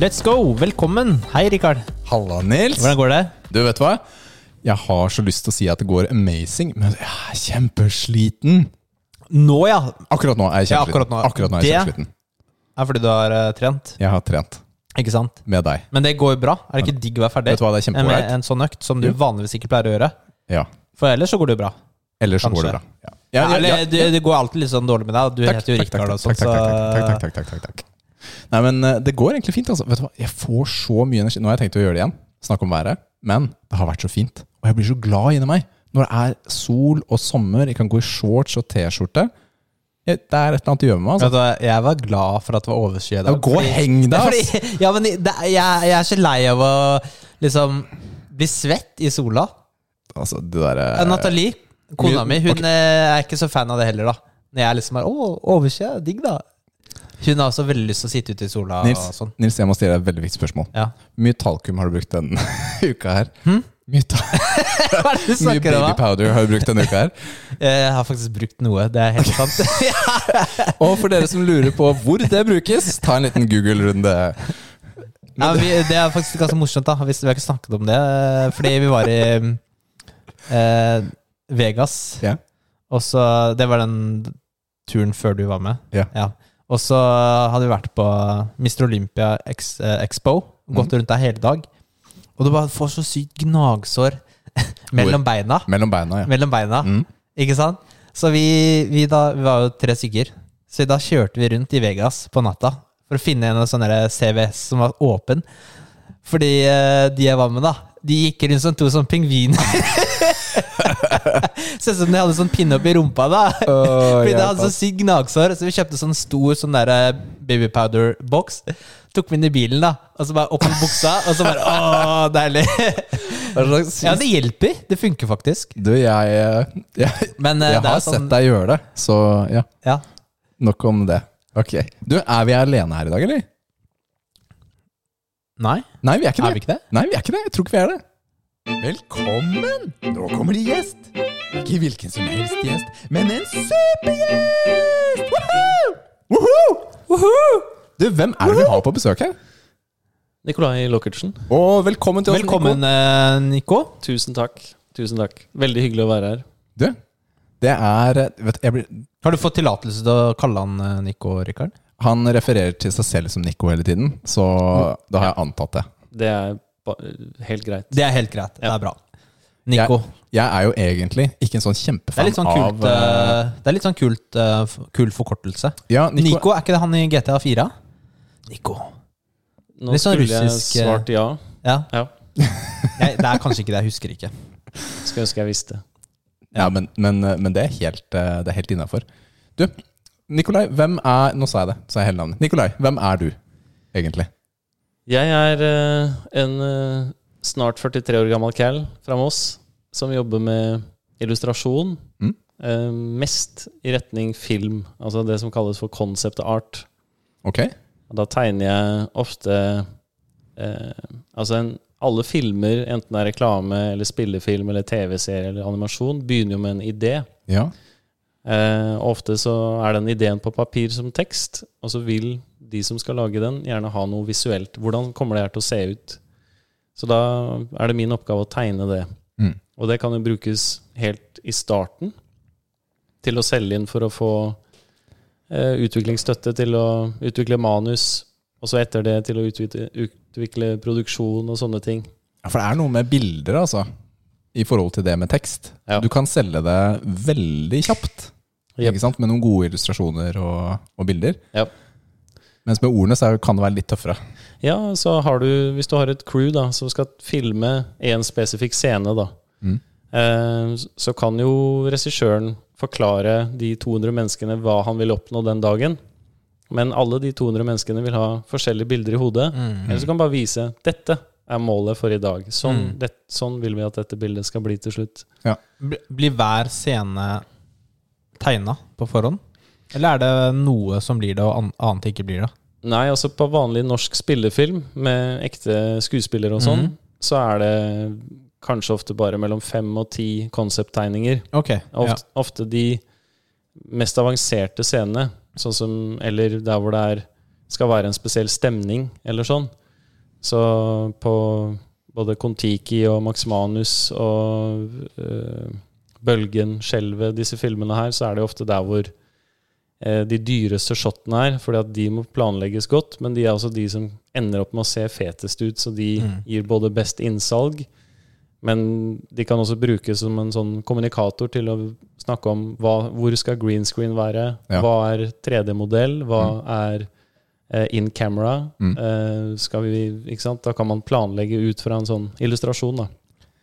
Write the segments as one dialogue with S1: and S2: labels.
S1: Let's go! Velkommen! Hei, Rikard.
S2: Halla, Nils.
S1: Hvordan går det?
S2: Du, vet du hva? Jeg har så lyst til å si at det går amazing, men jeg er kjempesliten.
S1: Nå, ja.
S2: Akkurat nå er jeg
S1: Ja,
S2: kjempesliten.
S1: akkurat nå.
S2: akkurat nå er jeg
S1: Det-
S2: kjempesliten.
S1: Er fordi du har eh, trent.
S2: Jeg har trent
S1: Ikke sant?
S2: med deg.
S1: Men det går jo bra. Er det ikke digg å være ferdig
S2: Vet du hva, det er
S1: med
S2: kjempeålreit.
S1: en sånn økt som du vanligvis ikke pleier å gjøre?
S2: Ja.
S1: For ellers så går det jo bra.
S2: Ellers så går
S1: Kanskje.
S2: det bra. Ja. Ja, ja, ja.
S1: Eller, det, det går alltid litt sånn dårlig med deg. Du
S2: Takk,
S1: heter jo
S2: takk, takk,
S1: Rikard og
S2: takk,
S1: sånn,
S2: takk,
S1: så
S2: takk, takk, takk, takk, takk, takk, takk. Nei, men eh, det går egentlig fint. Altså. Vet du hva? Jeg får så mye energi. Nå har jeg tenkt å gjøre det igjen. Snakke om været. Men det har vært så fint. Og jeg blir så glad inni meg. Når det er sol og sommer, jeg kan gå i shorts og T-skjorte. Jeg- Det er et eller annet å gjøre med meg. Altså.
S1: Vet du hva, jeg var glad for at det var overskyet i dag.
S2: Ja, gå og
S1: fordi-
S2: heng deg, ass.
S1: Fordi- Ja, men det, jeg, jeg er så lei av å liksom bli svett i sola.
S2: Altså, det der,
S1: Eh,
S2: eh,
S1: Nathalie, kona
S2: mye-
S1: mi, hun
S2: ok.
S1: eh, er ikke så fan av det heller, da. Når jeg liksom er Å, overskyet, digg, da. Hun har også veldig lyst til å sitte ute i sola
S2: Nils,
S1: og sånn.
S2: Nils, jeg må stille deg et veldig viktig spørsmål.
S1: Ja.
S2: Hvor mye talkum har du brukt denne uka her? Mye, ta
S1: Hva er det du
S2: mye
S1: snakker
S2: baby
S1: om? da?
S2: powder har du brukt denne uka her?
S1: Eh, Jeg har faktisk brukt noe, det er helt sant.
S2: Og for dere som lurer på hvor det brukes, ta en liten Google-runde.
S1: Ja, vi, det er faktisk ganske morsomt, da. Hvis vi har ikke snakket om det. eh, Fordi vi var i eh, Vegas.
S2: Ja.
S1: Og så Det var den turen før du var med.
S2: Ja.
S1: Og så hadde vi vært på Mr. Olympia Ex eh, Expo. Gått rundt der hele dag. Og du bare får så sykt gnagsår mellom beina.
S2: Mellom beina, ja.
S1: Mellom beina.
S2: Mm.
S1: Ikke sant? Så vi, vi, da, vi var jo tre stykker. Så da kjørte vi rundt i Vegas på natta for å finne en sånn der CVS som var åpen. Fordi eh, de jeg var med, da, de gikk rundt som to sånne pingviner. Ser ut som de hadde sånn pinne opp i rumpa, da. Fordi det altså hadde så sykt gnagsår. Så vi kjøpte sånn stor sånn der eh, baby powder-boks. Tok med den i bilen, da. Og så bare opp med buksa, og så bare Å, deilig. Ja, det hjelper. Det funker faktisk.
S2: Du, jeg, jeg, jeg,
S1: Men eh, det
S2: har
S1: er sånn
S2: sett deg gjøre det, så ja.
S1: Ja.
S2: Nok om det. Ok. Du, er vi alene her i dag, eller?
S1: Nei?
S2: Nei, vi er ikke det.
S1: Er vi ikke det?
S2: Nei, vi er ikke det. Jeg tror ikke vi er det. Velkommen! Nå kommer det gjest. Ikke hvilken som helst gjest, men en supergjest! Woohoo! Woohoo! Du, hvem er det vi har på besøk her?
S3: Nikolai Lockertsen,
S2: Og velkommen til oss,
S1: Velkommen,
S2: Nico.
S1: eh, Nico.
S3: tusen takk. Tusen takk. Veldig hyggelig å være her.
S2: Du, det er vet, du, jeg blir,
S1: Har du fått tillatelse til å kalle han eh, Nico, Rikard?
S2: Han refererer til seg selv som Nico hele tiden, så da har jeg antatt det.
S3: Det er ba helt greit.
S1: Det er helt greit. Det
S3: Ja.
S1: er bra. Nico.
S2: Jeg er jo egentlig ikke en sånn
S1: Det er
S2: kjempefan
S1: litt sånn kult,
S2: av eh,
S1: eh, det er litt sånn kult, eh, f- kul forkortelse.
S2: ja,
S1: Nico,
S2: Nico,
S1: er ikke det han i GTA 4? Nico.
S3: Nå
S1: Litt sånn
S3: skulle jeg
S1: russisk, eh,
S3: svart ja.
S1: Ja.
S3: Ja.
S1: Jeg, det er kanskje ikke det. Jeg husker ikke.
S3: Skulle ønske jeg visste.
S2: Ja, men, men, men det er helt, eh, det er helt innafor. Du, Nikolai, hvem er Nå sa jeg det, sa jeg hele navnet. Nikolai, hvem er du egentlig?
S3: Jeg er eh, en eh, snart 43 år gammel cal fra Moss som jobber med illustrasjon.
S2: Mm.
S3: eh, mest i retning film, altså det som kalles for concept art.
S2: Ok?
S3: Og da tegner jeg ofte eh, Altså en, alle filmer, enten det er reklame eller spillefilm eller TV-serie eller animasjon, begynner jo med en idé.
S2: Ja.
S3: Eh, og ofte så er den ideen på papir som tekst, og så vil de som skal lage den, gjerne ha noe visuelt. Hvordan kommer det her til å se ut? Så da er det min oppgave å tegne det.
S2: Mm.
S3: Og det kan jo brukes helt i starten til å selge inn for å få eh, utviklingsstøtte til å utvikle manus, og så etter det til å utvikle, utvikle produksjon og sånne ting.
S2: Ja, For det er noe med bilder, altså, i forhold til det med tekst.
S3: Ja.
S2: Du kan selge det veldig kjapt,
S3: Jep.
S2: ikke sant? med noen gode illustrasjoner og, og bilder.
S3: Ja.
S2: Mens med ordene så er, kan det være litt tøffere.
S3: Ja, så har du, hvis du har et crew da, som skal filme en spesifikk scene, da,
S2: Mm.
S3: eh, så kan jo regissøren forklare de 200 menneskene hva han vil oppnå den dagen. Men alle de 200 menneskene vil ha forskjellige bilder i hodet. Eller så kan han bare vise dette er målet for i dag. Sånn, det, sånn vil vi at dette bildet skal bli til slutt.
S1: Bl- Blir hver scene tegna på forhånd? Eller er det noe som blir det, og an- annet ikke blir det?
S3: Nei, altså på vanlig norsk spillefilm med ekte skuespillere og sånn, så er det kanskje ofte bare mellom fem og ti konsepttegninger.
S1: Ok. Ja.
S3: Ofte, ofte de mest avanserte scenene, sånn som, eller der hvor det er, skal være en spesiell stemning, eller sånn, Så på både Kon-Tiki og Max Manus og eh, Bølgen, Skjelvet, disse filmene her, så er det ofte der hvor eh, de dyreste shotene er, fordi at de må planlegges godt, men de er også de som ender opp med å se fetest ut, så de
S1: Mm.
S3: gir både best innsalg, men de kan også brukes som en sånn kommunikator til å snakke om hva, hvor skal green screen være,
S2: Ja.
S3: hva er 3D-modell, hva er eh, in camera,
S2: Mm.
S3: eh, skal vi, ikke sant? Da kan man planlegge ut fra en sånn illustrasjon, da.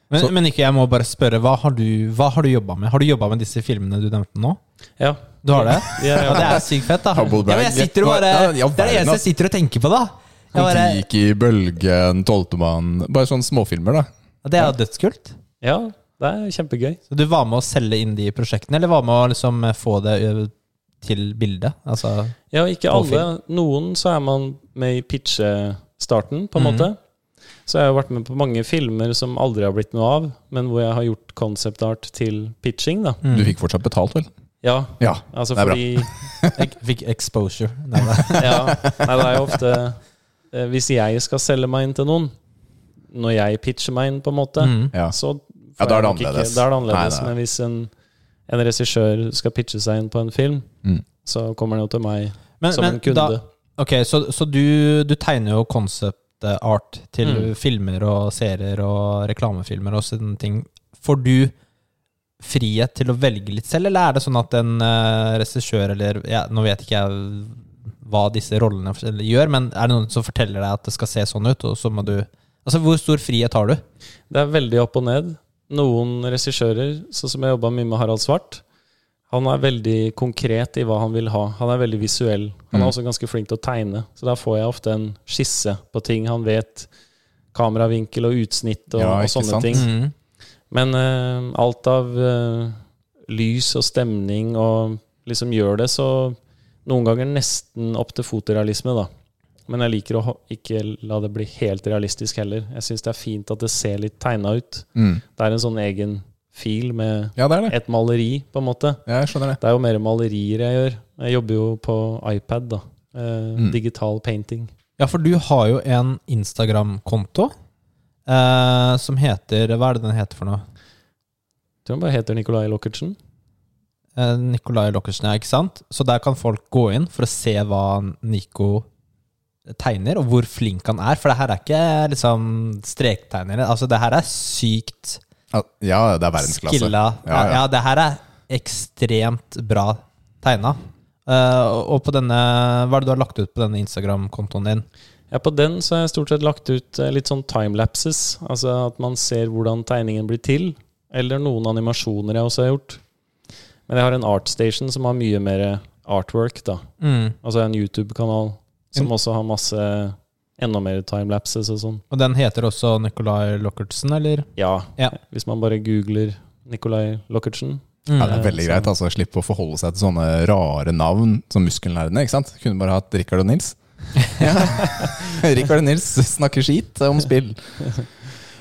S1: Men,
S2: Så-
S1: men ikke, jeg må bare spørre, hva har du, hva har du jobba med? Har du jobba med disse filmene du nevnte nå?
S3: Ja,
S1: Du har det?
S3: Ja, ja.
S1: Ja, det er sykt fett, da. Ja,
S2: Humble brag.
S1: men jeg sitter og bare,
S2: Ja,
S1: det
S2: ja,
S1: er det eneste jeg sitter og tenker på, da. Jeg bare,
S2: Kon-Tiki, Bølgen, Tolvtemann Bare sånne småfilmer, da.
S1: det er jo dødskult.
S3: ja det er kjempegøy.
S1: Så du var med å selge inn de prosjektene, eller var med å liksom få det ø, til bildet? Altså,
S3: Ja, ikke
S1: På
S3: alle. Noen så er man med i pitchestarten, på en
S2: Mm.
S1: Mhm.
S3: måte. Så jeg har vært med på mange filmer som aldri har blitt noe av, men hvor jeg har gjort concept art til pitching, da.
S1: Mm.
S2: Du fikk fortsatt betalt, vel?
S3: Ja,
S2: Ja.
S3: altså
S2: Det er bra.
S3: fordi
S1: jeg fikk exposure. Mm. Nei, nei.
S3: ja, nei, det er jo ofte eh, Hvis jeg skal selge meg inn til noen, når jeg pitcher meg inn, på en måte,
S1: Mm.
S2: ja.
S3: så får
S2: Ja, da er
S3: jeg
S2: det
S3: nok ikke-
S2: annerledes.
S3: Da er det annerledes.
S2: Nei, nei.
S3: Men hvis en, en regissør skal pitche seg inn på en film,
S2: Mm.
S3: så kommer han jo til meg
S1: Men,
S3: som en
S1: men
S3: kunde.
S1: da, ok, så, så du, du tegner jo concept art til
S3: Mm.
S1: filmer og serier og reklamefilmer og sånne ting. Får du frihet til å velge litt selv, eller er det sånn at en uh, regissør eller ja, Nå vet ikke jeg hva disse rollene forskjellig gjør, men er det noen som forteller deg at det skal se sånn ut, og så må du Altså, hvor stor frihet har du?
S3: Det er veldig opp og ned. Noen regissører, sånn som jeg jobba mye med Harald Svart, han er veldig konkret i hva han vil ha. Han er veldig visuell. Han er
S2: Mm.
S3: også ganske flink til å tegne. Så da får jeg ofte en skisse på ting han vet. Kameravinkel og utsnitt og,
S2: Ja,
S3: og
S2: ikke
S3: sånne
S2: sant? Mm.
S3: ting. Men eh, alt av eh, lys og stemning og liksom gjør det, så noen ganger nesten opp til fotorealisme, da. Men jeg liker å ho- ikke la det bli helt realistisk heller. Jeg syns det er fint at det ser litt tegna ut.
S2: Mm.
S3: Det er en sånn egen fil med
S2: ja, det er det.
S3: et maleri, på en måte.
S2: Ja, jeg skjønner det.
S3: Det er jo mer malerier jeg gjør. Jeg jobber jo på iPad, da. Eh,
S2: Mm.
S3: Digital painting.
S1: Ja, for du har jo en Instagram-konto eh, som heter Hva er det den heter for noe?
S3: Tror han bare heter Nicolai Lockertsen.
S1: Eh, Nikolai Lokkersen, ja, ikke sant? Så der kan folk gå inn for å se hva Nico tegner, og hvor flink han er. For det her er ikke liksom strektegnere. Altså, det her er sykt
S2: Ja, Ja, det er verdensklasse.
S1: skilla. Ja,
S2: Ja, ja.
S1: det her er ekstremt bra tegna. Eh, og- og på denne Hva er det du har lagt ut på denne Instagram-kontoen din?
S3: Ja, på den så har jeg stort sett lagt ut eh, litt sånn timelapses. Altså at man ser hvordan tegningen blir til. Eller noen animasjoner jeg også har gjort. Men jeg har en artstation som har mye mer artwork, da.
S1: Mm.
S3: Altså en YouTube-kanal som også har masse enda mer timelapses og sånn.
S1: Og den heter også Nikolai Lockertsen, eller?
S3: Ja,
S1: Ja.
S3: hvis man bare googler Nicolai Lockertsen.
S2: Ja,
S1: Mm.
S2: det er veldig
S3: Ja, så-
S2: greit. altså Slippe å forholde seg til sånne rare navn som muskelnerdene. ikke sant? Kunne bare hatt Rikard og Nils. Ja. Rikard og Nils snakker skit om spill.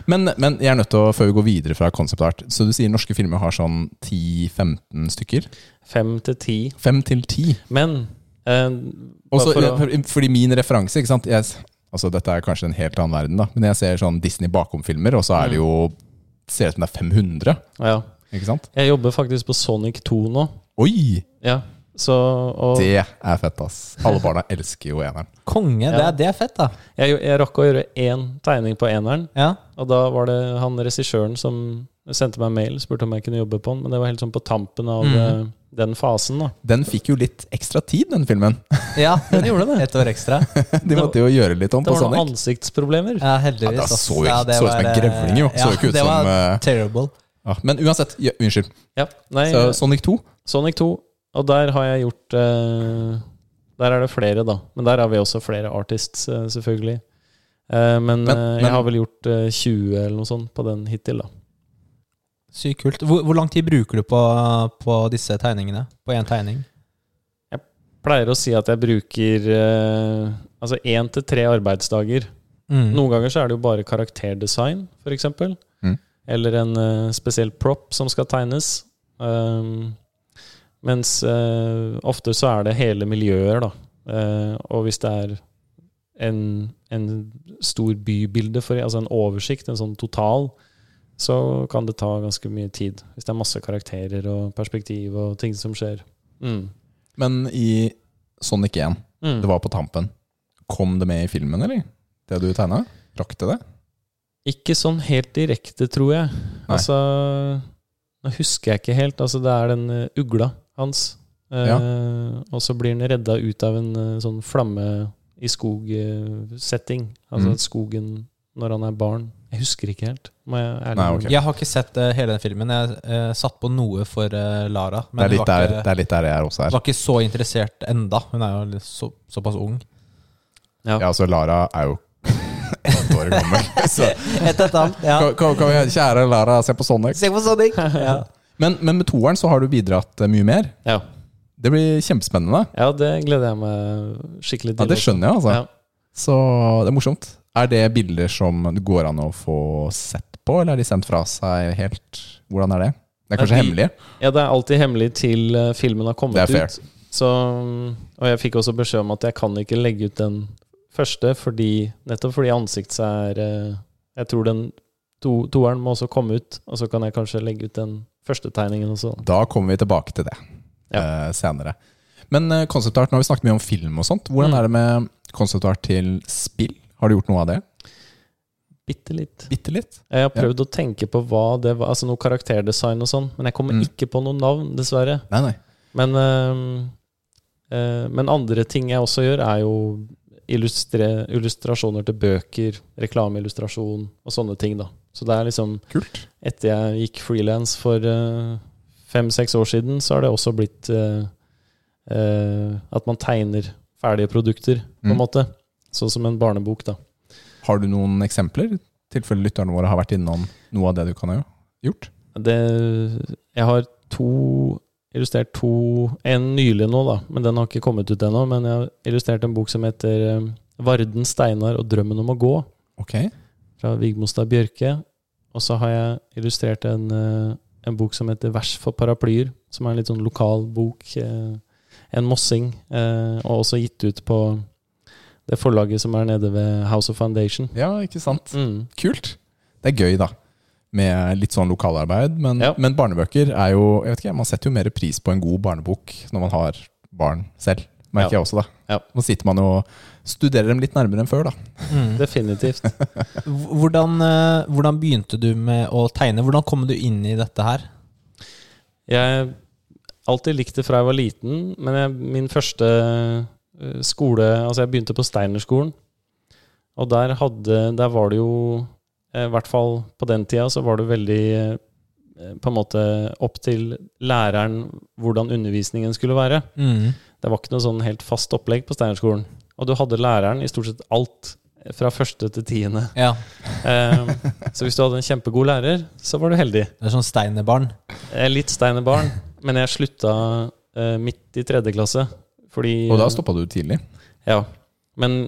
S2: Men, men jeg er nødt til å, før vi går videre fra concept art Så du sier norske filmer har sånn 10-15 stykker?
S3: Fem til ti.
S2: 5-10?
S3: Men eh,
S2: Og så-
S3: bare for å,
S2: Fordi min referanse ikke sant? Jeg, s- altså Dette er kanskje en helt annen verden, da. Men jeg ser sånn Disney bakom-filmer, og så er det jo Ser ut som det er 500.
S3: ja.
S2: Ikke sant?
S3: Jeg jobber faktisk på Sonic 2 nå.
S2: Oi!
S3: Ja, så og
S2: Det er fett, ass. Alle barna elsker jo eneren.
S1: Konge! Det,
S3: Ja.
S1: er, det er fett, da.
S3: jeg, jeg rakk å gjøre én tegning på eneren,
S1: Ja.
S3: og da var det han regissøren som sendte meg en mail, spurte om jeg kunne jobbe på den, men det var helt sånn på tampen av
S1: Mhm.
S3: eh, den fasen, da.
S2: Den fikk jo litt ekstra tid, den filmen.
S1: ja, den gjorde det. Et år ekstra.
S2: De måtte jo gjøre litt om
S3: Det
S2: på
S3: var noen
S2: Sonic.
S3: ansiktsproblemer.
S1: Ja, heldigvis.
S2: Ja, det
S1: ass.
S2: så jo-
S1: det
S2: så ut som en
S1: var, eh,
S2: grevling, jo. Så
S1: ja,
S2: jo ikke ut
S1: det
S2: som,
S1: var
S2: eh,
S1: terrible.
S2: Ja, men uansett, ja, unnskyld.
S3: Ja, nei,
S2: Så Sonic 2
S3: Sonic 2, og der har jeg gjort eh, Der er det flere, da. Men der har vi også flere artists, eh, selvfølgelig. Eh, men
S2: Men-
S3: eh,
S2: men-
S3: jeg har vel gjort eh, 20 eller noe sånt på den hittil, da.
S1: Sykt kult. Hvor, hvor lang tid bruker du på, på disse tegningene? På én tegning?
S3: Pleier å si at jeg bruker eh, altså én til tre arbeidsdager.
S1: Mm.
S3: Noen ganger så er det jo bare karakterdesign, f.eks.
S2: Mm.
S3: Eller en eh, spesiell prop som skal tegnes. Um, mens eh, ofte så er det hele miljøer, da. Eh, og hvis det er en, en stor bybilde, for, altså en oversikt, en sånn total, så kan det ta ganske mye tid. Hvis det er masse karakterer og perspektiv og ting som skjer. Mm.
S2: Men i Sonic 1,
S3: Mm.
S2: det var på tampen. Kom det med i filmen, eller? Det du tegna? Rakk det det?
S3: Ikke sånn helt direkte, tror jeg. Altså Nå husker jeg ikke helt. Altså, det er den eh, ugla hans. Eh,
S2: Ja.
S3: Og så blir han redda ut av en eh, sånn flamme i skog-setting. Altså
S2: Mm.
S3: at skogen når han er barn. Jeg husker ikke helt, må jeg ærlig
S2: Nei, ok.
S3: innrømme.
S1: Jeg har ikke sett eh, hele den filmen. Jeg eh, satt på noe for eh, Lara.
S2: Det er,
S1: Men hun
S2: litt
S1: var
S2: der,
S1: ikke,
S2: det er litt der jeg er også her.
S1: var ikke så interessert enda. Hun er jo litt så, såpass ung.
S3: Ja.
S2: Ja, altså Lara er jo ett år gammel. Så,
S1: Et etter annet, ja.
S2: kan, kan, kan vi, kjære Lara, se på Sonic.
S1: Se på Sonic! Ja.
S2: Men, men med toeren så har du bidratt eh, mye mer.
S3: Ja.
S2: Det blir kjempespennende.
S3: ja, det gleder jeg meg skikkelig
S2: Ja,
S3: til.
S2: det skjønner jeg, altså.
S3: Ja.
S2: Så det er morsomt. Er det bilder som det går an å få sett på, eller er de sendt fra seg helt? Hvordan er det? Det er kanskje
S3: Nei, de-
S2: hemmelige?
S3: Ja, det er alltid hemmelig til eh, filmen har kommet
S2: Det er fair.
S3: ut. Så, mm, og jeg fikk også beskjed om at jeg kan ikke legge ut den første, fordi, nettopp fordi ansiktet er eh, Jeg tror den to, toeren må også komme ut, og så kan jeg kanskje legge ut den første tegningen også.
S2: Da kommer vi tilbake til det eh, senere. Men eh, concept art, nå har vi snakket mye om film og sånt. Hvordan
S3: Mm.
S2: er det med concept art til spill? Har du gjort noe av det?
S3: Bitte litt.
S2: Bitte litt?
S3: Jeg har prøvd å tenke på hva det var, altså noe karakterdesign og sånn, men jeg kommer
S2: Mm.
S3: ikke på noe navn, dessverre.
S2: Nei, nei.
S3: Men, eh, eh, men andre ting jeg også gjør, er jo illustre, illustrasjoner til bøker, reklameillustrasjon og sånne ting. da. Så det er liksom
S2: Kult.
S3: Etter jeg gikk frilans for eh, fem-seks år siden, så har det også blitt eh, eh, at man tegner ferdige produkter, på en
S2: Mm.
S3: måte. Sånn som en barnebok, da.
S2: Har du noen eksempler? I tilfelle lytterne våre har vært innom noe av det du kan ha gjort?
S3: Det, jeg har to illustrert to En nylig nå, da, men den har ikke kommet ut ennå. Men jeg har illustrert en bok som heter eh, 'Varden, Steinar og drømmen om å gå',
S2: Ok.
S3: fra Vigmostad Bjørke. Og så har jeg illustrert en, eh, en bok som heter 'Vers for paraplyer', som er en litt sånn lokal bok. eh, En mossing. eh, Og også gitt ut på det forlaget som er nede ved House of Foundation.
S2: Ja, ikke sant.
S3: Mm.
S2: Kult. Det er gøy, da. Med litt sånn lokalarbeid. Men,
S3: Ja.
S2: men barnebøker er jo jeg vet ikke, Man setter jo mer pris på en god barnebok når man har barn selv. Merker
S3: Ja.
S2: jeg også, da.
S3: Ja.
S2: Nå sitter man og studerer dem litt nærmere enn før, da.
S1: Mm.
S3: Definitivt.
S1: H- Hvordan, eh, hvordan begynte du med å tegne? Hvordan kom du inn i dette her?
S3: Jeg alltid likte det fra jeg var liten, men jeg, min første eh, skole Altså, jeg begynte på Steinerskolen, og der hadde Der var det jo eh, I hvert fall på den tida så var det veldig eh, på en måte opp til læreren hvordan undervisningen skulle være.
S1: Mm.
S3: Det var ikke noe sånn helt fast opplegg på Steinerskolen. Og du hadde læreren i stort sett alt eh, fra første til tiende.
S1: Ja,
S3: Eh, så hvis du hadde en kjempegod lærer, så var du heldig.
S1: det er sånn steinerbarn.
S3: Jeg er litt steinerbarn, men jeg slutta eh, midt i tredje klasse. Fordi
S2: Og da stoppa du tidlig.
S3: Ja. Men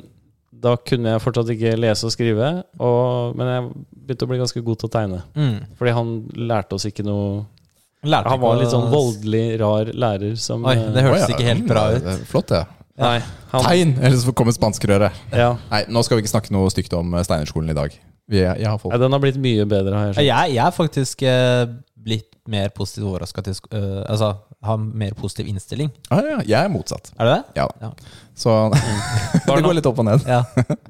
S3: da kunne jeg fortsatt ikke lese og skrive, og, men jeg begynte å bli ganske god til å tegne.
S1: Mm.
S3: Fordi han lærte oss ikke noe
S1: Lærte
S3: Han
S1: ikke
S3: var
S1: å-
S3: litt sånn voldelig rar lærer som
S1: Oi,
S3: eh,
S1: det hørtes
S2: Å, ja.
S1: ikke helt bra
S2: Mm,
S1: ut.
S2: det er Flott, det.
S3: Nei. Han,
S2: Tegn! Ellers kommer spanskrøret.
S3: ja.
S2: Nei, nå skal vi ikke snakke noe stygt om eh, Steinerskolen i dag. Vi, jeg har folk.
S3: Nei, den har blitt mye bedre, har jeg skjønt.
S1: Jeg, jeg er faktisk eh, blitt mer positivt overraska til sk- eh, Altså har mer positiv innstilling.
S2: Ah, ja, jeg er motsatt.
S1: Er du det?
S2: Ja
S1: Ja.
S2: da. Så det går
S3: Barna,
S2: litt opp og ned.
S1: Ja.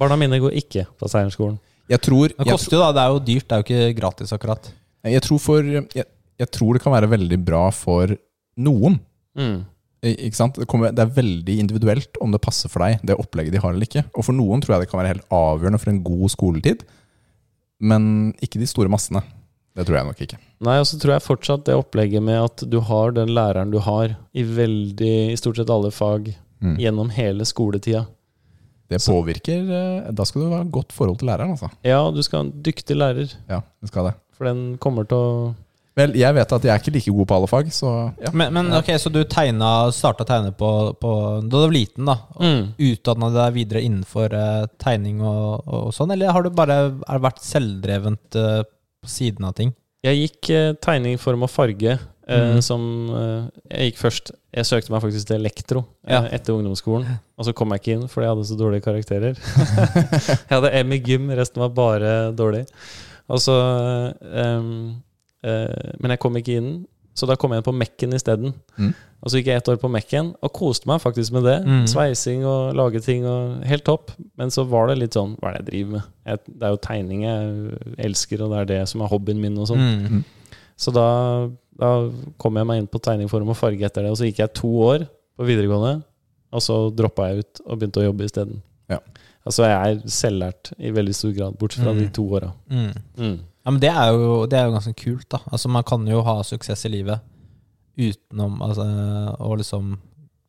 S3: barna mine går ikke på Steinerskolen.
S2: Jeg tror,
S1: Det
S2: jeg
S1: koster jo, da. Det er jo dyrt. Det er jo ikke gratis, akkurat.
S2: Nei, Jeg tror, for, jeg, jeg tror det kan være veldig bra for noen.
S3: Mm.
S2: I- Ikke sant? Det, kommer, det er veldig individuelt om det passer for deg, det opplegget de har eller ikke. Og for noen tror jeg det kan være helt avgjørende for en god skoletid. Men ikke de store massene. Det tror jeg nok ikke.
S3: Nei, og så tror jeg fortsatt det opplegget med at du har den læreren du har i veldig, i stort sett alle fag
S2: Mm.
S3: gjennom hele skoletida.
S2: Det påvirker eh, Da skal du ha godt forhold til læreren, altså.
S3: Ja, du skal ha en dyktig lærer,
S2: Ja, du skal det.
S3: for den kommer til å
S2: Vel, jeg vet at jeg er ikke like god på alle fag, så ja.
S1: Men, men ok, så du tegna, starta å tegne på, på da du var liten, da. Utdanna deg videre innenfor eh, tegning og, og sånn, eller har du bare er vært selvdrevent eh, på siden av ting?
S3: Jeg gikk eh, tegning, form og farge eh, eh,
S1: Mm.
S3: som eh, Jeg gikk først Jeg søkte meg faktisk til elektro eh,
S1: Ja.
S3: etter ungdomsskolen. Og så kom jeg ikke inn fordi jeg hadde så dårlige karakterer. jeg hadde M i gym, resten var bare dårlig. Og så eh, eh, Men jeg kom ikke inn, så da kom jeg inn på Mekken isteden.
S2: Mm.
S3: Og så gikk jeg ett år på Mekken og koste meg faktisk med det.
S1: Mm.
S3: Sveising og lage ting og Helt topp. Men så var det litt sånn Hva er det jeg driver med? Jeg, det er jo tegning jeg elsker, og det er det som er hobbyen min. og sånn
S1: Mm.
S3: så da, da kom jeg meg inn på tegning, form og farge etter det. Og så gikk jeg to år på videregående, og så droppa jeg ut og begynte å jobbe isteden.
S2: Ja.
S3: Altså jeg er selvlært i veldig stor grad, bortsett fra
S1: Mm.
S3: de to åra.
S1: Mm. Ja, men det er, jo, det er jo ganske kult, da. Altså, man kan jo ha suksess i livet utenom altså, å liksom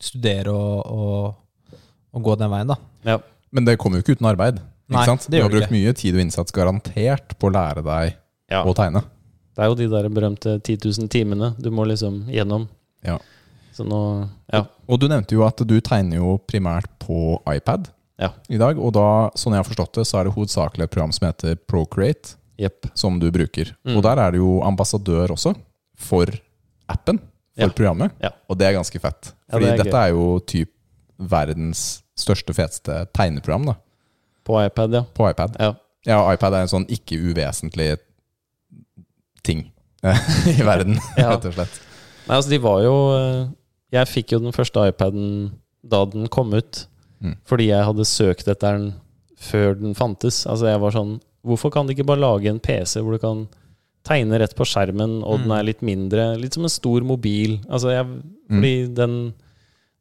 S1: studere og, og, og gå den veien, da.
S2: Men det kommer jo ikke uten arbeid. Ikke
S1: Nei,
S2: sant?
S1: det
S2: Du
S1: gjør
S2: har
S1: det
S2: brukt mye tid og innsats garantert på å lære deg
S3: Ja.
S2: å tegne.
S3: Det er jo de der berømte 10 000 timene du må liksom gjennom.
S2: Ja.
S3: Så nå Ja.
S2: Og du nevnte jo at du tegner jo primært på iPad
S3: Ja.
S2: i dag. Og da, sånn jeg har forstått det, så er det hovedsakelig et program som heter Procreate,
S3: Jepp.
S2: som du bruker.
S3: Mm.
S2: Og der er du jo ambassadør også, for appen, for
S3: Ja.
S2: programmet.
S3: Ja.
S2: Og det er ganske fett.
S3: Ja,
S2: Fordi
S3: det er
S2: dette er jo typ verdens største, feteste tegneprogram da,
S3: På iPad, ja.
S2: på iPad.
S3: Ja.
S2: Ja, iPad er en sånn ikke uvesentlig ting i verden,
S3: Ja.
S2: rett og slett.
S3: Nei, altså de var jo eh, Jeg fikk jo den første iPaden da den kom ut,
S2: Mm.
S3: fordi jeg hadde søkt etter den før den fantes. Altså jeg var sånn Hvorfor kan de ikke bare lage en PC hvor du kan tegne rett på skjermen, og den
S1: Mm.
S3: er litt mindre? Litt som en stor mobil. Altså jeg,
S2: Mm.
S3: fordi den,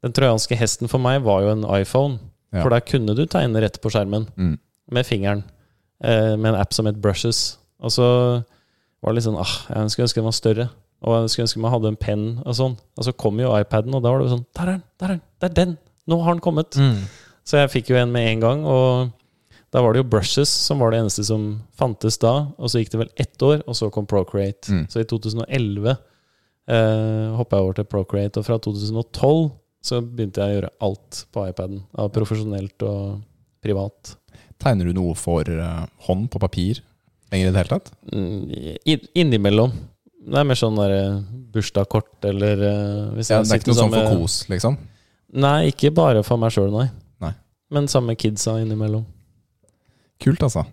S3: den trojanske hesten for meg var jo en iPhone,
S2: Ja.
S3: for der kunne du tegne rett på skjermen
S2: Mm.
S3: med fingeren. Eh, med en app som het Brushes. Og så var det litt sånn ah, Jeg skulle ønske den var større. Og jeg skulle ønske man hadde en penn og sånn. Og så kom jo iPaden, og da var det jo sånn Der er den! Der er den! Det er den! Nå har den kommet!
S1: Mm.
S3: Så jeg fikk jo en med en gang, og da var det jo Brushes som var det eneste som fantes da. Og så gikk det vel ett år, og så kom Procreate.
S2: Mm.
S3: Så i 2011 eh, hoppa jeg over til Procreate, og fra 2012 så begynte jeg å gjøre alt på iPaden. av Profesjonelt og privat.
S2: Tegner du noe for eh, hånd på papir lenger i det hele tatt?
S3: Mm, i- Innimellom. Det er mer sånn der eh, bursdagskort eller eh, hvis
S2: Ja,
S3: jeg
S2: det er ikke
S3: sitter
S2: noe sånn for
S3: sammen med-
S2: kos, liksom?
S3: Nei, ikke bare for meg sjøl, nei.
S2: Nei.
S3: Men sammen med kidsa innimellom.
S2: Kult, altså.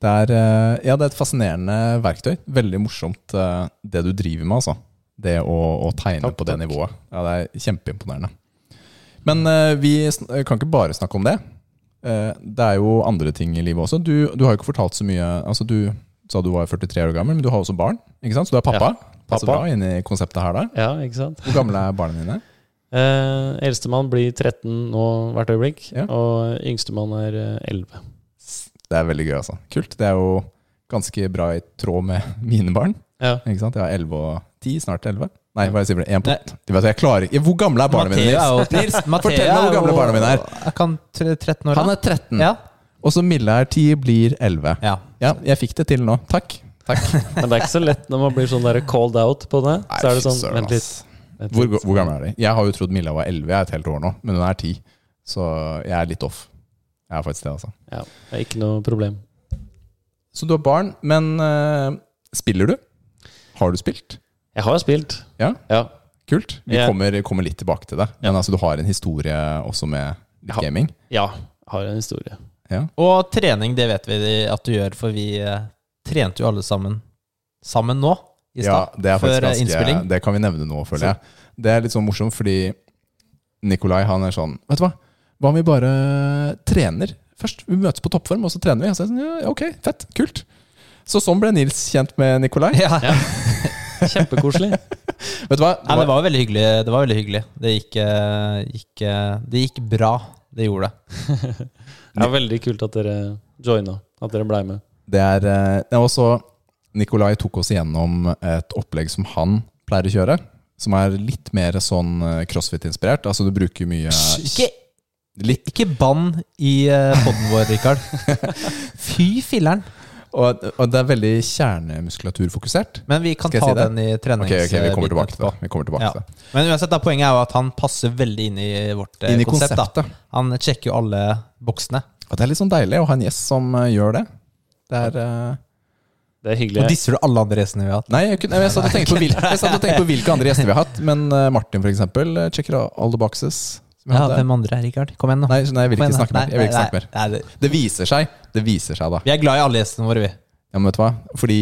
S2: Det er, eh, ja, det er et fascinerende verktøy. Veldig morsomt eh, det du driver med, altså. Det å, å tegne
S3: Takk,
S2: på det
S3: takk.
S2: nivået. Ja, det er kjempeimponerende. Men eh, vi sn- kan ikke bare snakke om det. Eh, Det er jo andre ting i livet også. Du, du har jo ikke fortalt så mye altså Du sa du var 43 år gammel, men du har også barn. ikke sant? Så du er pappa. Passer
S3: pappa.
S2: bra inn i konseptet her, da.
S3: Ja, ikke sant?
S2: Hvor gamle er barna dine?
S3: Eh, Eldstemann blir 13 nå hvert øyeblikk,
S2: Ja.
S3: og yngstemann er eh, 11.
S2: Det er veldig gøy, altså. Kult. Det er jo ganske bra i tråd med mine barn.
S3: Ja.
S2: Ikke sant? Jeg har 11 og 10, snart 11. Nei, hva er det jeg sier for det? En på
S1: Nei.
S2: De vet, jeg klarer ikke Hvor gamle er barna mine?
S1: Matheo
S2: Nils?
S1: er jo- Nils, Matheo
S2: Fortell meg
S1: er
S2: hvor
S1: jo-
S2: gamle barna mine er.
S1: Jeg kan tre- 13 år.
S2: Han er 13.
S1: ja.
S2: Og så Mille er 10, blir 11.
S1: ja.
S2: Ja, jeg fikk det til nå. Takk. Takk.
S3: Men det er ikke så lett når man blir sånn der called out på det. så er det
S2: Nei,
S3: sånn,
S2: søren,
S3: vent litt.
S2: ass.
S3: Vent
S2: Hvor,
S3: litt.
S2: hvor gammel er de? Jeg har jo trodd Milla var 11 jeg er et helt år nå, men hun er 10. Så jeg er litt off. Jeg er faktisk det, altså.
S3: Ja, det er ikke noe problem.
S2: Så du har barn, men eh, spiller du? Har du spilt?
S3: Jeg har spilt.
S2: Ja.
S3: ja.
S2: Kult. Vi
S3: Ja.
S2: kommer, kommer litt tilbake til det. Men altså, du har en historie også med litt
S3: Ja.
S2: gaming.
S3: Ja, har en historie.
S1: Og trening, det vet vi at du gjør, for vi eh, trente jo alle sammen sammen nå i
S2: Ja,
S1: stad.
S2: det er faktisk
S1: før eh,
S2: ganske,
S1: innspilling.
S2: Det kan vi nevne nå, føler jeg. Det er litt sånn morsomt, fordi Nikolai han er sånn Vet du hva, hva om vi bare trener først? Vi møtes på toppform, og så trener vi. Og så er jeg sånn, ja, ok, fett, kult. Så sånn ble Nils kjent med Nikolai.
S1: Ja.
S3: Ja. Kjempekoselig.
S2: Vet du hva?
S1: Nei, det var veldig hyggelig. Det var veldig hyggelig. Det gikk, eh, gikk, eh, det gikk bra. Det gjorde det.
S3: Det er veldig kult at dere joina. At dere blei med.
S2: Det er eh, ja, også Nikolai tok oss igjennom et opplegg som han pleier å kjøre. Som er litt mer sånn eh, crossfit-inspirert. Altså du bruker mye
S1: Ikke,
S2: Litt
S1: ikke bann i uh, poden vår, Rikard. Fy filleren.
S2: Og, og det er veldig kjernemuskulaturfokusert.
S1: Men vi kan
S2: Skal jeg
S1: ta
S2: si det?
S1: den i treningsbiten
S2: Ok, ok, vi kommer tilbake til det. Vi kommer tilbake
S1: Ja.
S2: til det.
S1: Men uansett, da, poenget er jo at han passer veldig inn i vårt eh,
S2: Inn i
S1: konsept.
S2: konseptet.
S1: Da. Han sjekker jo alle boksene.
S2: Og det er litt sånn deilig å ha en gjest som eh, gjør det. Det er eh,
S3: Det er hyggelig.
S1: Og disser du alle andre gjestene vi har hatt?
S2: Nei, jeg, kunne, jeg, satt og tenkte på hvil, jeg satt og tenkte på hvilke andre gjester vi har hatt. Men eh, Martin, for eksempel, eh, checker all the boxes. som vi
S1: Ja,
S2: hadde.
S1: Hvem andre er Rikard? Kom igjen, nå.
S2: Nei, så nei, jeg vil
S1: Kom
S2: ikke
S1: igjen, da.
S2: snakke mer.
S1: Nei,
S2: Jeg vil ikke
S1: nei,
S2: snakke mer.
S1: nei, nei, det-
S2: Det viser seg, det viser seg da.
S1: Vi er glad i alle gjestene våre, vi.
S2: Ja, men vet du hva? Fordi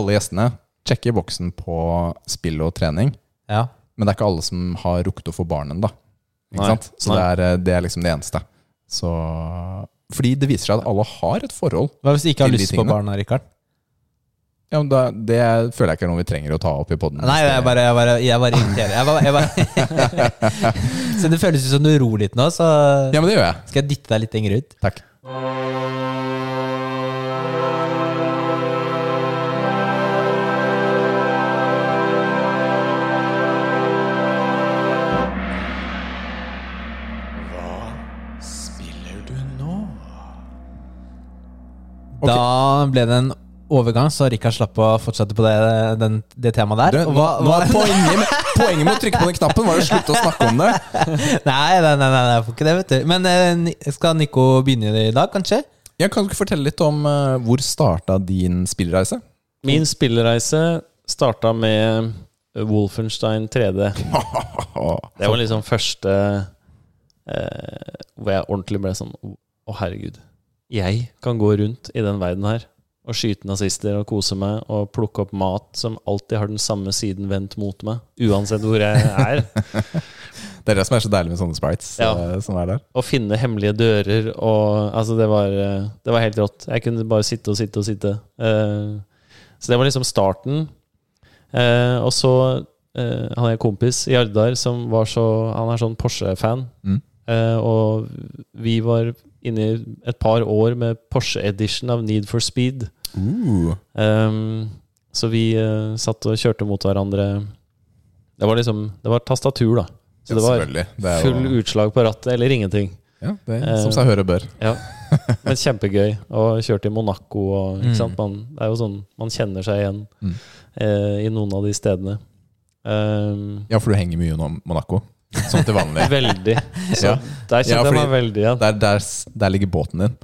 S2: alle gjestene sjekker boksen på spill og trening.
S1: Ja.
S2: Men det er ikke alle som har rukket å få barn ennå.
S3: Nei,
S2: Så det er, eh, det er liksom det eneste. Så, fordi det viser seg at alle har et forhold.
S1: Hva hvis du ikke har
S2: Til de
S1: lyst på
S2: tingene.
S1: barna, Rikard?
S2: Ja, men da, det føler jeg ikke er noe vi trenger å ta opp i poden.
S1: Nei, jeg bare, jeg bare, jeg bare irriterer. Jeg bare, jeg bare. så det føles ut som du ror litt nå, så
S2: Ja, men det gjør jeg.
S1: skal jeg dytte deg litt lenger ut.
S2: Takk. Ok.
S1: Da ble det en overgang, så Rikard slapp å fortsette på det, den, det temaet
S2: Du,
S1: der. Og
S2: nå,
S1: hva-
S2: nå
S1: hva-
S2: er poenget, med, poenget med å trykke på den knappen var å slutte å snakke om det.
S1: Nei, nei, nei, nei, nei, jeg får ikke det, vet du. Men eh, Ni- skal Nico begynne i dag, kanskje?
S2: Jeg kan du ikke fortelle litt om eh, hvor starta din spillreise?
S3: Min spillereise starta med eh, Wolfenstein 3D. Det var liksom første eh, hvor jeg ordentlig ble sånn Å, herregud. Jeg kan gå rundt i den verden her og skyte nazister og kose meg og plukke opp mat som alltid har den samme siden vendt mot meg, uansett hvor jeg er.
S2: Det er det som er så deilig med sånne sprites.
S3: Ja.
S2: eh, som er der.
S3: Å finne hemmelige dører og Altså, det var, eh, det var helt rått. Jeg kunne bare sitte og sitte og sitte. Eh, så det var liksom starten. Eh, og så eh, hadde jeg en kompis, Jardar, som var så Han er sånn Porsche-fan.
S2: Mm.
S3: Eh, og vi var inne i et par år med Porsche-edition av Need for Speed. Ehm, så vi eh, satt og kjørte mot hverandre. Det var liksom Det var tastatur, da. Så det var
S2: Selvfølgelig. Det er
S3: full
S2: jo,
S3: utslag på rattet eller ingenting.
S2: ja, det er,
S3: eh,
S2: som seg høre bør.
S3: Men kjempegøy. Og kjørte i Monaco og
S1: Mm.
S3: ikke sant? Man, Det er jo sånn man kjenner seg igjen
S2: Mm.
S3: eh, i noen av de stedene. Ehm,
S2: Ja, for du henger mye unna Monaco. Som til vanlig.
S3: veldig. Så
S2: Ja.
S3: der kjente
S2: Ja,
S3: jeg
S2: fordi-
S3: meg veldig igjen.
S2: Der, der, s- der ligger båten din.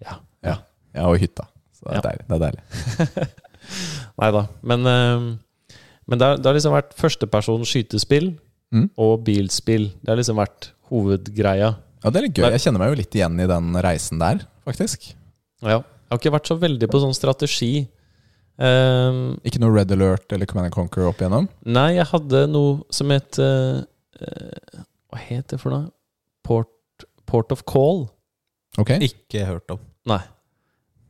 S3: Ja.
S2: Ja, ja og hytta. Så det er
S3: Ja.
S2: deilig. Det er deilig.
S3: Nei da. Men, ehm, men det, har, det har liksom vært førsteperson skytespill
S2: Mm.
S3: og bilspill. Det har liksom vært hovedgreia.
S2: Ja, det er litt gøy.
S3: Nei.
S2: Jeg kjenner meg jo litt igjen i den reisen der, faktisk.
S3: Ja. Jeg har ikke vært så veldig på sånn strategi. Ehm,
S2: Ikke noe Red Alert eller Command and Conquer opp igjennom.
S3: Nei, jeg hadde noe som het eh, eh, Hva het det for noe? Port, port of Call.
S2: Ok,
S1: Ikke hørt om.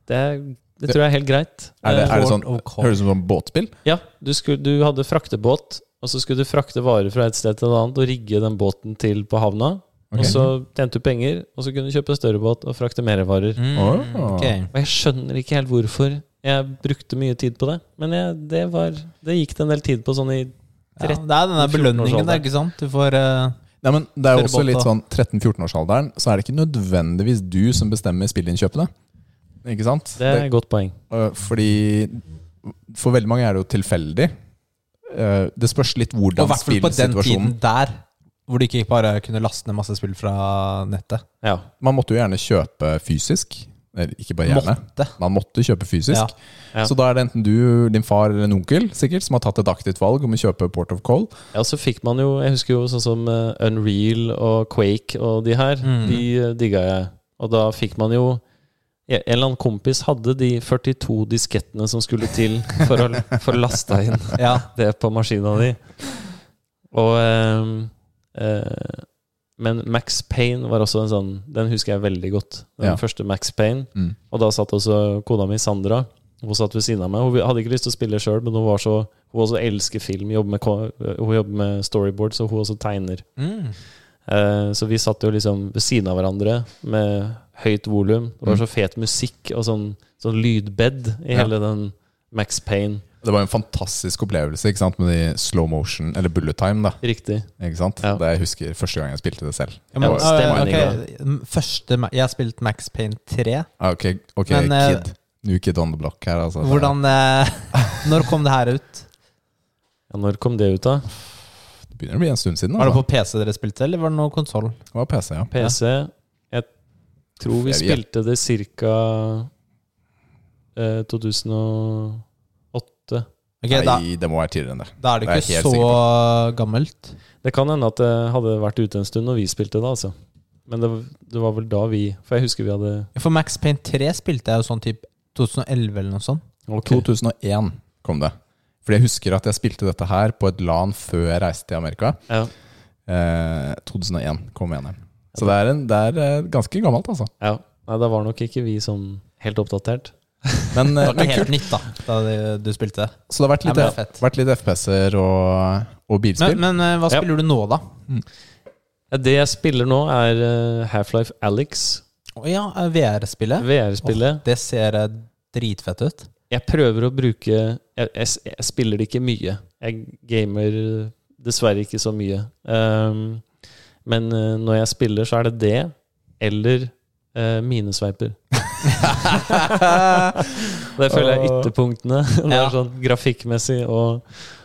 S3: Det, er, det tror jeg er helt greit.
S2: Er det,
S3: Eh,
S2: er det sånn,
S1: Lord of Call.
S2: høres ut som sånn båtspill?
S3: Ja, du, skulle, du hadde fraktebåt, og så skulle du frakte varer fra et sted til et annet og rigge den båten til på havna.
S2: Ok.
S3: Og så tjente du penger, og så kunne du kjøpe større båt og frakte mer varer.
S1: Mm,
S2: Åh.
S1: ok.
S3: Og jeg skjønner ikke helt hvorfor jeg brukte mye tid på det, men jeg, det, var, det gikk det en del tid på sånn i
S1: Ja, det er den der
S3: 13-14 års
S1: belønningen,
S3: alder.
S1: der, ikke sant? Du får eh,
S2: Nei, men det er jo også
S1: Større båt, da.
S2: litt sånn 13-14-årsalderen, så er det ikke nødvendigvis du som bestemmer spillinnkjøpene. Ikke sant?
S3: Det er et godt poeng.
S2: Øh, fordi for veldig mange er det jo tilfeldig. Øh, Det spørs litt
S1: Og i
S2: hvordan
S1: hvert fall på den tiden
S2: spillsituasjonen
S1: der, hvor du ikke bare kunne laste ned masse spill fra nettet.
S3: Ja.
S2: Man måtte jo gjerne kjøpe fysisk. Eller ikke bare gjerne.
S1: Måtte.
S2: Man måtte kjøpe fysisk.
S1: Ja.
S3: Ja.
S2: Så da er det enten du, din far eller en onkel sikkert, som har tatt et aktivt valg om å kjøpe Port of Call.
S3: Ja, så fikk man jo Jeg husker jo sånn som eh, Unreal og Quake og de her.
S1: Mm.
S3: De eh, digga jeg. Og da fikk man jo ja, En eller annen kompis hadde de 42 diskettene som skulle til for å, for å laste inn
S1: Ja,
S3: det på maskina di. Og eh, eh, Men Max Payne var også en sånn Den husker jeg veldig godt.
S2: Ja.
S3: Den første Max Payne.
S2: Mm.
S3: Og da satt også kona mi, Sandra. Hun satt ved siden av meg. Hun hadde ikke lyst til å spille sjøl, men hun, var så, hun også elsker film. Jobber med, ko- eh, hun jobber med storyboard, så hun også tegner.
S1: mm.
S3: Eh, så vi satt jo liksom ved siden av hverandre med høyt volum. Det var så fet musikk og sånn, sånn lydbed i
S2: Mm. Ja.
S3: hele den Max Payne.
S2: Det var jo en fantastisk opplevelse ikke sant? med de slow motion, eller bullet time. da
S3: Riktig.
S2: ikke sant?
S3: Ja.
S2: Det jeg husker første gang jeg spilte det selv.
S1: ja, men,
S3: Ja,
S1: eh,
S3: stemning,
S1: ok, m- Første ma- Jeg har spilt Max Payne 3.
S2: Ah, Ok, ok,
S1: Men, eh,
S2: kid. New kid on the block her, altså.
S1: Hvordan eh, Når kom det her ut?
S3: Ja, når kom det ut, da?
S2: Det begynner å bli en stund siden.
S1: Var det
S2: Altså.
S1: på PC dere spilte, eller var det noe konsoll?
S2: Det var PC, ja.
S3: PC Jeg tror vi
S2: Jeg vet.
S3: spilte det cirka eh, 2008.
S1: Ok, da,
S2: Nei, det må være tidligere enn det.
S1: da er det
S2: det er
S1: ikke
S2: jeg helt
S1: så
S2: sikker
S1: gammelt.
S3: Det kan hende at det hadde vært ute en stund når vi spilte det, altså. Men det, det var vel da vi For jeg husker vi hadde
S1: For Max Payne 3 spilte jeg jo sånn typ 2011 eller noe sånt.
S3: Ok.
S2: 2001 kom det. Fordi jeg husker at jeg spilte dette her på et LAN før jeg reiste til Amerika.
S3: Ja.
S2: Eh, 2001 kom NM. Så det er, en, det er eh, ganske gammelt, altså.
S3: ja. Nei, da var nok ikke vi sånn helt oppdatert.
S2: Men,
S1: Det
S2: eh,
S1: var
S2: men
S1: ikke
S2: kult.
S1: helt nytt da, da det- du spilte det.
S2: Så det har vært
S1: Nei, men
S2: litt,
S1: det er fett.
S2: vært litt FPS-er og, og bilspill.
S1: Men, men eh, hva
S3: Ja.
S1: spiller du nå, da?
S3: Ja, Det jeg spiller nå, er eh, Half-Life Alex,
S1: Å ja, eh, VR-spillet.
S3: VR-spillet.
S1: Det ser eh, dritfett ut.
S3: Jeg prøver å bruke jeg, jeg, jeg spiller det ikke mye. Jeg gamer dessverre ikke så mye. Ehm, men eh, når jeg spiller, så er det det, eller uh, minesveiper. det føler jeg er ytterpunktene. Det
S1: Ja.
S3: er sånn grafikkmessig og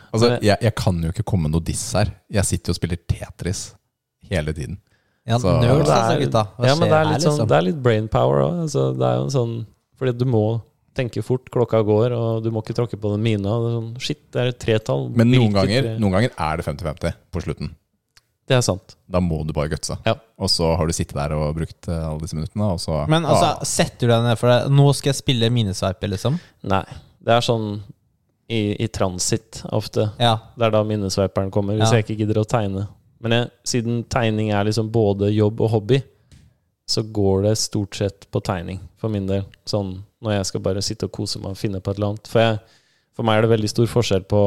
S2: altså,
S3: men-
S2: jeg, jeg kan jo ikke komme noe diss her. Jeg sitter jo og spiller Tetris hele tiden.
S1: Ja,
S2: Så-
S1: nerds,
S2: Det
S1: altså, gutta. Hva
S3: ja, men
S1: skjer
S3: det er
S1: her,
S3: litt, sånn,
S1: liksom?
S3: det er litt brain power òg. Altså, det er jo en sånn Fordi du må tenke fort, klokka går, og du må ikke tråkke på den mina. og Det er sånn, shit, det er et tretall.
S2: Men noen
S3: Hvilket
S2: ganger,
S3: tre-
S2: noen ganger er det 50-50 på slutten.
S3: Det er sant.
S2: Da må du bare gutse.
S3: Ja.
S2: Og så har du sittet der og brukt eh, alle disse minuttene, og så
S1: Men
S2: ah,
S1: altså, setter du deg ned for deg Nå skal jeg spille minesveiper, liksom?
S3: Nei. Det er sånn i, i transit ofte.
S1: Ja.
S3: Det er da minnesveiperen kommer, hvis
S1: Ja.
S3: jeg ikke gidder å tegne. Men jeg, siden tegning er liksom både jobb og hobby, så går det stort sett på tegning for min del. Sånn når jeg skal bare sitte og kose meg og finne på et eller annet. For, jeg, for meg er det veldig stor forskjell på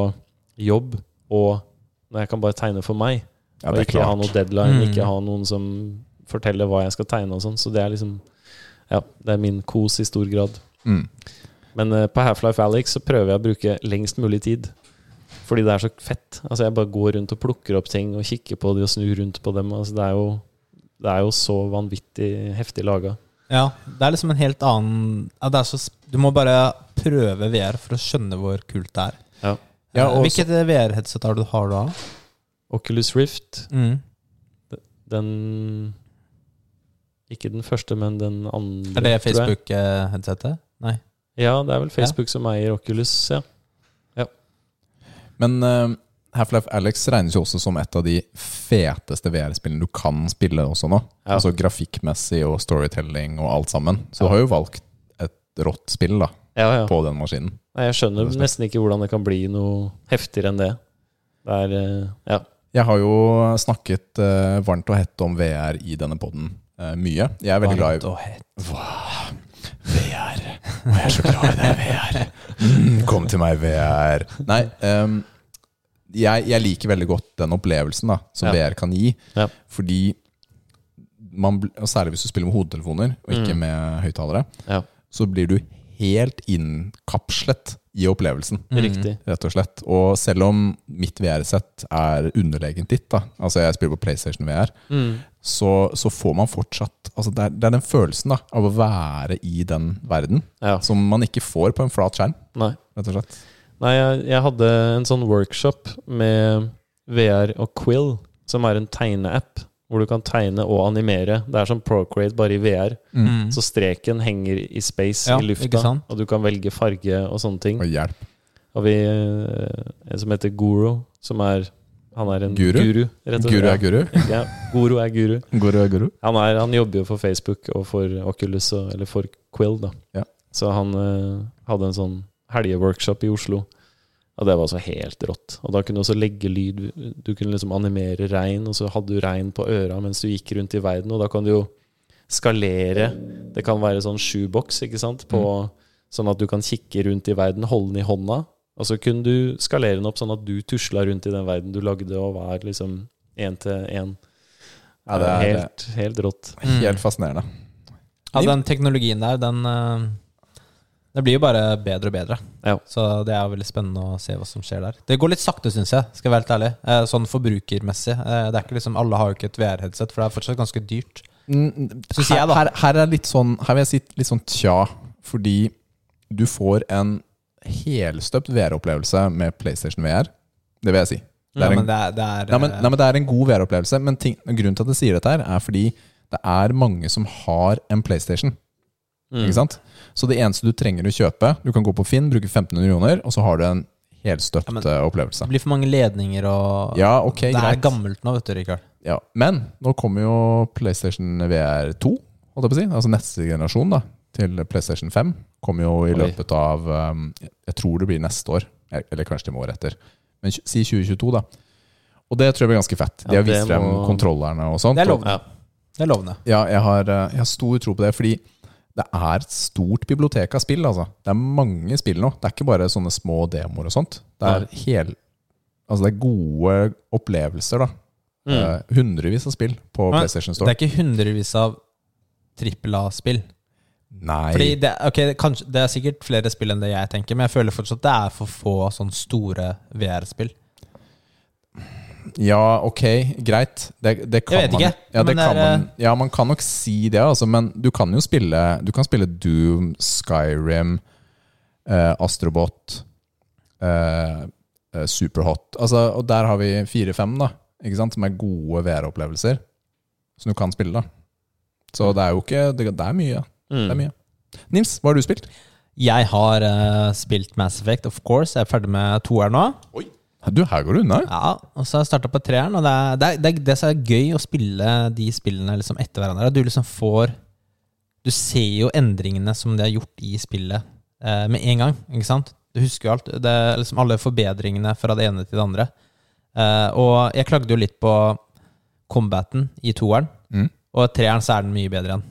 S3: jobb og når jeg kan bare tegne for meg.
S2: ja,
S3: og
S2: det er
S3: ikke ha
S2: klart.
S3: noen deadline,
S1: Mm.
S3: ikke ha noen som forteller hva jeg skal tegne og sånn. Så det er liksom Ja, det er min kos i stor grad.
S2: Mm.
S3: Men eh, på Half-Life Alex så prøver jeg å bruke lengst mulig tid. Fordi det er så fett. Altså Jeg bare går rundt og plukker opp ting og kikker på de og snur rundt på dem. Altså Det er jo, det er jo så vanvittig heftig laga.
S1: ja. Det er liksom en helt annen ja, det er så, sp- Du må bare prøve VR for å skjønne hvor kult det er. Eh,
S2: Ja, og så-
S1: Hvilket VR-headset har du har du da?
S3: Oculus Rift,
S1: Mm.
S3: den Ikke den første, men den andre.
S1: Er det
S3: tror jeg.
S1: Facebook-headsetet? Nei.
S3: Ja, det er vel Facebook som eier Oculus. Ja.
S2: Men eh, Half-Life Alex regnes jo også som et av de feteste VR-spillene du kan spille også nå.
S3: Ja.
S2: Altså grafikkmessig og storytelling og alt sammen. Så du har jo valgt et rått spill da,
S3: ja, ja.
S2: på den maskinen.
S3: Nei, jeg skjønner
S2: Respekt.
S3: nesten ikke hvordan det kan bli noe heftigere enn det. Det er eh, Ja.
S2: Jeg har jo snakket eh, varmt og hett om VR i denne poden mye. Jeg er veldig glad i
S1: Og hett.
S2: VR. Og jeg er så glad i det, VR. Mm, kom til meg, VR. Nei, ehm, jeg, jeg liker veldig godt den opplevelsen da, som
S3: Ja.
S2: VR kan gi.
S3: Ja.
S2: Fordi man, bl- og Særlig hvis du spiller med hodetelefoner og ikke
S3: Mm.
S2: med høyttalere,
S3: Ja.
S2: så blir du helt innkapslet i opplevelsen.
S3: Riktig.
S2: Rett og slett. Og selv om mitt VR-sett er underlegent ditt, da, altså jeg spiller på PlayStation VR,
S3: Mm.
S2: så, så får man fortsatt altså det, er, det er den følelsen da, av å være i den verden
S3: Ja.
S2: som man ikke får på en flat skjerm.
S3: Nei.
S2: rett og slett.
S3: Nei, jeg, jeg hadde en sånn workshop med VR og Quill, som er en tegneapp. Hvor du kan tegne og animere. Det er som Procreate, bare i VR.
S1: Mm.
S3: Så streken henger i space,
S1: Ja,
S3: i
S1: ikke
S3: lufta.
S1: sant?
S3: Og du kan velge farge og sånne ting.
S2: Mm. Og hjelp.
S3: Og vi eh, En som heter Guru, som er Han er en
S2: Guru?
S3: guru, rett og slett.
S2: Guru er guru.
S3: Ja, guru er guru.
S2: Guru er guru.
S3: Han, er, han jobber jo for Facebook og for Oculus, og, eller for Quill, da.
S2: Ja.
S3: Så han eh, hadde en sånn helgeworkshop i Oslo, og det var så helt rått. Og da kunne du også legge lyd Du kunne liksom animere regn, og så hadde du regn på øra mens du gikk rundt i verden, og da kan du jo skalere Det kan være sånn sjuboks, ikke sant, på,
S2: Mm.
S3: sånn at du kan kikke rundt i verden, holde den i hånda, og så kunne du skalere den opp sånn at du tusla rundt i den verden du lagde, og var liksom én til én.
S2: Ja, det er
S3: helt, helt rått.
S2: helt fascinerende.
S1: Ja, den teknologien der, den eh, Det blir jo bare bedre og bedre.
S3: Ja.
S1: Så det er veldig spennende å se hva som skjer der. Det går litt sakte, syns jeg, skal jeg være helt ærlig. Eh, Sånn forbrukermessig. Eh, Det er ikke liksom Alle har jo ikke et VR-headset, for det er fortsatt ganske dyrt. Synes jeg,
S2: Mm, her,
S1: da.
S2: her, her er litt sånn Her vil jeg si litt sånn tja, fordi du får en helstøpt VR-opplevelse med PlayStation VR. Det vil jeg si. Det
S1: Ja,
S2: er en
S1: men det er, det er eh,
S2: Nei, men, nei, men Det er en god VR-opplevelse, men ting, grunnen til at jeg sier dette, her er fordi det er mange som har en PlayStation.
S1: Mm.
S2: Ikke sant? Så det eneste du trenger å kjøpe Du kan gå på Finn, bruke 1500 kroner, og så har du en helstøpt
S1: Ja, men-
S2: eh, opplevelse.
S1: Det blir for mange ledninger og
S2: Ja, ok,
S1: Det er
S2: greit.
S1: gammelt nå, vet du, Rikard.
S2: Ja, men nå kommer jo PlayStation VR 2, holdt jeg på å si. Altså neste generasjon da, til PlayStation 5. Kommer jo i
S3: Oi.
S2: løpet av um, Jeg tror det blir neste år, eller- eller kanskje det må året etter. Men tj- si 2022, da. Og det tror jeg blir ganske fett. De
S3: Ja,
S2: har vist
S3: det
S2: frem
S3: må-
S2: kontrollerne og sånt.
S1: Det er
S2: og-
S1: lovende.
S3: Ja.
S1: Det er lovende.
S2: Ja, jeg har, eh, jeg har stor tro på det, fordi det er et stort bibliotek av spill. Altså. Det er mange spill nå. Det er ikke bare sånne små demoer og sånt. Det er, hel, altså det er gode opplevelser, da.
S3: Mm.
S2: Eh, hundrevis av spill på
S1: Men
S2: PlayStation
S1: Det
S2: Store.
S1: er ikke hundrevis av trippel A-spill.
S2: Nei.
S1: Fordi det, ok, kanskje, det er sikkert flere spill enn det jeg tenker, men jeg føler fortsatt det er for få sånn store VR-spill.
S2: Ja, ok, greit. Det, det kan
S1: Jeg vet
S2: man,
S1: ikke,
S2: Ja, det
S1: men det
S2: kan
S1: er, eh,
S2: man, ja, man kan nok si det, altså, men du kan jo spille Du kan spille Doom, Skyrim, eh, Astrobot, eh, eh, Superhot altså, Og der har vi fire-fem, da, ikke sant, som er gode VR-opplevelser som du kan spille, da. Så det er jo ikke Det, det er mye. Det er
S3: Mm.
S2: mye. Nims, hva har du spilt?
S1: Jeg har eh, spilt Mass Effect, of course. Jeg er ferdig med toeren nå.
S2: Du, her går du unna.
S1: Ja, og så har jeg starta på treeren, og det er, det, er, det, er, det som er gøy å spille de spillene liksom etter hverandre. at Du liksom får Du ser jo endringene som de har gjort i spillet eh, med en gang, ikke sant? Du husker jo alt. Det er liksom alle forbedringene fra det ene til det andre. Eh, og jeg klagde jo litt på combaten i toeren,
S2: Mm.
S1: og i treeren så er den mye bedre igjen.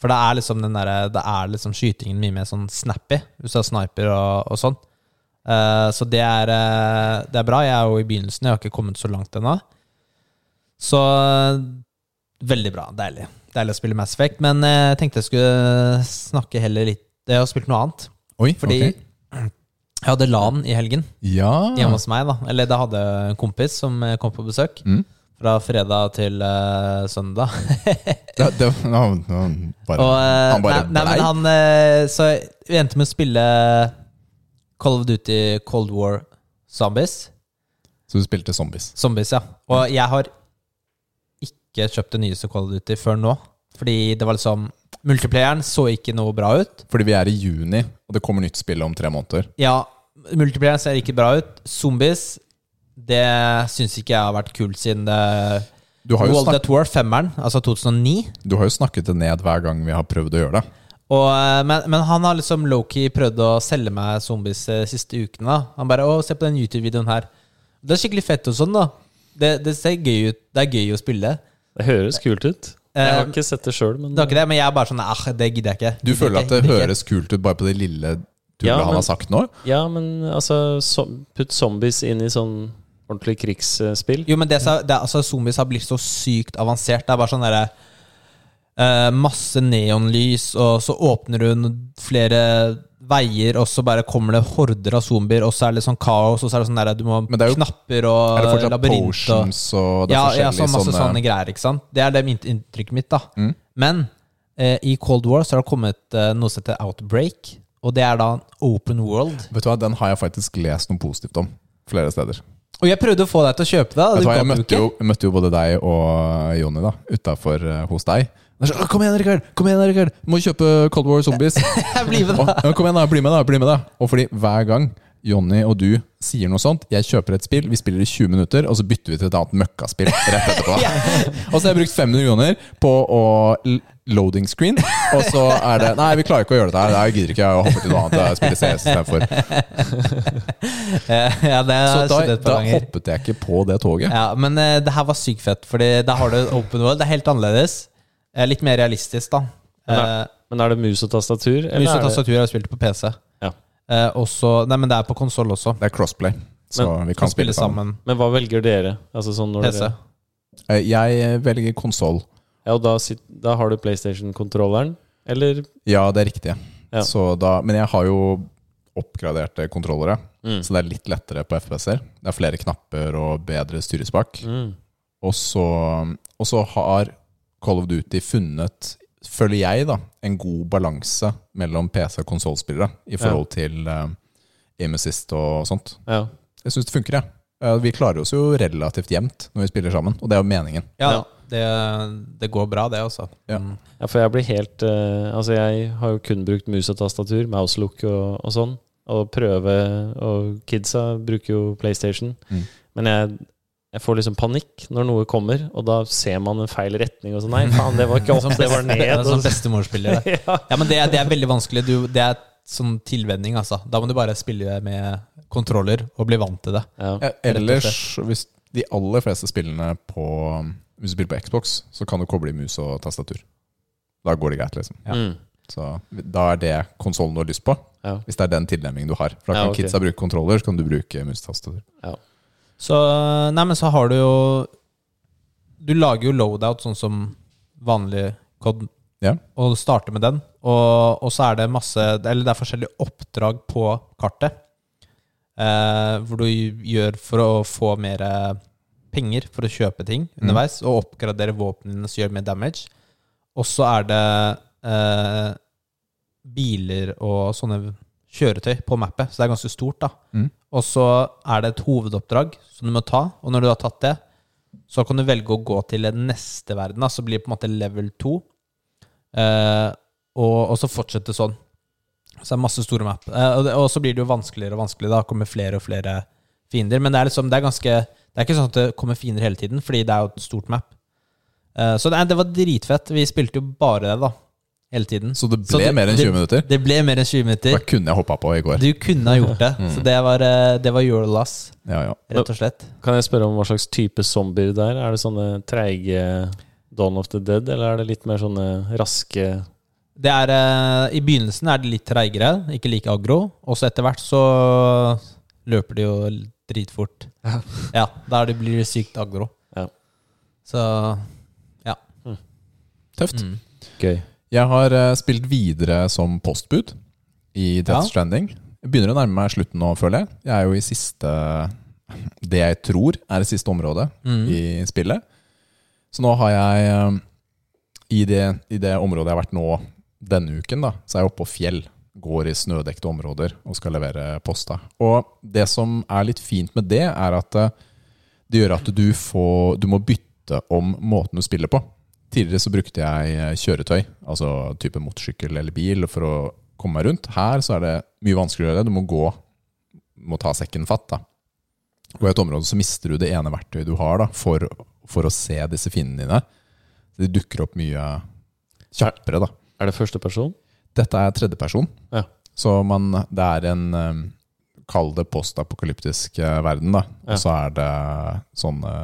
S1: For det er liksom den derre Det er liksom skytingen mye mer sånn snappy, hvis du har sniper og, og sånn. Eh, så det er, eh, det er bra. Jeg er jo i begynnelsen, jeg har ikke kommet så langt ennå. Så eh, veldig bra. Deilig. Deilig å spille Mass Effect. Men eh, jeg tenkte jeg skulle snakke heller litt Jeg har spilt noe annet.
S2: Oi,
S1: Fordi
S2: ok. Mm.
S1: jeg hadde LAN i helgen hjemme
S2: Ja.
S1: hos meg. da Eller det hadde en kompis som eh, kom på besøk.
S2: Mm.
S1: Fra fredag til eh, søndag.
S2: Det, det, nå, nå, bare,
S1: Og, eh,
S2: han bare
S1: nei, nei,
S2: blei.
S1: men han eh, Så vi endte med å spille Call of Duty Cold War Zombies.
S2: Så du spilte zombies.
S1: Zombies, ja. Og jeg har ikke kjøpt det nyeste Call of Duty før nå. Fordi det var liksom Multiplayeren så ikke noe bra ut.
S2: Fordi vi er i juni, og det kommer nytt spill om tre måneder.
S1: Ja, multiplayeren ser ikke bra ut. Zombies, det syns ikke jeg har vært kult siden det
S2: Du har, jo
S1: World
S2: snak,
S1: at War 5-eren, altså 2009.
S2: du har jo snakket det ned hver gang vi har prøvd å gjøre det.
S1: Og, eh, men, men han har liksom Loki prøvd å selge meg zombies de siste ukene. da Han bare 'Å, se på den YouTube-videoen her'. Det er skikkelig fett og sånn, da. Det, det ser gøy ut. Det er gøy å spille.
S3: Det høres kult ut. Jeg har
S1: Eh,
S3: ikke sett det sjøl, men
S1: Det er ikke det, men jeg er bare sånn ah, det gidder jeg ikke.
S2: Du
S1: Gidder
S2: føler
S1: ikke,
S2: at det
S1: gidder ikke.
S2: høres kult ut bare på det lille tullet
S3: Ja, men-
S2: han har sagt nå?
S3: Ja, men altså som- Putt zombies inn i sånn ordentlig krigsspill.
S1: Jo, men det, som- det, er- altså, zombies har blitt så sykt avansert. Det er bare sånn derre eh, Masse neonlys, og så åpner hun flere veier, og så bare kommer det horder av zombier, og så er det litt sånn kaos, og så er det sånn derre Du må
S2: Men det er jo-
S1: knapper og
S2: Er det fortsatt
S1: labyrint og
S2: potions og det er
S1: ja, ja,
S2: forskjellige
S1: så masse sånne...
S2: sånne, Mm.
S1: greier, ikke sant? Det er det mitt inntrykket mitt, da. Men eh, i Cold War så har det kommet eh, noe som heter Outbreak, og det er da en open world.
S2: Vet du hva, Den har jeg faktisk lest noe positivt om flere steder.
S1: Og jeg prøvde å få deg til å kjøpe det. og du
S2: Vet du hva,
S1: gadd
S2: Jeg møtte
S1: ikke.
S2: jo, jeg møtte jo både deg og Jonny da, utafor eh, hos deg. Og så, «Å, kom igjen, Rikard! Kom igjen, Rikard! Må kjøpe Cold War Zombies!
S1: Jeg blir med,
S2: Og,
S1: da.
S2: ja, kom igjen, da. Bli med, da. bli med da Og fordi hver gang Jonny og du sier noe sånt Jeg kjøper et spill, vi spiller i 20 minutter, og så bytter vi til et annet møkkaspill rett etterpå. Og så har jeg brukt 500 kroner på å l- loading screen, og så er det Nei, vi klarer ikke å gjøre dette her. Nei, Jeg gidder ikke, jeg hopper til noe annet. Jeg spiller CS istedenfor.
S1: Eh, ja, det
S2: Så
S1: har
S2: da,
S1: skjedd et
S2: da
S1: par ganger.
S2: hoppet jeg ikke på det toget.
S1: Ja, men eh, det her var sykt fett, Fordi da har du open world. Det er helt annerledes. Eh, litt mer realistisk, da.
S3: Men
S1: Eh,
S3: er, men er det mus og tastatur? eller
S1: Mus
S3: er
S1: og
S3: det-
S1: tastatur har jeg spilt på PC.
S3: Ja.
S1: Eh, også, nei, men det er på konsoll også.
S2: Det er crossplay, så vi
S1: Kan
S2: kan spille sammen.
S3: Men hva velger dere? Altså sånn når
S1: PC.
S3: dere,
S2: Eh, Jeg velger konsoll.
S3: ja, og da, sit, da har du PlayStation-kontrolleren? Eller
S2: Ja, det er riktig.
S3: Ja.
S2: Så da, men jeg har jo oppgraderte kontrollere,
S3: Mm.
S2: så det er litt lettere på FPS-er. Det er flere knapper og bedre styrespak.
S3: mm.
S2: Og, så, og så har Call of Duty funnet, føler jeg, da, en god balanse mellom PC- og konsollspillere i forhold til uh, aim assist og sånt.
S3: Ja.
S2: Jeg syns det funker, jeg. Eh, vi klarer oss jo relativt jevnt når vi spiller sammen, og det er jo meningen.
S1: Ja,
S3: Ja.
S1: Det, det går bra, det, altså.
S2: Ja.
S1: Mm.
S3: Ja, for jeg blir helt eh, Altså, jeg har jo kun brukt mus og tastatur, mouselook og, og sånn, og prøve Og kidsa bruker jo PlayStation.
S2: Mm.
S3: Men jeg, jeg får liksom panikk når noe kommer, og da ser man en feil retning og sånn. Nei, faen, det var ikke opp,
S1: Som
S3: det var
S1: best-
S3: ned. altså.
S1: Som
S3: Og,
S1: sånn bestemorspiller. det.
S3: ja.
S1: Ja, men det, er- det er veldig vanskelig. Du, det er sånn tilvenning, altså. Da må du bare spille med kontroller og bli vant til det.
S3: Ja.
S2: Ja, ellers, hvis de aller fleste spillene på um, Hvis du spiller på Xbox, så kan du koble i mus og tastatur. Da går det greit, liksom.
S1: Ja.
S3: Mm.
S2: Så da er det konsollen du har lyst på.
S3: Ja.
S2: Hvis det er den tilnærmingen du har. For da
S3: Ja,
S2: kan
S3: ok.
S2: kidsa bruke kontroller, så kan du bruke mus og tastatur.
S1: Så, nei, men så har du jo Du lager jo loadout sånn som vanlig COD,
S2: Ja.
S1: og starter med den. Og, og så er det masse Eller det er forskjellige oppdrag på kartet. Eh, hvor du gjør for å få mer eh, penger for å kjøpe ting underveis. Og oppgradere våpnene dine som gjør mer damage. Og så er det eh, biler og sånne kjøretøy på mappet, så det er ganske stort. da
S2: Mm.
S1: og så er det et hovedoppdrag som du må ta, og når du har tatt det, så kan du velge å gå til den neste verden, da, så blir det på en måte level 2, eh, og, og så fortsette sånn. Så det er masse store map. Eh, og, det, og så blir det jo vanskeligere og vanskeligere, da kommer flere og flere fiender, men det er liksom, det er ganske, det er ikke sånn at det kommer fiender hele tiden, fordi det er jo et stort map. Eh, så det, er- det var dritfett, vi spilte jo bare det da, hele tiden.
S2: Så det
S1: Så
S2: ble
S1: det-
S2: mer enn 20 minutter.
S1: Det ble mer enn 20 minutter.
S2: Da kunne jeg hoppa på i går.
S1: Du kunne ha gjort det,
S2: Mm.
S1: så det var, eh, det var your loss.
S2: Ja, ja.
S1: Rett og slett.
S3: Kan jeg spørre om hva slags type zombier det er? Er det sånne treige Dawn of the Dead, eller er det litt mer sånne raske
S1: Det er, eh, I begynnelsen er det litt treigere, ikke like aggro. Og så etter hvert så løper de jo dritfort.
S3: Ja.
S1: Ja, da er det- blir de sykt aggro.
S3: Ja.
S1: Så
S2: Tøft.
S1: mm.
S3: Gøy.
S2: Jeg har eh, spilt videre som postbud i Death
S1: Ja.
S2: Stranding. Jeg begynner å nærme meg slutten nå, føler jeg. Jeg er jo i siste Det jeg tror er det siste området
S1: Mm.
S2: i spillet. Så nå har jeg eh, i det, I det området jeg har vært nå denne uken, da, så er jeg oppe på fjell. Går i snødekte områder og skal levere posta. Og det som er litt fint med det, er at eh, det gjør at du, får, du må bytte om måten du spiller på. Tidligere så brukte jeg eh, kjøretøy, altså type motorsykkel eller bil, for å komme meg rundt. Her så er det mye vanskeligere å gjøre det. Du må gå, må ta sekken fatt. da. Og i et område så mister du det ene verktøyet du har da, for, for å se disse finnene dine. Så de dukker opp mye kjappere, da.
S3: Er det første person?
S2: Dette er tredjeperson.
S3: Ja.
S2: Så man, det er en eh, Kall det postapokalyptisk eh, verden, da.
S3: Ja.
S2: Og så er det sånne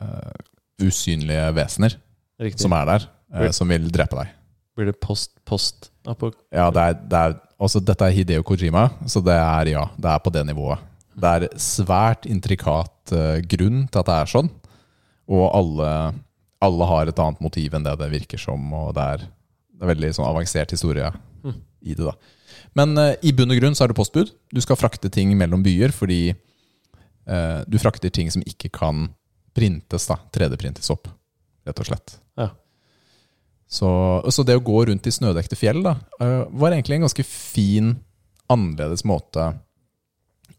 S2: eh, usynlige vesener
S3: Riktig.
S2: som er der, eh,
S3: Vel-
S2: som vil drepe deg.
S3: Blir det post, post apok-
S2: Ja, det er, det er, også, dette er Hideo Kojima, så det er ja, det er på det nivået. Det er svært intrikat eh, grunn til at det er sånn, og alle, alle har et annet motiv enn det det virker som, og det er, det er veldig sånn avansert historie i det. da. Men eh, i bunn og grunn så er det postbud. Du skal frakte ting mellom byer fordi eh, du frakter ting som ikke kan printes, da, 3D-printes opp, rett og slett. Så, så det å gå rundt i snødekte fjell da, eh, var egentlig en ganske fin, annerledes måte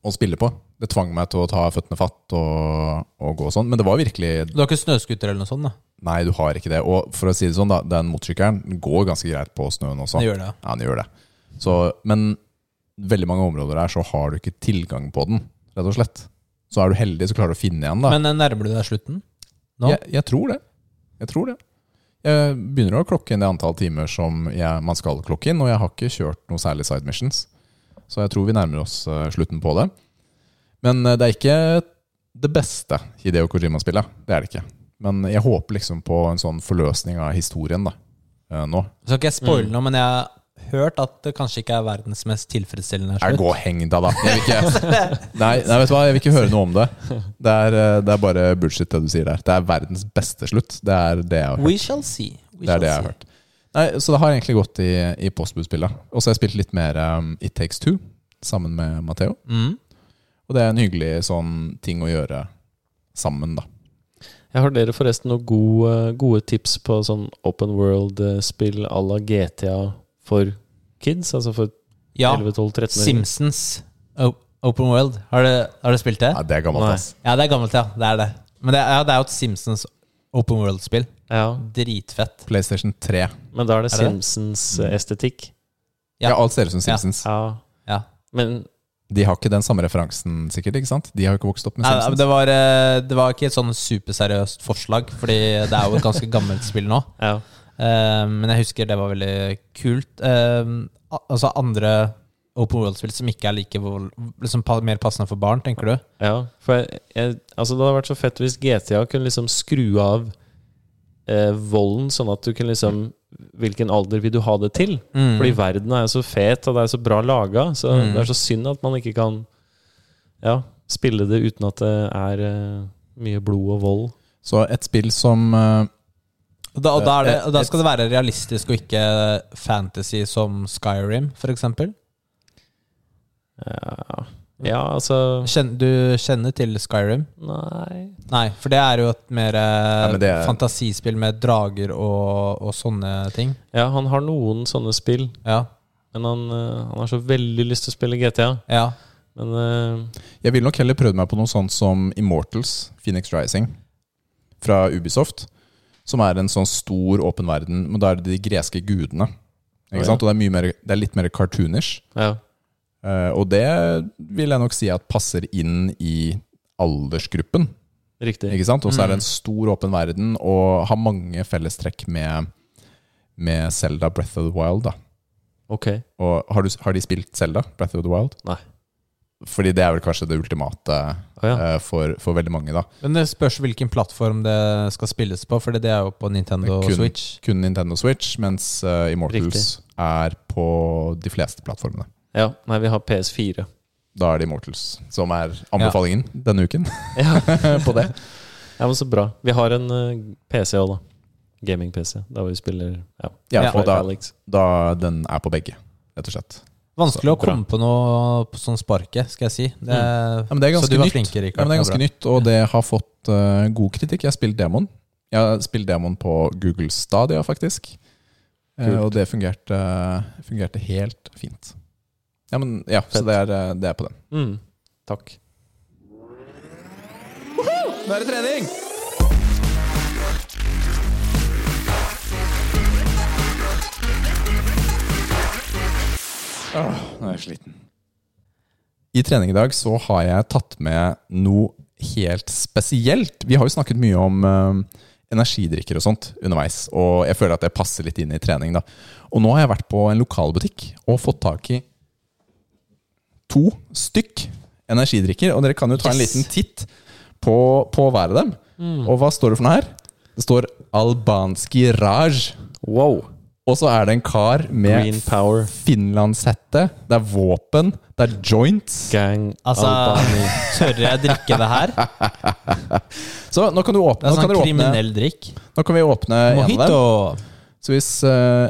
S2: å spille på. Det tvang meg til å ta føttene fatt og, og gå sånn. Men det var virkelig
S1: Du har ikke snøskuter eller noe sånt? da?
S2: Nei, du har ikke det. Og for å si det sånn, da, den motorsykkelen går ganske greit på snøen også.
S1: Det gjør det.
S2: Ja, den gjør det. Så, men veldig mange områder der så har du ikke tilgang på den, rett og slett. Så er du heldig, så klarer du å finne igjen, da.
S1: Men eh, nærmer du deg slutten? nå?
S2: Jeg, jeg tror det. Jeg tror det. Jeg begynner å klokke inn det antall timer som jeg, man skal klokke inn, og jeg har ikke kjørt noe særlig side missions. Så jeg tror vi nærmer oss eh, slutten på det. Men eh, det er ikke det beste Hideo Kojima-spillet. Det er det ikke. Men jeg håper liksom på en sånn forløsning av historien da, eh, nå.
S1: Så skal ikke jeg spoile
S3: Mm.
S1: noe, men jeg har hørt at det kanskje ikke er verdens mest tilfredsstillende
S2: Jeg
S1: slutt.
S2: går heng deg, da. Jeg vil ikke, nei, nei, vet du hva, jeg vil ikke høre noe om det. Det er, eh, det er bare bullshit, det du sier der. Det er verdens beste slutt. Det er det jeg har hørt.
S1: We shall see. We
S2: Det
S1: shall
S2: er det jeg har
S1: see.
S2: hørt. Nei, så det har egentlig gått i, i postbudspillet. Og så har jeg spilt litt mer um, It Takes Two sammen med Matheo.
S1: Mm.
S2: Og det er en hyggelig sånn ting å gjøre sammen, da.
S3: Jeg har dere forresten noen gode, gode tips på sånn open world-spill à la GTA for kids? Altså for
S1: Ja,
S3: 11-12-13-åringer?
S1: Simpsons O- Open World. Har du, har du spilt det?
S2: Ja, det er gammelt,
S3: Nei.
S2: ass.
S1: Ja, det er gammelt, ja. Det er det. Men det, er- ja, det er jo et Simpsons Open world-spill.
S3: Ja.
S1: Dritfett.
S2: PlayStation 3. Ja,
S3: Men da er det eh,
S1: Er det det?
S3: Simpsons-estetikk.
S1: Ja.
S2: alt ser ut som
S1: Ja.
S2: Simpsons.
S3: Ja.
S1: Ja.
S3: Men
S2: De har ikke den samme referansen, sikkert. ikke sant? De har jo ikke vokst opp med
S1: Nei, men
S2: Simpsons.
S1: det, var, eh, det var ikke et sånn superseriøst forslag, Fordi det er jo et ganske gammelt spill nå.
S3: ja.
S1: Eh, men jeg husker det var veldig kult. Eh, al- altså andre open world-spill som ikke er like vold, liksom, pa- mer passende for barn, tenker du?
S3: ja. For jeg, jeg, altså det hadde vært så fett hvis GTA kunne liksom skru av eh, volden, sånn at du kunne liksom Hvilken alder vil du ha det til? Fordi
S2: Mm.
S3: verden er jo så fet, og det er så bra laga. Så
S1: Mm.
S3: det er så synd at man ikke kan ja, spille det uten at det er eh, mye blod og vold.
S2: Så et spill som eh,
S1: Og da, og da, er det, Eh, og da skal det være realistisk og ikke fantasy som Skyrim, f.eks.
S3: Ja, ja altså
S1: Kjenn, du kjenner til Skyrim?
S3: Nei.
S1: Nei, for det er jo et mer eh,
S2: Ja, men det er-
S1: fantasispill med drager og, og sånne ting.
S3: Ja, han har noen sånne spill,
S1: Ja.
S3: men han, eh, han har så veldig lyst til å spille GTA.
S1: ja.
S3: Men eh,
S2: Jeg ville nok heller prøvd meg på noe sånt som Immortals, Phoenix Rising, fra Ubisoft. Som er en sånn stor åpen verden, men da er det de greske gudene.
S3: Ja.
S2: Ikke sant? Og det er, mye mer, det er litt mer cartoonish.
S3: ja.
S2: Eh, og det vil jeg nok si at passer inn i aldersgruppen.
S3: Riktig.
S2: Ikke sant? Og så er det en stor åpen verden og har mange fellestrekk med, med Zelda Breath of the Wild. Da.
S3: Ok.
S2: Og har, du, har de spilt Zelda Breath of the Wild?
S3: Nei.
S2: Fordi det er vel kanskje det ultimate
S3: Å ja.
S2: eh, for, for veldig mange, da.
S1: Men det spørs hvilken plattform det skal spilles på, for det er jo på Nintendo
S2: Det er kun-
S1: Switch.
S2: kun Nintendo Switch, mens eh, Immortals er på de fleste plattformene.
S3: ja. Nei, vi har PS4.
S2: Da er det Immortals som er anbefalingen denne uken
S3: Ja.
S2: på det.
S3: ja, men så bra. Vi har en eh, PC òg, da. Gaming-PC. Der hvor vi spiller ja.
S2: Ja,
S1: Ja.
S2: og da,
S3: Alex.
S2: da den er på begge, rett og slett.
S1: Vanskelig å
S3: Bra.
S1: komme på noe på sånn sparket, skal jeg si. Det,
S2: Mm. Ja, men det er ganske
S1: så du var
S2: nytt.
S1: flink, Rikard.
S2: Ja, men det er ganske
S1: bra.
S2: nytt, og det har fått eh, god kritikk. Jeg har spilt demoen. Jeg har spilt demoen på Google Stadia, faktisk. Eh,
S3: Kult.
S2: og det fungerte, fungerte helt fint. Ja, men ja, så
S3: Fett.
S2: det er, eh, det er på den.
S3: Mm. Takk.
S2: Nå er det trening! Åh, nå er jeg sliten. I trening i dag så har jeg tatt med noe helt spesielt. Vi har jo snakket mye om eh, energidrikker og sånt underveis, og jeg føler at det passer litt inn i trening. da. Og nå har jeg vært på en lokalbutikk og fått tak i to stykk energidrikker, og dere kan jo ta en
S1: Yes.
S2: liten titt på, på hver av dem. Og hva står det for noe her? Det står albanski raj.
S3: Wow.
S2: Og så er det en kar med
S3: Green power.
S2: finlandshette. Det er våpen. Det er joints.
S3: Gang
S1: Altså,
S3: Albani.
S1: tør jeg drikke det her? Det
S2: Så nå kan du
S1: er
S2: åpne. Nå kan,
S1: sånn
S2: dere åpne,
S1: kriminell drikk.
S2: nå kan vi åpne en av
S1: Mojito.
S2: dem. Så hvis eh,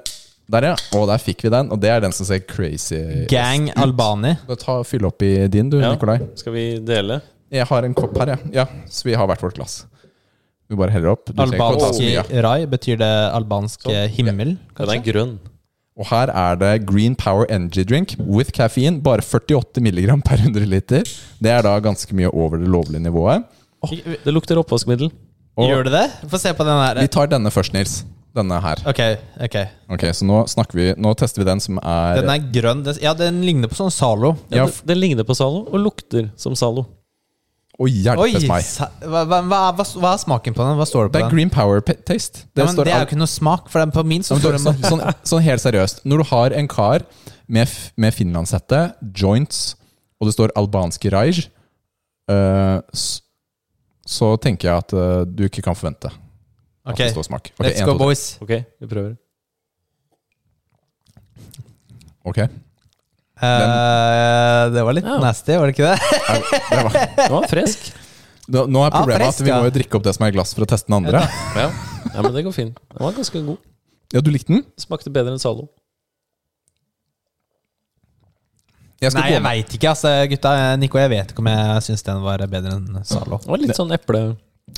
S2: Der, ja. Og der fikk vi den. Og det er den som ser crazy
S1: Gang Albani.
S2: ut. Ta, fyll opp i din, du,
S3: Ja.
S2: Nikolai.
S3: Skal vi dele?
S2: Jeg har en kopp her, ja. ja. Så vi har hvert vårt glass. Vi bare heller opp. Du trenger ikke å ta så
S1: Albanski
S2: mye.
S1: rai, betyr det albansk eh, himmel?
S3: Den er
S1: Kanskje?
S3: grønn.
S2: Og her er det Green Power Energy Drink with caffeine. Bare 48 mg per 100 liter. Det er da ganske mye over det lovlige nivået.
S3: Det lukter oppvaskmiddel.
S2: Og
S1: Gjør det det? Få se på den
S2: vi
S1: her.
S2: tar denne først, Nils. Denne her.
S1: Ok, ok.
S2: Ok, Så nå snakker vi Nå tester vi den som er,
S1: Den er grønn. Den- Ja, den ligner på sånn Zalo.
S3: Ja,
S2: Ja,
S3: den, den ligner på Zalo og lukter som Zalo.
S2: Å,
S1: Oi!
S2: hjelpes meg!
S1: sa- Hva, hva, hva- hva er smaken på den? Hva står det
S2: Det
S1: på
S2: er
S1: den?
S2: Green Power pe- Taste.
S1: Det, ja, men
S2: står
S1: det er
S2: al-
S1: jo ikke noe smak, for den på min så
S2: Ja, men
S1: står
S2: du,
S1: det
S2: sånn, sånn, sånn helt seriøst. Når du har en kar med, f- med finlandshette, joints, og det står albansk raj, eh, s- så tenker jeg at eh, du ikke kan forvente at
S1: Ok,
S2: det står smak. Ok,
S1: let's
S2: en,
S1: go,
S2: to, tre.
S1: boys.
S3: Ok, vi prøver.
S2: Ok.
S1: Eh, det var litt
S3: Ja.
S1: nasty, var det ikke det?
S2: Det var-
S3: Den var frisk.
S2: Nå nå er
S1: Ja,
S2: problemet
S1: Ah, frisk,
S2: at vi
S1: ja.
S2: må jo drikke opp det som er i glass for å teste den andre.
S3: Ja. ja, men det går fint. Den var ganske god.
S2: Ja, du likte den?
S3: Smakte bedre enn Zalo.
S2: Jeg skal
S1: Nei,
S2: gå
S1: jeg
S2: med.
S1: veit ikke, altså, gutta. Nico, jeg vet ikke om jeg syns den var bedre enn Zalo.
S3: Den var litt sånn eple...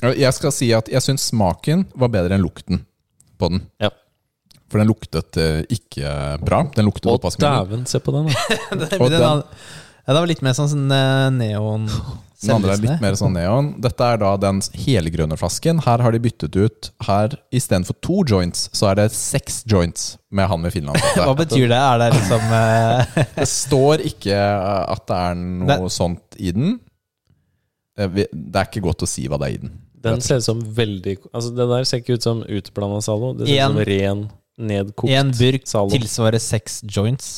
S2: Ja, Jeg skal si at jeg syns smaken var bedre enn lukten på den.
S3: Ja.
S2: For den luktet eh, ikke bra. Den luktet
S3: Og
S2: oppvaskmiddel.
S3: dæven, se på den, da.
S1: den,
S2: Og
S1: den,
S2: den-
S1: ja, den var litt mer sånn, sånn eh, neon
S2: Den andre er litt
S1: Selvlysende.
S2: mer sånn neon. Dette er da den helgrønne flasken. Her har de byttet ut Her istedenfor to joints, så er det seks joints med han med
S1: Hva
S2: finlandshette.
S1: betyr det? Er det liksom eh,
S2: Det står ikke eh, at det er noe
S1: Nei.
S2: sånt i den. Eh, vi- Det er ikke godt å si hva det er i den.
S3: Den ser ut som veldig Altså, det der ser ikke ut som utblanda Zalo. Det ser
S1: En-
S3: ut som ren, nedkokt
S1: En burk
S3: Zalo.
S1: tilsvarer seks joints?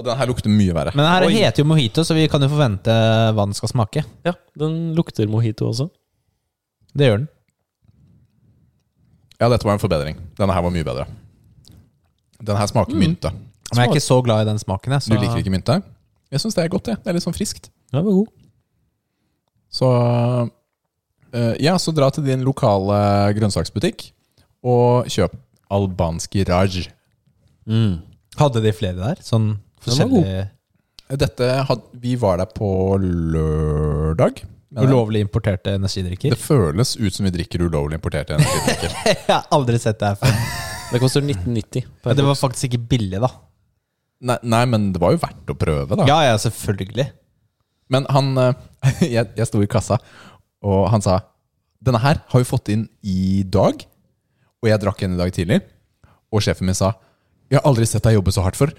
S2: Og den her lukter mye verre.
S1: Men den her
S3: Oi.
S1: heter jo mojito, så vi kan jo forvente hva den skal smake.
S3: Ja, den lukter mojito også.
S1: Det gjør den.
S2: Ja, dette var en forbedring. Denne her var mye bedre. Den her smaker
S1: Mm.
S2: mynte.
S1: Men jeg er ikke så glad i den smaken. Jeg,
S2: Du
S1: så
S2: liker ikke mynte? Jeg syns det er godt, det. Det er litt sånn friskt.
S3: Den var god.
S2: Så eh, Ja, så dra til din lokale grønnsaksbutikk og kjøp albansk raj.
S1: Hadde de flere der? Sånn
S3: Den var god.
S1: forskjellige
S2: Dette had, Vi var der på lørdag. men
S1: ulovlig importerte energidrikker?
S2: det føles ut som vi drikker ulovlig importerte energidrikker.
S1: Jeg har aldri sett det her før.
S3: Det koster 1990. per
S1: Men det var
S3: boks.
S1: faktisk ikke billig, da.
S2: nei, nei, men det var jo verdt å prøve, da.
S1: Ja, ja, selvfølgelig.
S2: Men han eh, jeg, jeg sto i kassa, og han sa Denne her har vi fått inn i dag. Og jeg drakk en i dag tidlig. Og sjefen min sa Jeg har aldri sett deg jobbe så hardt før.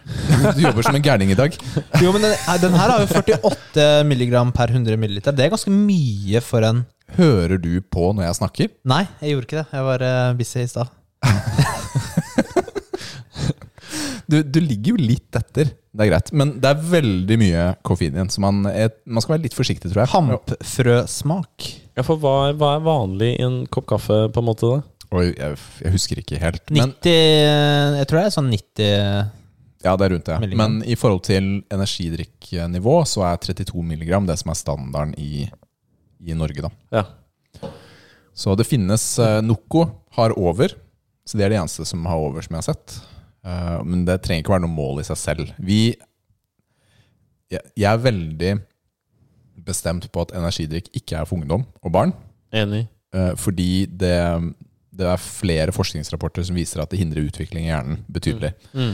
S2: Du jobber som en gærning i dag.
S1: Jo, men den, den her har jo 48 milligram per 100 milliliter. Det er ganske mye for en
S2: Hører du på når jeg snakker?
S1: Nei, jeg gjorde ikke det. Jeg var eh, busy i stad.
S2: Du, du ligger jo litt etter. Det er greit. Men det er veldig mye koffein igjen, så man, er, man skal være litt forsiktig, tror jeg.
S1: Hampfrøsmak.
S3: Ja, for hva er, hva er vanlig i en kopp kaffe, på en måte? da?
S2: Oi, jeg, jeg husker ikke helt.
S1: 90
S2: Men,
S1: Jeg tror det er sånn 90
S2: ja, det er rundt det.
S1: Milligram.
S2: Men i forhold til energidrikknivå, så er 32 milligram det som er standarden i, i Norge, da.
S3: Ja.
S2: Så det finnes eh, Noco har over. Så det er det eneste som har over, som jeg har sett. Eh, men det trenger ikke være noe mål i seg selv. Vi Jeg, jeg er veldig bestemt på at energidrikk ikke er for ungdom og barn.
S3: Enig.
S2: eh, fordi det, det er flere forskningsrapporter som viser at det hindrer utvikling i hjernen betydelig.
S3: Mm.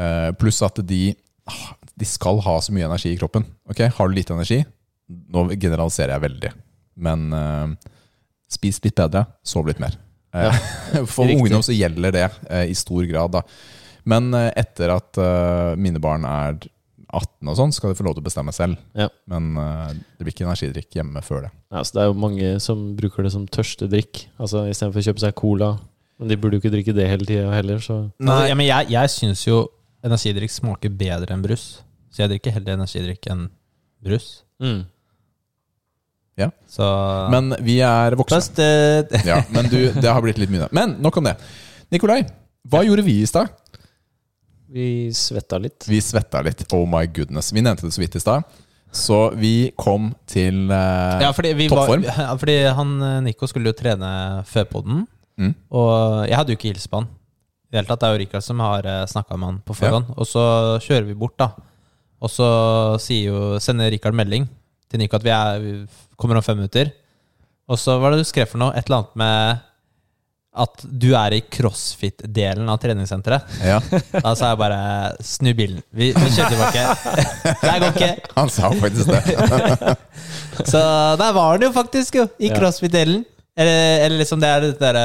S2: Eh, pluss at de, ah, de skal ha så mye energi i kroppen. Ok, Har du lite energi? Nå generaliserer jeg veldig. Men eh, spis litt bedre, sov litt mer. Eh, For
S3: riktig.
S2: ungdom så gjelder det eh, i stor grad. da. Men eh, etter at eh, mine barn er 18 og sånn, skal de få lov til å bestemme selv.
S3: Ja.
S2: Men eh, det blir ikke energidrikk hjemme før det.
S3: Ja, så det er jo mange som bruker det som tørstedrikk. Altså Istedenfor å kjøpe seg cola. Men de burde jo ikke drikke det hele tida heller, så
S1: Altså, ja, men jeg, jeg syns jo energidrikk smaker bedre enn brus. Så jeg drikker heller energidrikk enn brus.
S3: mm.
S1: Så
S2: Men vi er voksne.
S1: Først, eh,
S2: Ja, men du, det har blitt litt mye. da. Men nok om det. Nikolai, hva gjorde vi i stad?
S3: Vi svetta litt.
S2: Vi svetta litt. Oh my goodness. Vi nevnte det så vidt i stad. Så vi kom til eh,
S1: ja, fordi, vi var,
S2: Toppform.
S1: ja, fordi han eh, Nico skulle jo trene før podden,
S2: Mm.
S1: og jeg hadde jo ikke hilst på han. I det hele tatt, det er jo Rikard som har snakka med han på forhånd. Og så kjører vi bort, da. Og så sier jo, sender Rikard melding til Nico at vi, er, vi kommer om fem minutter. Og så hva er det du skrev for noe? Et eller annet med at du er i crossfit-delen av treningssenteret.
S2: Ja.
S1: Da sa jeg bare 'snu bilen'. Vi, vi kjører tilbake. Det her går ikke.
S2: Han sa faktisk det.
S1: Så der var den jo faktisk, jo. I
S3: Ja.
S1: crossfit-delen. Eller, eller liksom det er det derre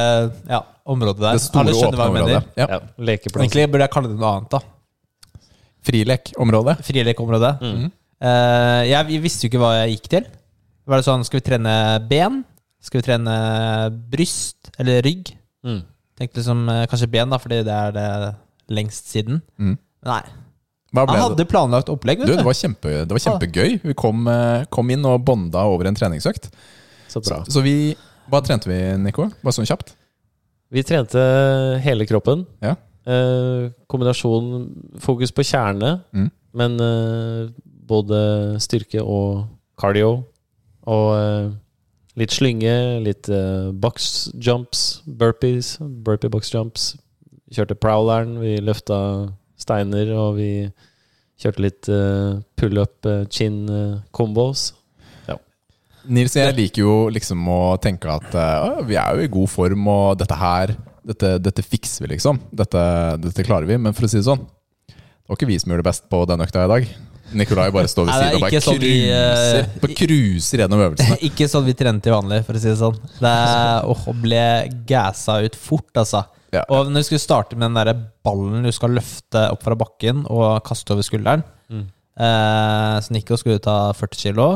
S1: ja, området der.
S2: Det store,
S1: Alle skjønner
S2: åpne
S1: hva jeg
S2: området.
S1: mener.
S2: Ja.
S3: Ja, Lekeplass.
S1: Egentlig burde jeg kalle det noe annet, da.
S2: Frilekområdet.
S1: Frilekområdet.
S2: Mm.
S1: Eh, jeg vi visste jo ikke hva jeg gikk til. Var det sånn, Skal vi trene ben? Skal vi trene bryst eller rygg?
S3: Mm.
S1: Tenkte liksom eh, kanskje ben, da, fordi det er det lengst siden.
S2: Mm.
S1: Nei.
S2: Hva
S1: Han
S2: ble det?
S1: hadde planlagt opplegg,
S2: Du,
S1: vet du.
S2: det var, kjempe, det var kjempegøy. Vi kom, eh, kom inn og bonda over en treningsøkt.
S3: Så bra.
S2: Så vi Hva trente vi, Nico? Bare sånn kjapt?
S3: Vi trente hele kroppen.
S2: Ja.
S3: Eh, kombinasjon fokus på kjerne,
S2: Mm.
S3: men eh, både styrke og cardio. Og eh, litt slynge, litt eh, box jumps, burpees, burpee box jumps. Vi kjørte prowleren, vi løfta steiner, og vi kjørte litt eh, pull-up eh, chin eh, combos.
S2: Nils, jeg liker jo liksom å tenke at eh, «Å, vi er jo i god form, og dette her Dette, dette fikser vi, liksom. Dette, dette klarer vi. Men for å si det sånn, det var ikke vi som gjorde det best på den økta i dag. Nikolai bare står ved
S1: Nei, det er
S2: siden og bare
S1: ikke sånn vi,
S2: cruiser
S1: eh,
S2: Bare cruiser gjennom øvelsene.
S1: Ikke sånn vi trener til vanlig, for å si det sånn. Det er, åh, å ble gassa ut fort, altså.
S2: Ja.
S1: Og når du skulle starte med den der ballen du skal løfte opp fra bakken og kaste over skulderen
S2: Mm.
S1: eh, Så Nico skulle ta 40 kilo,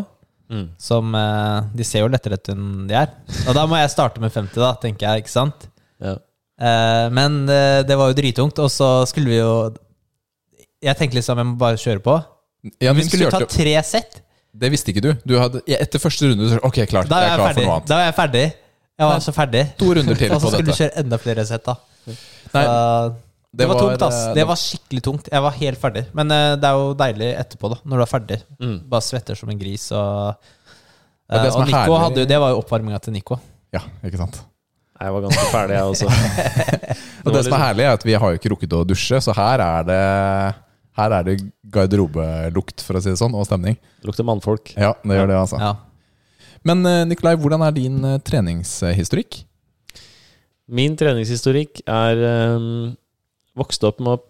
S3: Mm.
S1: som eh, De ser jo lettere ut enn de er. Og da må jeg starte med 50, da, tenker jeg, ikke sant?
S3: Ja.
S1: Eh, men eh, det var jo drittungt, og så skulle vi jo Jeg tenkte liksom jeg må bare kjøre på.
S2: Ja,
S1: Vi
S2: Nils
S1: skulle jo ta
S2: kjørte-
S1: tre sett.
S2: Det visste ikke du. du hadde, ja, etter første runde så, Ok, klart,
S1: Da var
S2: jeg er
S1: jeg
S2: klar for
S1: ferdig.
S2: noe annet.
S1: Da var jeg ferdig. Jeg var så ferdig.
S2: To runder
S1: Og så
S2: til på
S1: Altså, skulle du
S2: dette.
S1: kjøre enda flere sett, da.
S2: Nei,
S1: Så det, var, tungt, ass.
S2: eh,
S1: Det var skikkelig tungt. Jeg var helt ferdig. Men eh, det er jo deilig etterpå, da, når du er ferdig. Bare svetter som en gris og
S2: Ja, Mm. det
S1: Eh,
S2: som
S1: Og
S2: er
S1: Nico
S2: herlig-
S1: hadde jo Det var jo oppvarminga til Nico.
S2: Ja, ikke sant.
S3: Jeg var ganske ferdig, jeg også. Det
S2: Og
S3: var
S2: det som er
S3: liksom-
S2: herlig, er at vi har jo ikke rukket å dusje, så her er det her er det garderobelukt, for å si det sånn, og stemning.
S3: Lukter mannfolk.
S2: Ja, det gjør det, altså.
S1: Ja.
S2: Men eh, Nikolai, hvordan er din eh, treningshistorikk?
S3: Min treningshistorikk er ehm, vokst opp med å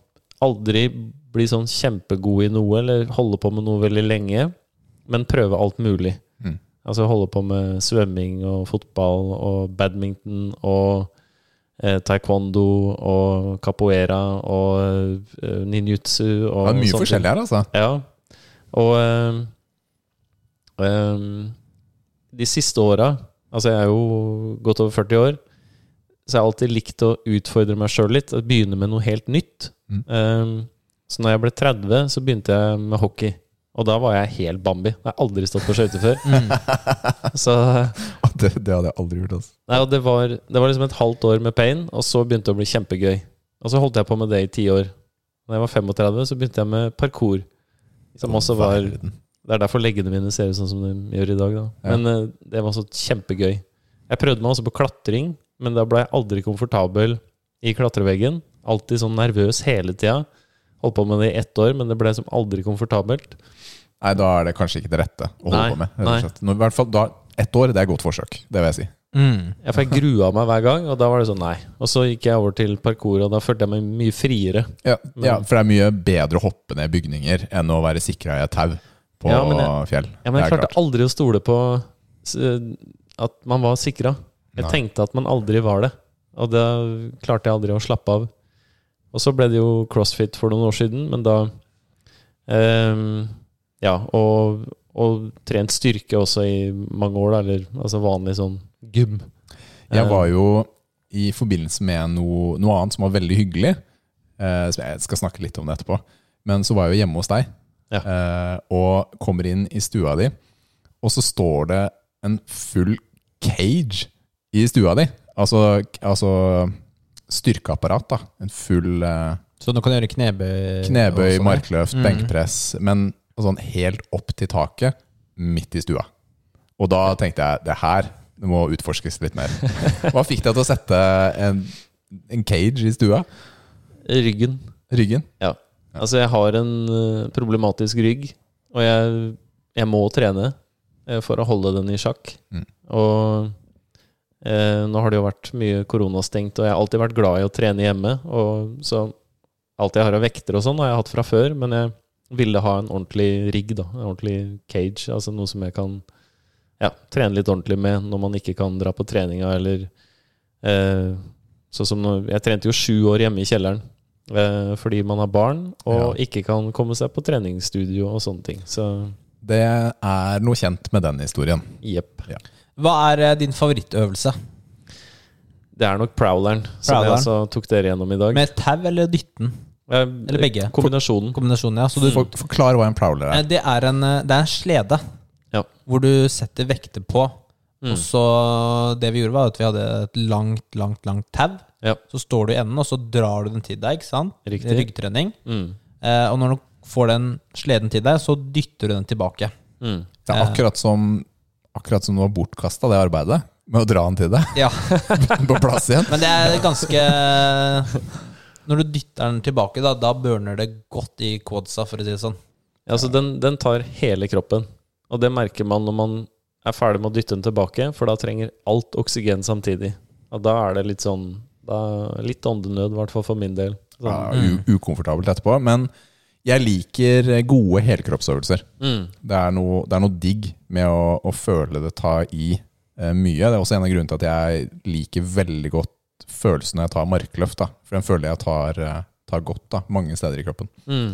S3: aldri bli sånn kjempegod i noe, eller holde på med noe veldig lenge, men prøve alt mulig.
S2: Mm.
S3: Altså holde på med svømming og fotball og badminton og eh, taekwondo og capoeira og eh, ninjutsu
S2: Det
S3: og
S2: er mye
S3: sånne ting.
S2: forskjellig her, altså.
S3: Ja. Og ehm, ehm, de siste åra, altså jeg er jo godt over 40 år, så jeg har alltid likt å utfordre meg sjøl litt. og Begynne med noe helt nytt.
S2: Mm.
S3: Ehm, så når jeg ble 30, så begynte jeg med hockey. Og da var jeg helt Bambi. Jeg har aldri stått på skøyter før.
S1: Mm.
S3: Så
S2: Det, det hadde jeg aldri gjort. Altså.
S3: nei, og det, var, det var liksom et halvt år med pain, og så begynte det å bli kjempegøy. Og så holdt jeg på med det i ti år. Da jeg var 35, så begynte jeg med parkour. Som også var det er derfor leggene mine ser ut sånn som de gjør i dag. Da.
S2: Ja.
S3: Men eh, det var også kjempegøy. Jeg prøvde meg også på klatring, men da ble jeg aldri komfortabel i klatreveggen. Alltid sånn nervøs hele tida. Holdt på med det i ett år, men det ble som aldri komfortabelt.
S2: Nei, da er det kanskje ikke det rette å holde
S3: Nei,
S2: på med. rett og
S3: nei.
S2: slett. Nå, i hvert fall, da, ett år, det er godt forsøk. Det vil jeg si.
S1: Mm.
S3: Ja, for jeg grua meg hver gang, og da var det sånn nei. Og så gikk jeg over til parkour, og da følte jeg meg mye friere.
S2: Ja, ja,
S3: Mm.
S2: for det er mye bedre å hoppe ned bygninger enn å være sikra i et tau på
S3: Ja, men jeg-
S2: fjell.
S3: Ja, men
S2: Det
S3: jeg
S2: er
S3: klarte
S2: klart.
S3: aldri å stole på s- at man var sikra. Jeg
S2: Nei.
S3: tenkte at man aldri var det, og da klarte jeg aldri å slappe av. Og så ble det jo crossfit for noen år siden, men da ehm, Ja, og, og trent styrke også i mange år, da, eller altså vanlig sånn gym. Eh.
S2: Jeg var jo i forbindelse med noe, noe annet som var veldig hyggelig. Eh, som jeg skal snakke litt om det etterpå. Men så var jeg jo hjemme hos deg.
S3: Ja.
S2: Eh, og kommer inn i stua di, og så står det en full cage i stua di. Altså, altså styrkeapparat, da. En full eh,
S1: Så nå kan du gjøre knebøy?
S2: knebøy,
S1: og sånn, ja.
S2: markløft, benkpress. Men sånn helt opp til taket, midt i stua. Og da tenkte jeg det her det må utforskes litt mer. Hva fikk deg til å sette en, en cage i stua?
S3: Eh, Ryggen.
S2: Ryggen?
S3: Ja. Altså, jeg har en eh, problematisk rygg, og jeg, jeg må trene eh, for å holde den i sjakk.
S2: Mm.
S3: Og eh, nå har det jo vært mye koronastengt, og jeg har alltid vært glad i å trene hjemme. Og så alt jeg har av vekter og sånn, har jeg hatt fra før, men jeg ville ha en ordentlig rigg, da. En ordentlig cage, altså noe som jeg kan ja, trene litt ordentlig med når man ikke kan dra på treninga, eller eh, sånn som når Jeg trente jo sju år hjemme i kjelleren. Eh, fordi man har barn og ikke kan komme seg på treningsstudio og sånne ting. Så
S2: Det er noe kjent med den historien.
S3: jepp.
S1: Hva er eh, din favorittøvelse?
S3: Det er nok prowleren, som jeg
S1: Prowleren.
S3: altså tok dere gjennom i dag.
S1: Med tau eller dytten?
S3: Eh,
S1: eller begge.
S3: Kombinasjonen.
S1: Kombinasjonen, ja. Så du,
S2: For, forklar hva en prowler
S1: Eh,
S2: er.
S1: det, er en, eh, det er en slede
S3: Ja.
S1: hvor du setter vekter på.
S2: Mm.
S1: Og så det vi gjorde, var at vi hadde et langt, langt, langt tau.
S3: Ja.
S1: Så står du i enden, og så drar du den til deg. ikke sant?
S3: Riktig.
S1: Ryggtrening.
S3: Mm.
S1: Eh, og når du får den sleden til deg, så dytter du den tilbake.
S3: Mm.
S2: Det er akkurat som, akkurat som du har bortkasta det arbeidet med å dra den til deg
S1: Ja,
S2: på plass igjen.
S1: Men det er ganske Når du dytter den tilbake, da, da burner det godt i quadsa, for å si det sånn.
S3: Ja, Altså, den, den tar hele kroppen. Og det merker man når man er ferdig med å dytte den tilbake, for da trenger alt oksygen samtidig. Og da er det litt sånn da, Litt åndenød, i hvert fall for min del.
S2: Ja,
S3: Sånn.
S2: u ukomfortabelt etterpå. Men Jeg liker gode helkroppsøvelser.
S3: Mm.
S2: Det er noe, det er noe digg med å, å føle det ta i eh, mye. Det er også en av grunnene til at jeg liker veldig godt følelsen når jeg tar markløft. Da. For den føler jeg tar, eh, tar godt da, mange steder i kroppen.
S3: Mm.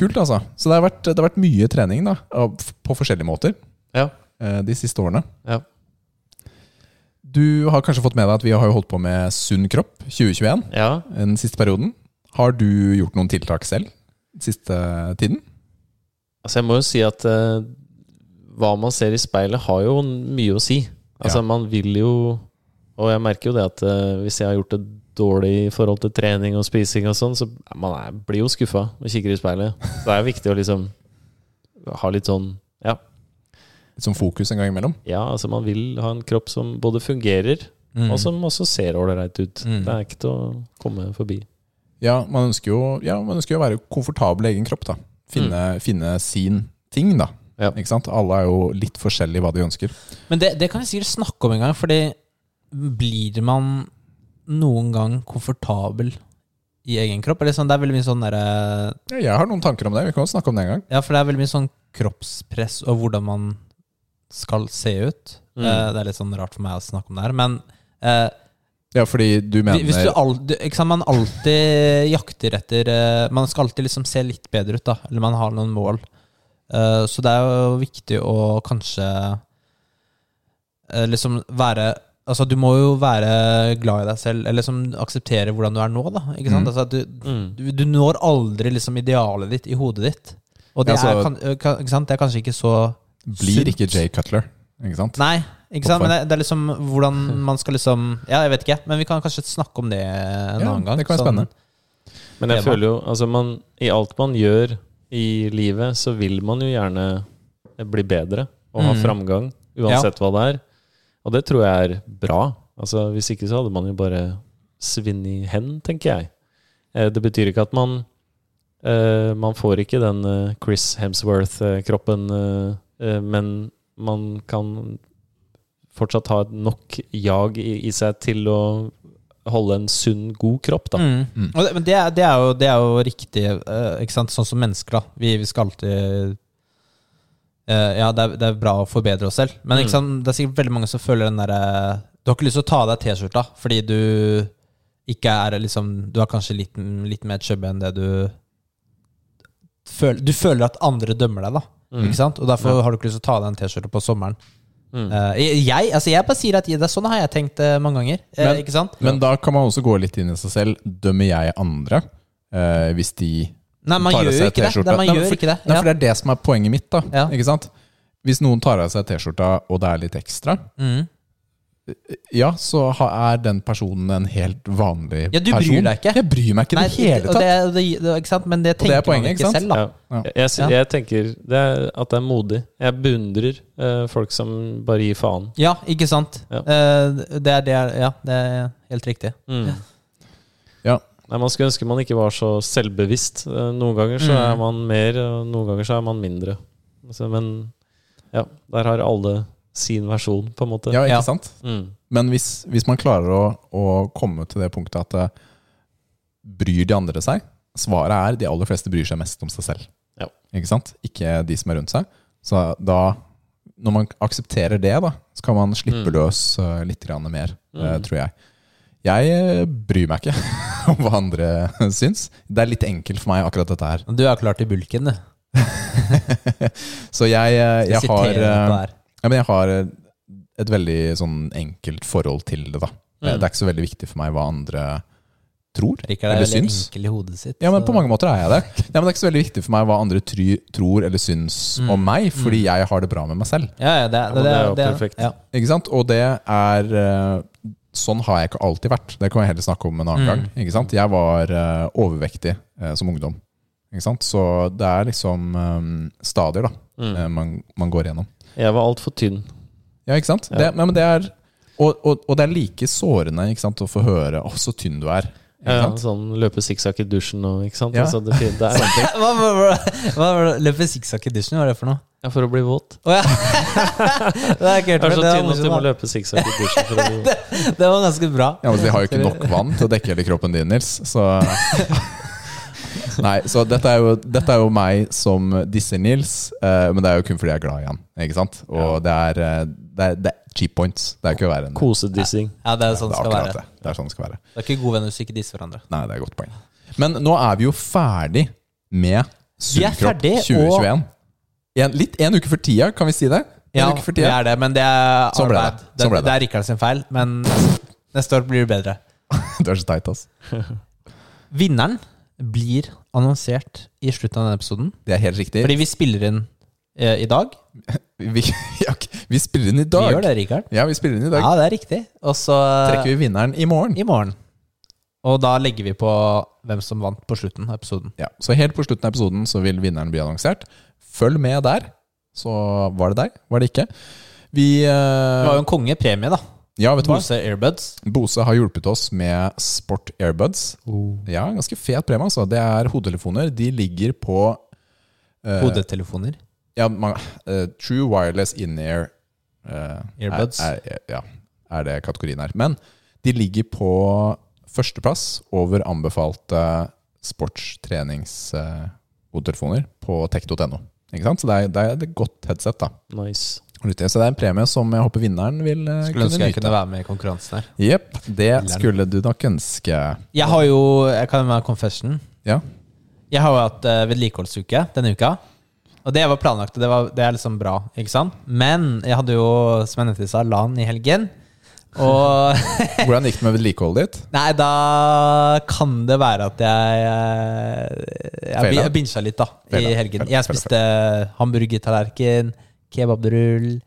S2: Kult, altså. Så det har vært, det har vært mye trening da, av- på forskjellige måter
S3: Ja.
S2: eh, de siste årene.
S3: Ja.
S2: Du har kanskje fått med deg at vi har jo holdt på med Sunn kropp 2021
S3: ja.
S2: den siste perioden. Har du gjort noen tiltak selv den siste tiden?
S3: Altså, jeg må jo si at eh, hva man ser i speilet, har jo mye å si. Altså,
S2: Ja.
S3: man vil jo Og jeg merker jo det at eh, hvis jeg har gjort det dårlig i forhold til trening og spising og sånn, så man er, blir jo skuffa og kikker i speilet. Så det er viktig å liksom ha litt sånn Ja,
S2: Litt sånn fokus en gang imellom?
S3: ja altså, man vil ha en kropp som både fungerer,
S1: Mm.
S3: og som også ser ålreit ut.
S1: Mm.
S3: Det er ikke til å komme forbi.
S2: Ja, man ønsker jo, ja, man ønsker jo å være komfortabel i egen kropp, da. Finne,
S1: Mm.
S2: finne sin ting, da.
S3: Ja.
S2: Ikke sant? Alle er jo litt forskjellige i hva de ønsker.
S1: Men det, det kan vi sikkert snakke om en gang, fordi blir man noen gang komfortabel i egen kropp? Eller sånn, det er veldig mye sånn derre
S2: Ja, jeg har noen tanker om det. Vi kan jo snakke om det en gang.
S1: Ja, for det er veldig mye sånn kroppspress og hvordan man skal se ut.
S3: Mm.
S1: Eh, det er litt sånn rart for meg å snakke om det her, men eh,
S2: Ja, fordi du mener
S1: hvis du al du, ikke sant, Man alltid jakter etter eh, Man skal alltid liksom se litt bedre ut, da. Eller man har noen mål. Eh, så det er jo viktig å kanskje eh, liksom være Altså, du må jo være glad i deg selv, eller liksom akseptere hvordan du er nå, da. Ikke sant?
S2: Mm.
S1: Altså, at du, du, du når aldri liksom idealet ditt i hodet ditt. Og det,
S2: Ja, så-
S1: er, kan, ø, kan, ikke sant? det er kanskje ikke så
S2: Blir ikke
S1: sunt.
S2: Jay Cutler, ikke sant?
S1: Nei, ikke sant?
S2: Hvorfor?
S1: men det, det er liksom hvordan man skal liksom Ja, jeg vet ikke, men vi kan kanskje snakke om det en
S2: Ja,
S1: annen gang. sånn
S2: det kan være spennende.
S3: Men jeg
S1: tema.
S3: føler jo altså man, I alt man gjør i livet, så vil man jo gjerne bli bedre og ha
S1: Mm.
S3: framgang, uansett hva det er. Og det tror jeg er bra. Altså Hvis ikke så hadde man jo bare svinnet hen, tenker jeg. Eh, Det betyr ikke at man eh, Man får ikke den eh, Chris Hemsworth-kroppen, eh, men man kan fortsatt ha et nok jag i, i seg til å holde en sunn, god kropp, da.
S1: Mm.
S2: Mm.
S1: Og det, men det er, det, er jo, det er jo riktig, eh, ikke sant? sånn som mennesker. da Vi, vi skal alltid eh, Ja, det er, det er bra å forbedre oss selv, men
S3: Mm.
S1: ikke sant? det er sikkert veldig mange som føler den derre Du har ikke lyst til å ta av deg T-skjorta fordi du ikke er liksom Du er kanskje litt, litt mer chubby enn det du føler Du føler at andre dømmer deg, da.
S3: Mm.
S1: Ikke sant? Og derfor har du ikke lyst til å ta av deg en T-skjorte på sommeren.
S3: Mm.
S1: Eh, jeg, altså jeg bare sier at det er sånn har jeg tenkt eh, mange ganger. Eh,
S2: Men-
S1: ikke sant?
S2: Men da kan man også gå litt inn i seg selv. Dømmer jeg andre eh, hvis de
S1: Nei, man
S2: tar av
S1: gjør jo
S2: seg
S1: ikke det.
S2: T-skjorta?
S1: Nei, man
S2: Nei, men
S1: gjør
S2: for-
S1: ikke det.
S2: Nei,
S1: Ja.
S2: for det er det som er poenget mitt, da.
S1: Ja.
S2: Ikke sant? Hvis noen tar av seg T-skjorta, og det er litt ekstra,
S1: Mm.
S2: ja, så ha- er den personen en helt vanlig person.
S1: Ja, du bryr deg ikke.
S2: Jeg bryr meg ikke i
S1: Nei,
S2: det hele
S1: og
S2: tatt.
S1: det- det- det- ikke sant? Men det
S2: Og det er
S1: tenker man
S2: poenget,
S1: ikke
S2: ikke sant?
S1: selv, da.
S3: Ja.
S2: Ja.
S3: Jeg, jeg, sy-
S1: Ja.
S3: jeg tenker det er, at det er modig. Jeg beundrer eh, folk som bare gir faen.
S1: Ja, ikke sant?
S3: Ja.
S1: Eh, det er det er- Ja, det er helt riktig.
S3: Mm.
S2: Ja.
S3: Nei, man skulle ønske man ikke var så selvbevisst. Eh, Noen ganger så
S1: Mm.
S3: er man mer, og noen ganger så er man mindre. Så, men ja, der har alle sin versjon, på en måte.
S2: Ja, ikke
S1: Ja.
S2: sant?
S3: Mm.
S2: Men hvis, hvis man klarer å, å komme til det punktet at eh, bryr de andre seg? Svaret er de aller fleste bryr seg mest om seg selv.
S3: Ja.
S2: Ikke sant? Ikke de som er rundt seg. Så da, når man aksepterer det, da, så kan man slippe
S3: Mm.
S2: løs eh, litt grann mer, eh,
S3: Mm.
S2: tror jeg. Jeg eh, bryr meg ikke om hva andre syns. Det er litt enkelt for meg, akkurat dette her.
S1: Du er klart i bulken, du.
S2: Så jeg, eh, jeg
S1: Skal
S2: har
S1: sitere
S2: eh,
S1: noe der.
S2: Ja, men jeg har eh, et veldig sånn enkelt forhold til det, da. Det-
S3: Mm.
S2: Det er ikke så veldig viktig for meg hva andre tror
S1: Rikard er
S2: eller
S1: veldig
S2: syns.
S1: enkel i hodet sitt.
S2: Ja, men på
S1: så-
S2: mange måter er jeg det. Nei, men det er ikke så veldig viktig for meg hva andre try, tror eller syns
S1: Mm.
S2: om meg, fordi jeg har det bra med meg selv.
S1: ja, ja, det, er- det,
S3: men
S1: er-
S3: det er jo
S1: det er-
S3: perfekt.
S1: Ja.
S2: Ikke sant? Og det er eh, Sånn har jeg ikke alltid vært. Det kan jeg heller snakke om en annen gang.
S1: Mm.
S2: Ikke sant? Jeg var eh, overvektig eh, som ungdom. Ikke sant? Så det er liksom eh, stadier da,
S3: Mm.
S2: eh, man, man går gjennom.
S3: Jeg var altfor tynn.
S2: Ja, ikke sant? Det,
S3: Ja.
S2: nei, men det er, og, og, og det er like sårende ikke sant, å få høre 'Å, så tynn du er'. Ikke
S3: Ja,
S2: sant?
S3: sånn løpe sikksakk i dusjen og ikke sant.
S2: Ja.
S3: Altså, det, fin- det er,
S1: Hva hva- hva- hva var det? Løpe sikksakk i dusjen, hva er det for noe?
S3: ja, for å bli våt.
S1: Å ja! det har jeg ikke hørt
S3: Du er
S1: før.
S3: så
S1: Det,
S3: tynn at du
S1: var
S3: må
S1: morsomt,
S3: løpe sikksakk i dusjen for å bli våt.
S1: da. det var ganske bra.
S2: Ja, men De har jo ikke nok vann til å dekke hele kroppen din, Nils. Så Nei, så dette er, jo, dette er jo meg som disser Nils, eh, men det er jo kun fordi jeg er glad i han. Ikke sant? Og det, er, eh, det, er, det er cheap points. Det er ikke verre enn det.
S3: Kosedissing.
S1: Ja, det er sånn
S2: Det
S1: det skal
S2: er akkurat
S1: være.
S2: det. Det er sånn det skal være.
S1: Det er ikke gode venner hvis du ikke disser hverandre.
S2: Nei, det er et godt poeng. Men nå er vi jo ferdig med
S1: Vi er
S2: Sugekropp
S1: ferdig, og-
S2: 2021. En, litt en uke for tida, kan vi si det? En
S1: Ja,
S2: uke for
S1: det
S2: tida.
S1: er det, men det er
S2: Sånn ble det.
S1: arbeid. Det,
S2: Sånn ble det.
S1: det er Rikard sin feil, men neste år blir det bedre.
S2: Du er så teit, ass.
S1: Vinneren blir annonsert i slutten av denne episoden.
S2: Det er helt riktig.
S1: Fordi vi spiller inn eh, i dag.
S2: vi, ja, vi spiller inn i
S1: Vi
S2: dag.
S1: gjør det, Rikard.
S2: Ja, vi spiller inn i dag.
S1: Ja, det er riktig. Og så eh,
S2: Trekker vi vinneren i morgen.
S1: i morgen. Og da legger vi på hvem som vant på slutten av episoden.
S2: Ja, så helt på slutten av episoden så vil vinneren bli annonsert. Følg med der. Så var det deg, var det ikke. Vi
S1: Det
S2: eh,
S1: var jo en kongepremie, da.
S2: Ja, vet du hva?
S1: Bose Airbuds.
S2: Bose har hjulpet oss med Sport Airbuds. Ja, ganske fet premie, altså. Det er hodetelefoner. De ligger på eh,
S1: Hodetelefoner.
S2: Ja, man, eh, True Wireless In-Ear eh,
S1: Earbuds.
S2: Er, er, ja, er det kategorien her. Men de ligger på førsteplass over anbefalte sportstreningshodetelefoner på tech.no. Ikke sant? Så det er, det er et godt headset. da.
S3: Nice.
S2: Og lytter jeg, Så det er en premie som jeg håper vinneren vil eh,
S1: Skulle
S2: kunne
S1: ønske jeg kunne
S2: nyte.
S1: være med i konkurransen her.
S2: Jepp, det skulle du nok ønske.
S1: Jeg har jo Jeg kan være confession.
S2: Ja,
S1: Jeg har jo hatt eh, vedlikeholdsuke denne uka. Og det var planlagt, og det, var, det er liksom bra. ikke sant? Men jeg hadde jo, som jeg nevnte, i stad, LAN i helgen. Og
S2: Hvordan gikk det med vedlikeholdet ditt?
S1: Nei, da kan det være at jeg eh, Jeg,
S2: Feila.
S1: jeg bincha litt, da, i
S2: Feila.
S1: helgen.
S2: Feila, feila,
S1: Jeg spiste hamburgertallerken, kebabrull,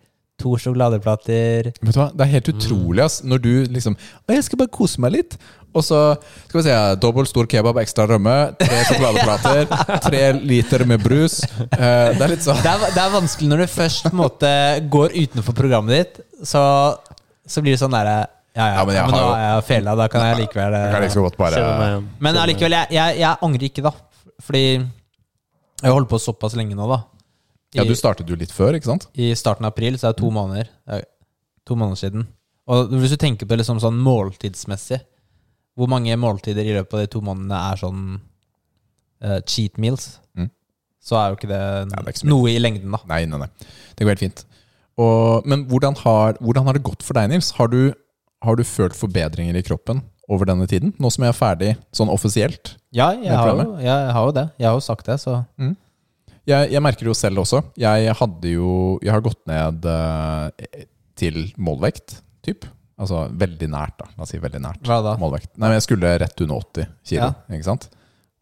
S1: to sjokoladeplater
S2: Vet du hva, Det er
S1: Mm.
S2: helt utrolig ass når du liksom Å, jeg skal bare kose meg litt. Og så skal vi se dobbelt stor kebab, ekstra rømme, tre sjokoladeplater, tre liter med brus. Eh, det er litt sånn
S1: det er, det er vanskelig når du først på en måte går utenfor programmet ditt, så, så blir det sånn derre Ja, ja,
S2: Ja, men
S1: men,
S2: jeg
S1: nå
S2: har
S1: er jeg fela, da kan jeg likevel
S2: Jeg kan
S1: eh,
S2: ikke så godt bare
S3: Kjenner meg igjen.
S1: Men
S3: Kjenner meg igjen.
S1: allikevel, jeg, jeg, jeg angrer ikke, da. Fordi jeg har holdt på såpass lenge nå, da. I,
S2: Ja, du Mm. startet jo litt før, ikke sant?
S1: I starten av april, så er det to måneder. Det er To måneder siden. Og hvis du tenker på det liksom sånn måltidsmessig, hvor mange måltider i løpet av de to månedene er sånn eh, cheat meals,
S2: Mm.
S1: så er jo ikke det,
S2: det er ikke så mye.
S1: noe i lengden, da.
S2: Nei, nei, nei. Det går helt fint. Og, men hvordan har, hvordan har det gått for deg, Nils? Har du, har du følt forbedringer i kroppen over denne tiden? Nå som jeg er ferdig sånn offisielt?
S1: Ja, jeg
S2: Det
S1: har, jo,
S2: programmet.
S1: jeg har jo det. Jeg har jo sagt det, så
S2: Jeg, jeg merker det jo selv også. Jeg hadde jo Jeg har gått ned eh, til målvekt, typ. Altså veldig nært, da. La oss si veldig nært.
S1: hva da?
S2: Målvekt. Nei, men jeg skulle rett under 80 kilo,
S1: Ja.
S2: ikke sant?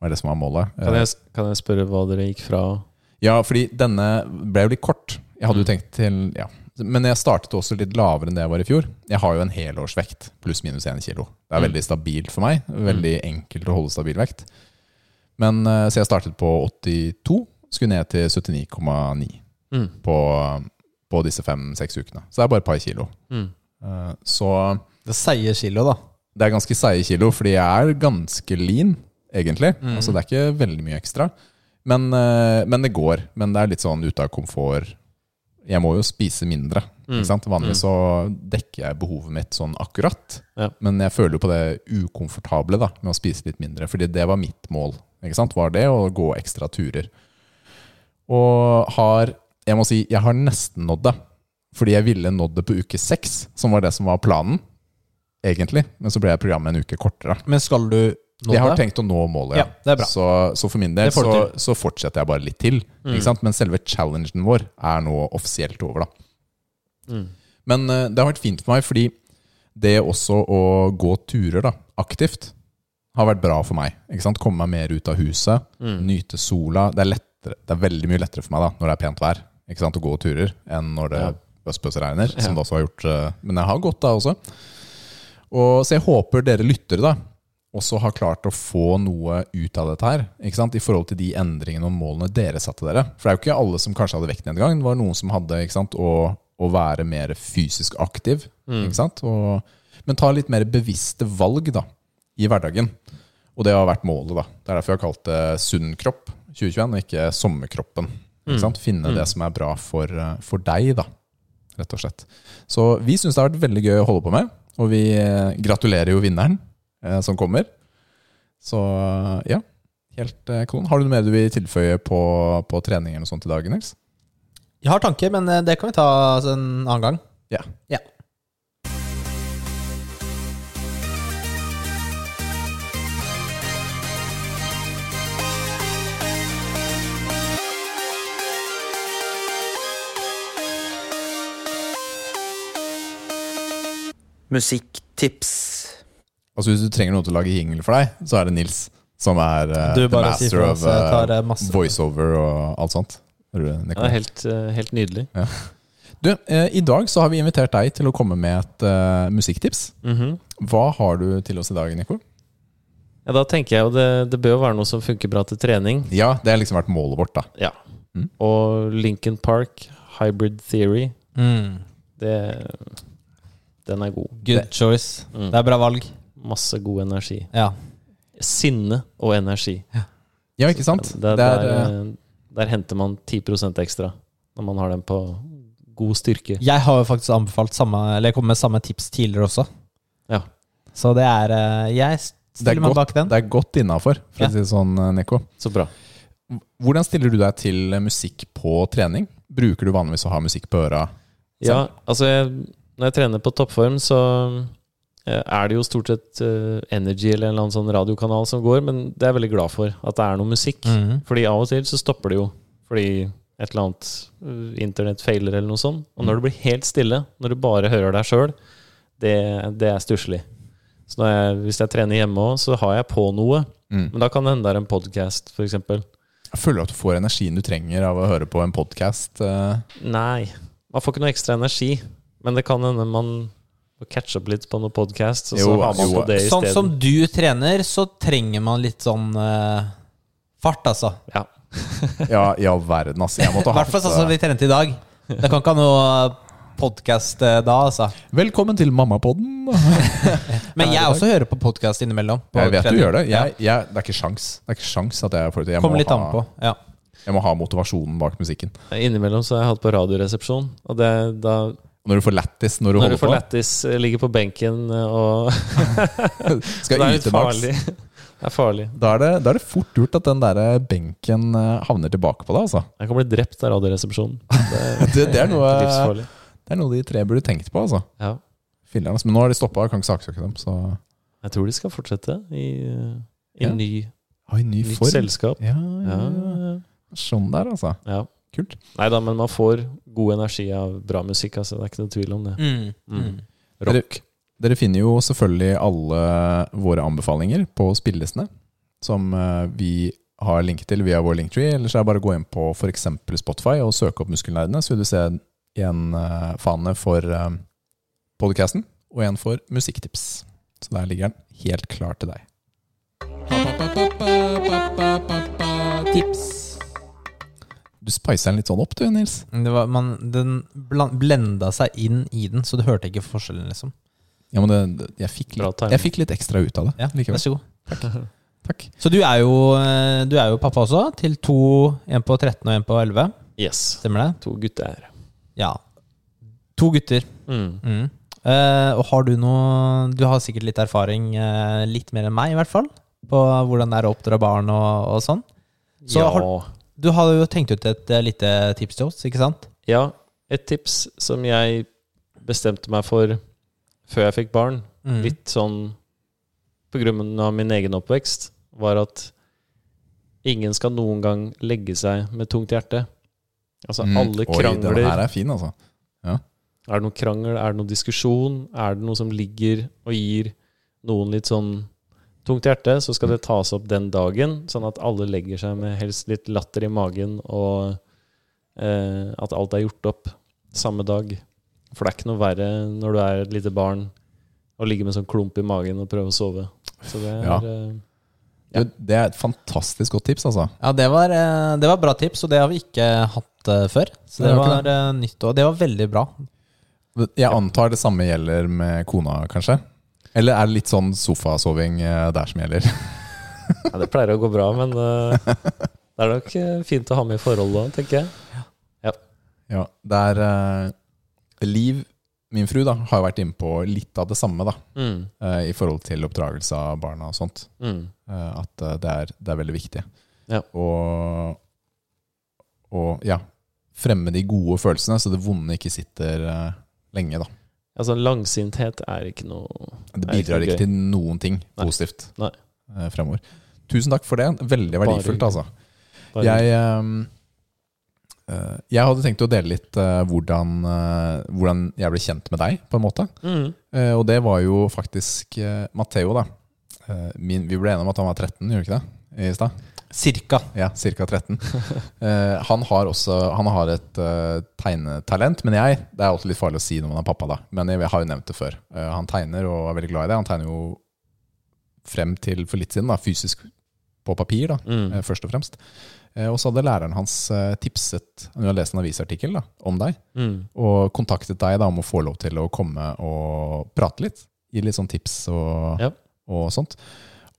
S2: Var det som var målet.
S3: Kan jeg, kan jeg spørre hva dere gikk fra?
S2: Ja, fordi denne ble jo litt kort. Jeg hadde jo
S3: Mm.
S2: tenkt til Ja. Men jeg startet også litt lavere enn det jeg var i fjor. Jeg har jo en helårsvekt, pluss minus 1 kilo. Det er
S3: Mm.
S2: veldig stabilt for meg. Veldig enkelt å holde stabil vekt. Men eh, så jeg startet på 82, skulle ned til 79,9
S3: Mm.
S2: på, på disse fem-seks ukene. Så det er bare et par kilo.
S3: Mm.
S2: Eh, Så
S1: Det er seige kilo, da.
S2: det er ganske seige kilo, fordi jeg er ganske lean, egentlig.
S3: Mm.
S2: Altså, det er ikke veldig mye ekstra. Men, eh, men det går. Men det er litt sånn ute av komfort. Jeg må jo spise mindre.
S3: Mm.
S2: Ikke sant? Vanligvis så dekker jeg behovet mitt sånn akkurat.
S3: Ja.
S2: Men jeg føler jo på det ukomfortable da, med å spise litt mindre. Fordi det var mitt mål. Ikke sant? Var det å gå ekstra turer. Og har Jeg må si, jeg har nesten nådd det. Fordi jeg ville nådd det på uke seks, som var det som var planen. Egentlig. Men så ble jeg programmet en uke kortere.
S1: Men skal du nå
S2: Jeg har
S1: det?
S2: tenkt å nå målet, ja.
S1: Ja, det er bra.
S2: Så, så for min del
S1: Det får du Mm.
S2: så, så fortsetter jeg bare litt til. Ikke sant? Men selve challengen vår er nå offisielt over, da.
S3: Mm.
S2: Men eh, det har vært fint for meg, fordi det også å gå turer da, aktivt har vært bra for meg. Ikke sant? Komme meg mer ut av huset,
S1: Mm.
S2: nyte sola. Det er, lettere, det er veldig mye lettere for meg da, når det er pent vær ikke sant? å gå turer, enn når det
S3: Ja.
S2: bøss-bøss-regner, som det også har gjort. eh, Men jeg har gått da også. Og, så jeg håper dere lyttere da, også har klart å få noe ut av dette her, ikke sant? i forhold til de endringene og målene dere satte dere. For det er jo ikke alle som kanskje hadde vektnedgang. Det var noen som hadde ikke sant? Å, å være mer fysisk aktiv. Ikke sant? Og, men ta litt mer bevisste valg da, i hverdagen. Og det har vært målet. da. Det er derfor jeg har kalt det sunn kropp 2021, og ikke sommerkroppen. Ikke sant? Finne det som er bra for, eh, for deg, da, rett og slett. Så vi syns det har vært veldig gøy å holde på med, og vi eh, gratulerer jo vinneren eh, som kommer. Så eh, ja, Helt eh, kanon. Har du noe mer du vil tilføye på, på trening eller noe sånt i dag, Nils?
S1: Jeg har tanker, men eh, det kan vi ta altså, en annen gang.
S2: Ja.
S1: Ja.
S4: Musikktips.
S2: Altså Hvis du trenger noen til å lage jingle for deg, så er det Nils. Som er eh,
S1: Du
S2: the
S1: bare sier
S2: master
S1: fra,
S2: of
S1: så jeg tar, eh,
S2: eh,
S1: masse.
S2: voiceover og alt sånt. Er du,
S3: Det er
S2: Nicolai?
S3: helt, eh, helt nydelig.
S2: du, eh, I dag så har vi invitert deg til å komme med et eh, musikktips. Hva har du til oss i dag, Nico?
S3: Ja, Da tenker jeg jo det, det bør jo være noe som funker bra til trening.
S2: Ja, Det har liksom vært målet vårt. da
S3: Ja.
S2: Mm.
S3: Og Lincoln Park, Hybrid Theory,
S1: Mm.
S3: det, den er god.
S1: Good choice.
S3: Mm.
S1: Det er bra valg.
S3: Masse god energi.
S1: Ja.
S3: Sinne og energi.
S2: Ja, ikke sant?
S3: Der,
S2: Det er, eh,
S3: der, der henter man 10 ekstra når man har den på god styrke.
S1: Jeg har jo faktisk anbefalt samme Eller jeg kom med samme tips tidligere også.
S3: Ja.
S1: Så det er eh, Jeg
S2: det er
S1: stiller meg
S2: godt,
S1: bak den.
S2: det er godt innafor, for
S1: Ja.
S2: å si det sånn, eh, Nico.
S3: Så bra.
S2: Hvordan stiller du deg til eh, musikk på trening? Bruker du vanligvis å ha musikk på øra?
S3: Ja, altså jeg, Når jeg trener på toppform, så eh, er det jo stort sett eh, Energy eller en eller annen sånn radiokanal som går, men det er jeg veldig glad for at det er noe musikk.
S1: Mhm.
S3: Fordi av og til så stopper det jo fordi et eller annet eh, internett feiler eller noe sånt. Og når det blir helt stille, når du bare hører deg sjøl, det, det er stusslig. Så når jeg, hvis jeg trener hjemme òg, så har jeg på noe.
S2: Mm.
S3: Men da kan det hende det er en podkast, f.eks.
S2: Jeg føler at du får energien du trenger av å høre på en eh, podkast.
S3: Nei. Man får ikke noe ekstra energi. Men det kan hende man må catche opp litt på noen podkast, og så
S2: Jo,
S3: har man
S2: jo.
S3: på det
S1: Sånn
S3: isteden.
S1: som du trener, så trenger man litt sånn eh, fart, altså.
S3: Ja.
S2: Ja, i all verden, altså. Jeg måtte
S1: I
S2: ha
S1: hvert fall sånn som vi trente i dag. Det kan ikke ha noe podkast da, altså.
S2: eh, Velkommen til mammapodden!
S1: Men jeg også hører på podkast innimellom. På
S2: Jeg vet du
S1: trening.
S2: gjør det. Jeg, jeg, det er ikke sjans Det er ikke sjans at jeg får det til. Jeg,
S1: Kommer
S2: må
S1: litt an på.
S2: ha-
S1: Ja.
S2: jeg må ha motivasjonen bak musikken.
S3: Innimellom så har jeg hatt på Radioresepsjon, og det, da
S2: Og når du får lættis når du
S3: Når du
S2: holder
S3: får
S2: på,
S3: lættis, eh, ligger på benken eh, og
S2: skal
S3: Det er
S2: utenlands,
S3: litt farlig. Det er farlig.
S2: da er, det, da er det fort gjort at den der benken eh, havner tilbake på deg, altså.
S3: Jeg kan bli drept av Radioresepsjonen.
S2: Det, det, er eh, noe,
S3: Livsfarlig.
S2: det er noe de tre burde tenkt på, altså.
S3: Ja.
S2: Filler'n, altså. Men nå har de stoppa, kan ikke saksøke dem, så
S3: Jeg tror de skal fortsette i, eh, i
S2: Ja.
S3: ny,
S2: Oi, ny
S3: nytt
S2: form.
S3: selskap.
S2: Ja, ja,
S3: Ja,
S2: ja.
S3: ja.
S2: Sånn der, altså.
S3: ja.
S2: Kult.
S3: Nei da, men man får god energi av bra musikk, altså. Det er ikke noe tvil om det.
S1: Mm. Mm.
S3: Mm.
S2: Rock. Dere finner jo selvfølgelig alle våre anbefalinger på spillelistene, som eh, vi har link til via vår linktree. Ellers er det bare å gå inn på f.eks. Spotify og søke opp Muskelnerdene, så vil du se en eh, fane for eh, podcasten og en for musikktips. Så der ligger den helt klar til deg. Du spicer den litt sånn opp du, Nils.
S1: Det var, man, den blan- blenda seg inn i den, så du hørte ikke forskjellen, liksom.
S2: Ja, men det, det, jeg, fikk
S3: Bra
S2: litt,
S3: timing.
S2: jeg fikk litt ekstra ut av det.
S1: Ja,
S2: likevel.
S1: Vær så god.
S2: Takk.
S1: Så du er, jo, eh, du er jo pappa også, til to. En på 13 og en på 11.
S3: Yes.
S1: Stemmer det?
S3: To gutter.
S1: Ja. To gutter.
S3: Mm.
S1: Mm. Eh, og har du noe Du har sikkert litt erfaring, eh, litt mer enn meg i hvert fall, på hvordan det er å oppdra barn og, og sånn. Så
S3: ja.
S1: har- Du har jo tenkt ut et eh, lite tips til oss, ikke sant?
S3: ja. Et tips som jeg bestemte meg for før jeg fikk barn,
S1: Mm.
S3: litt sånn på grunn av min egen oppvekst, var at ingen skal noen gang legge seg med tungt hjerte. Altså
S2: Mm.
S3: alle
S2: Oi, den
S3: krangler.
S2: her er fin, altså.
S3: Er det noe krangel? Er det noe diskusjon? Er det noe som ligger og gir noen litt sånn tungt hjerte, så skal det tas opp den dagen, sånn at alle legger seg med helst litt latter i magen, og eh, at alt er gjort opp samme dag. For det er ikke noe verre når du er et lite barn å ligge med sånn klump i magen og prøve å sove. Så det er
S2: Ja.
S3: eh,
S2: Du, Det er et fantastisk godt tips, altså.
S1: Ja, det var, eh, det var bra tips, og det har vi ikke hatt eh, før. Så
S2: Nei,
S1: det
S2: det var ikke
S1: var eh, nytt, og det var veldig bra.
S2: Jeg antar det samme gjelder med kona, kanskje? Eller er det litt sånn sofasoving eh, der som gjelder?
S3: ja, Det pleier å gå bra, men eh, det er nok eh, fint å ha med i forholdet òg, tenker jeg.
S2: Ja, det er eh, Liv min fru da, har jo vært inne på litt av det samme da,
S3: Mm.
S2: eh, i forhold til oppdragelse av barna og sånt.
S3: Mm.
S2: Eh, At eh, det er, det er veldig viktig.
S3: Ja.
S2: Og, og ja, fremme de gode følelsene, så det vonde ikke sitter eh, lenge. da.
S3: Altså, langsinthet er ikke noe
S2: Det
S3: Er ikke
S2: bidrar
S3: noe
S2: ikke
S3: gøy.
S2: til noen ting
S3: Nei.
S2: positivt
S3: Nei.
S2: eh, fremover. Tusen takk for det. Veldig
S3: Bare
S2: verdifullt,
S3: hyggelig.
S2: altså.
S3: bare-
S2: Jeg, ehm, eh, jeg hadde tenkt å dele litt eh, hvordan, eh, hvordan jeg ble kjent med deg, på en måte.
S3: mm.
S2: Eh, og det var jo faktisk eh, Matteo, da. Eh, min, vi ble enige om at han var 13, gjorde vi ikke det? I stad?
S1: Cirka.
S2: Ja, ca. 13. Eh, han har også han har et eh, tegnetalent, men jeg Det er alltid litt farlig å si når man er pappa, da. Men jeg, har jo nevnt det før. Eh, han tegner og er veldig glad i det. Han tegner jo frem til for litt siden, da, fysisk på papir, da
S3: Mm.
S2: eh, først og fremst. Eh, Og så hadde læreren hans eh, tipset Hun hadde lest en avisartikkel da, om deg,
S3: Mm.
S2: og kontaktet deg da, om å få lov til å komme og prate litt. Gi litt sånn tips og,
S3: Ja.
S2: og sånt.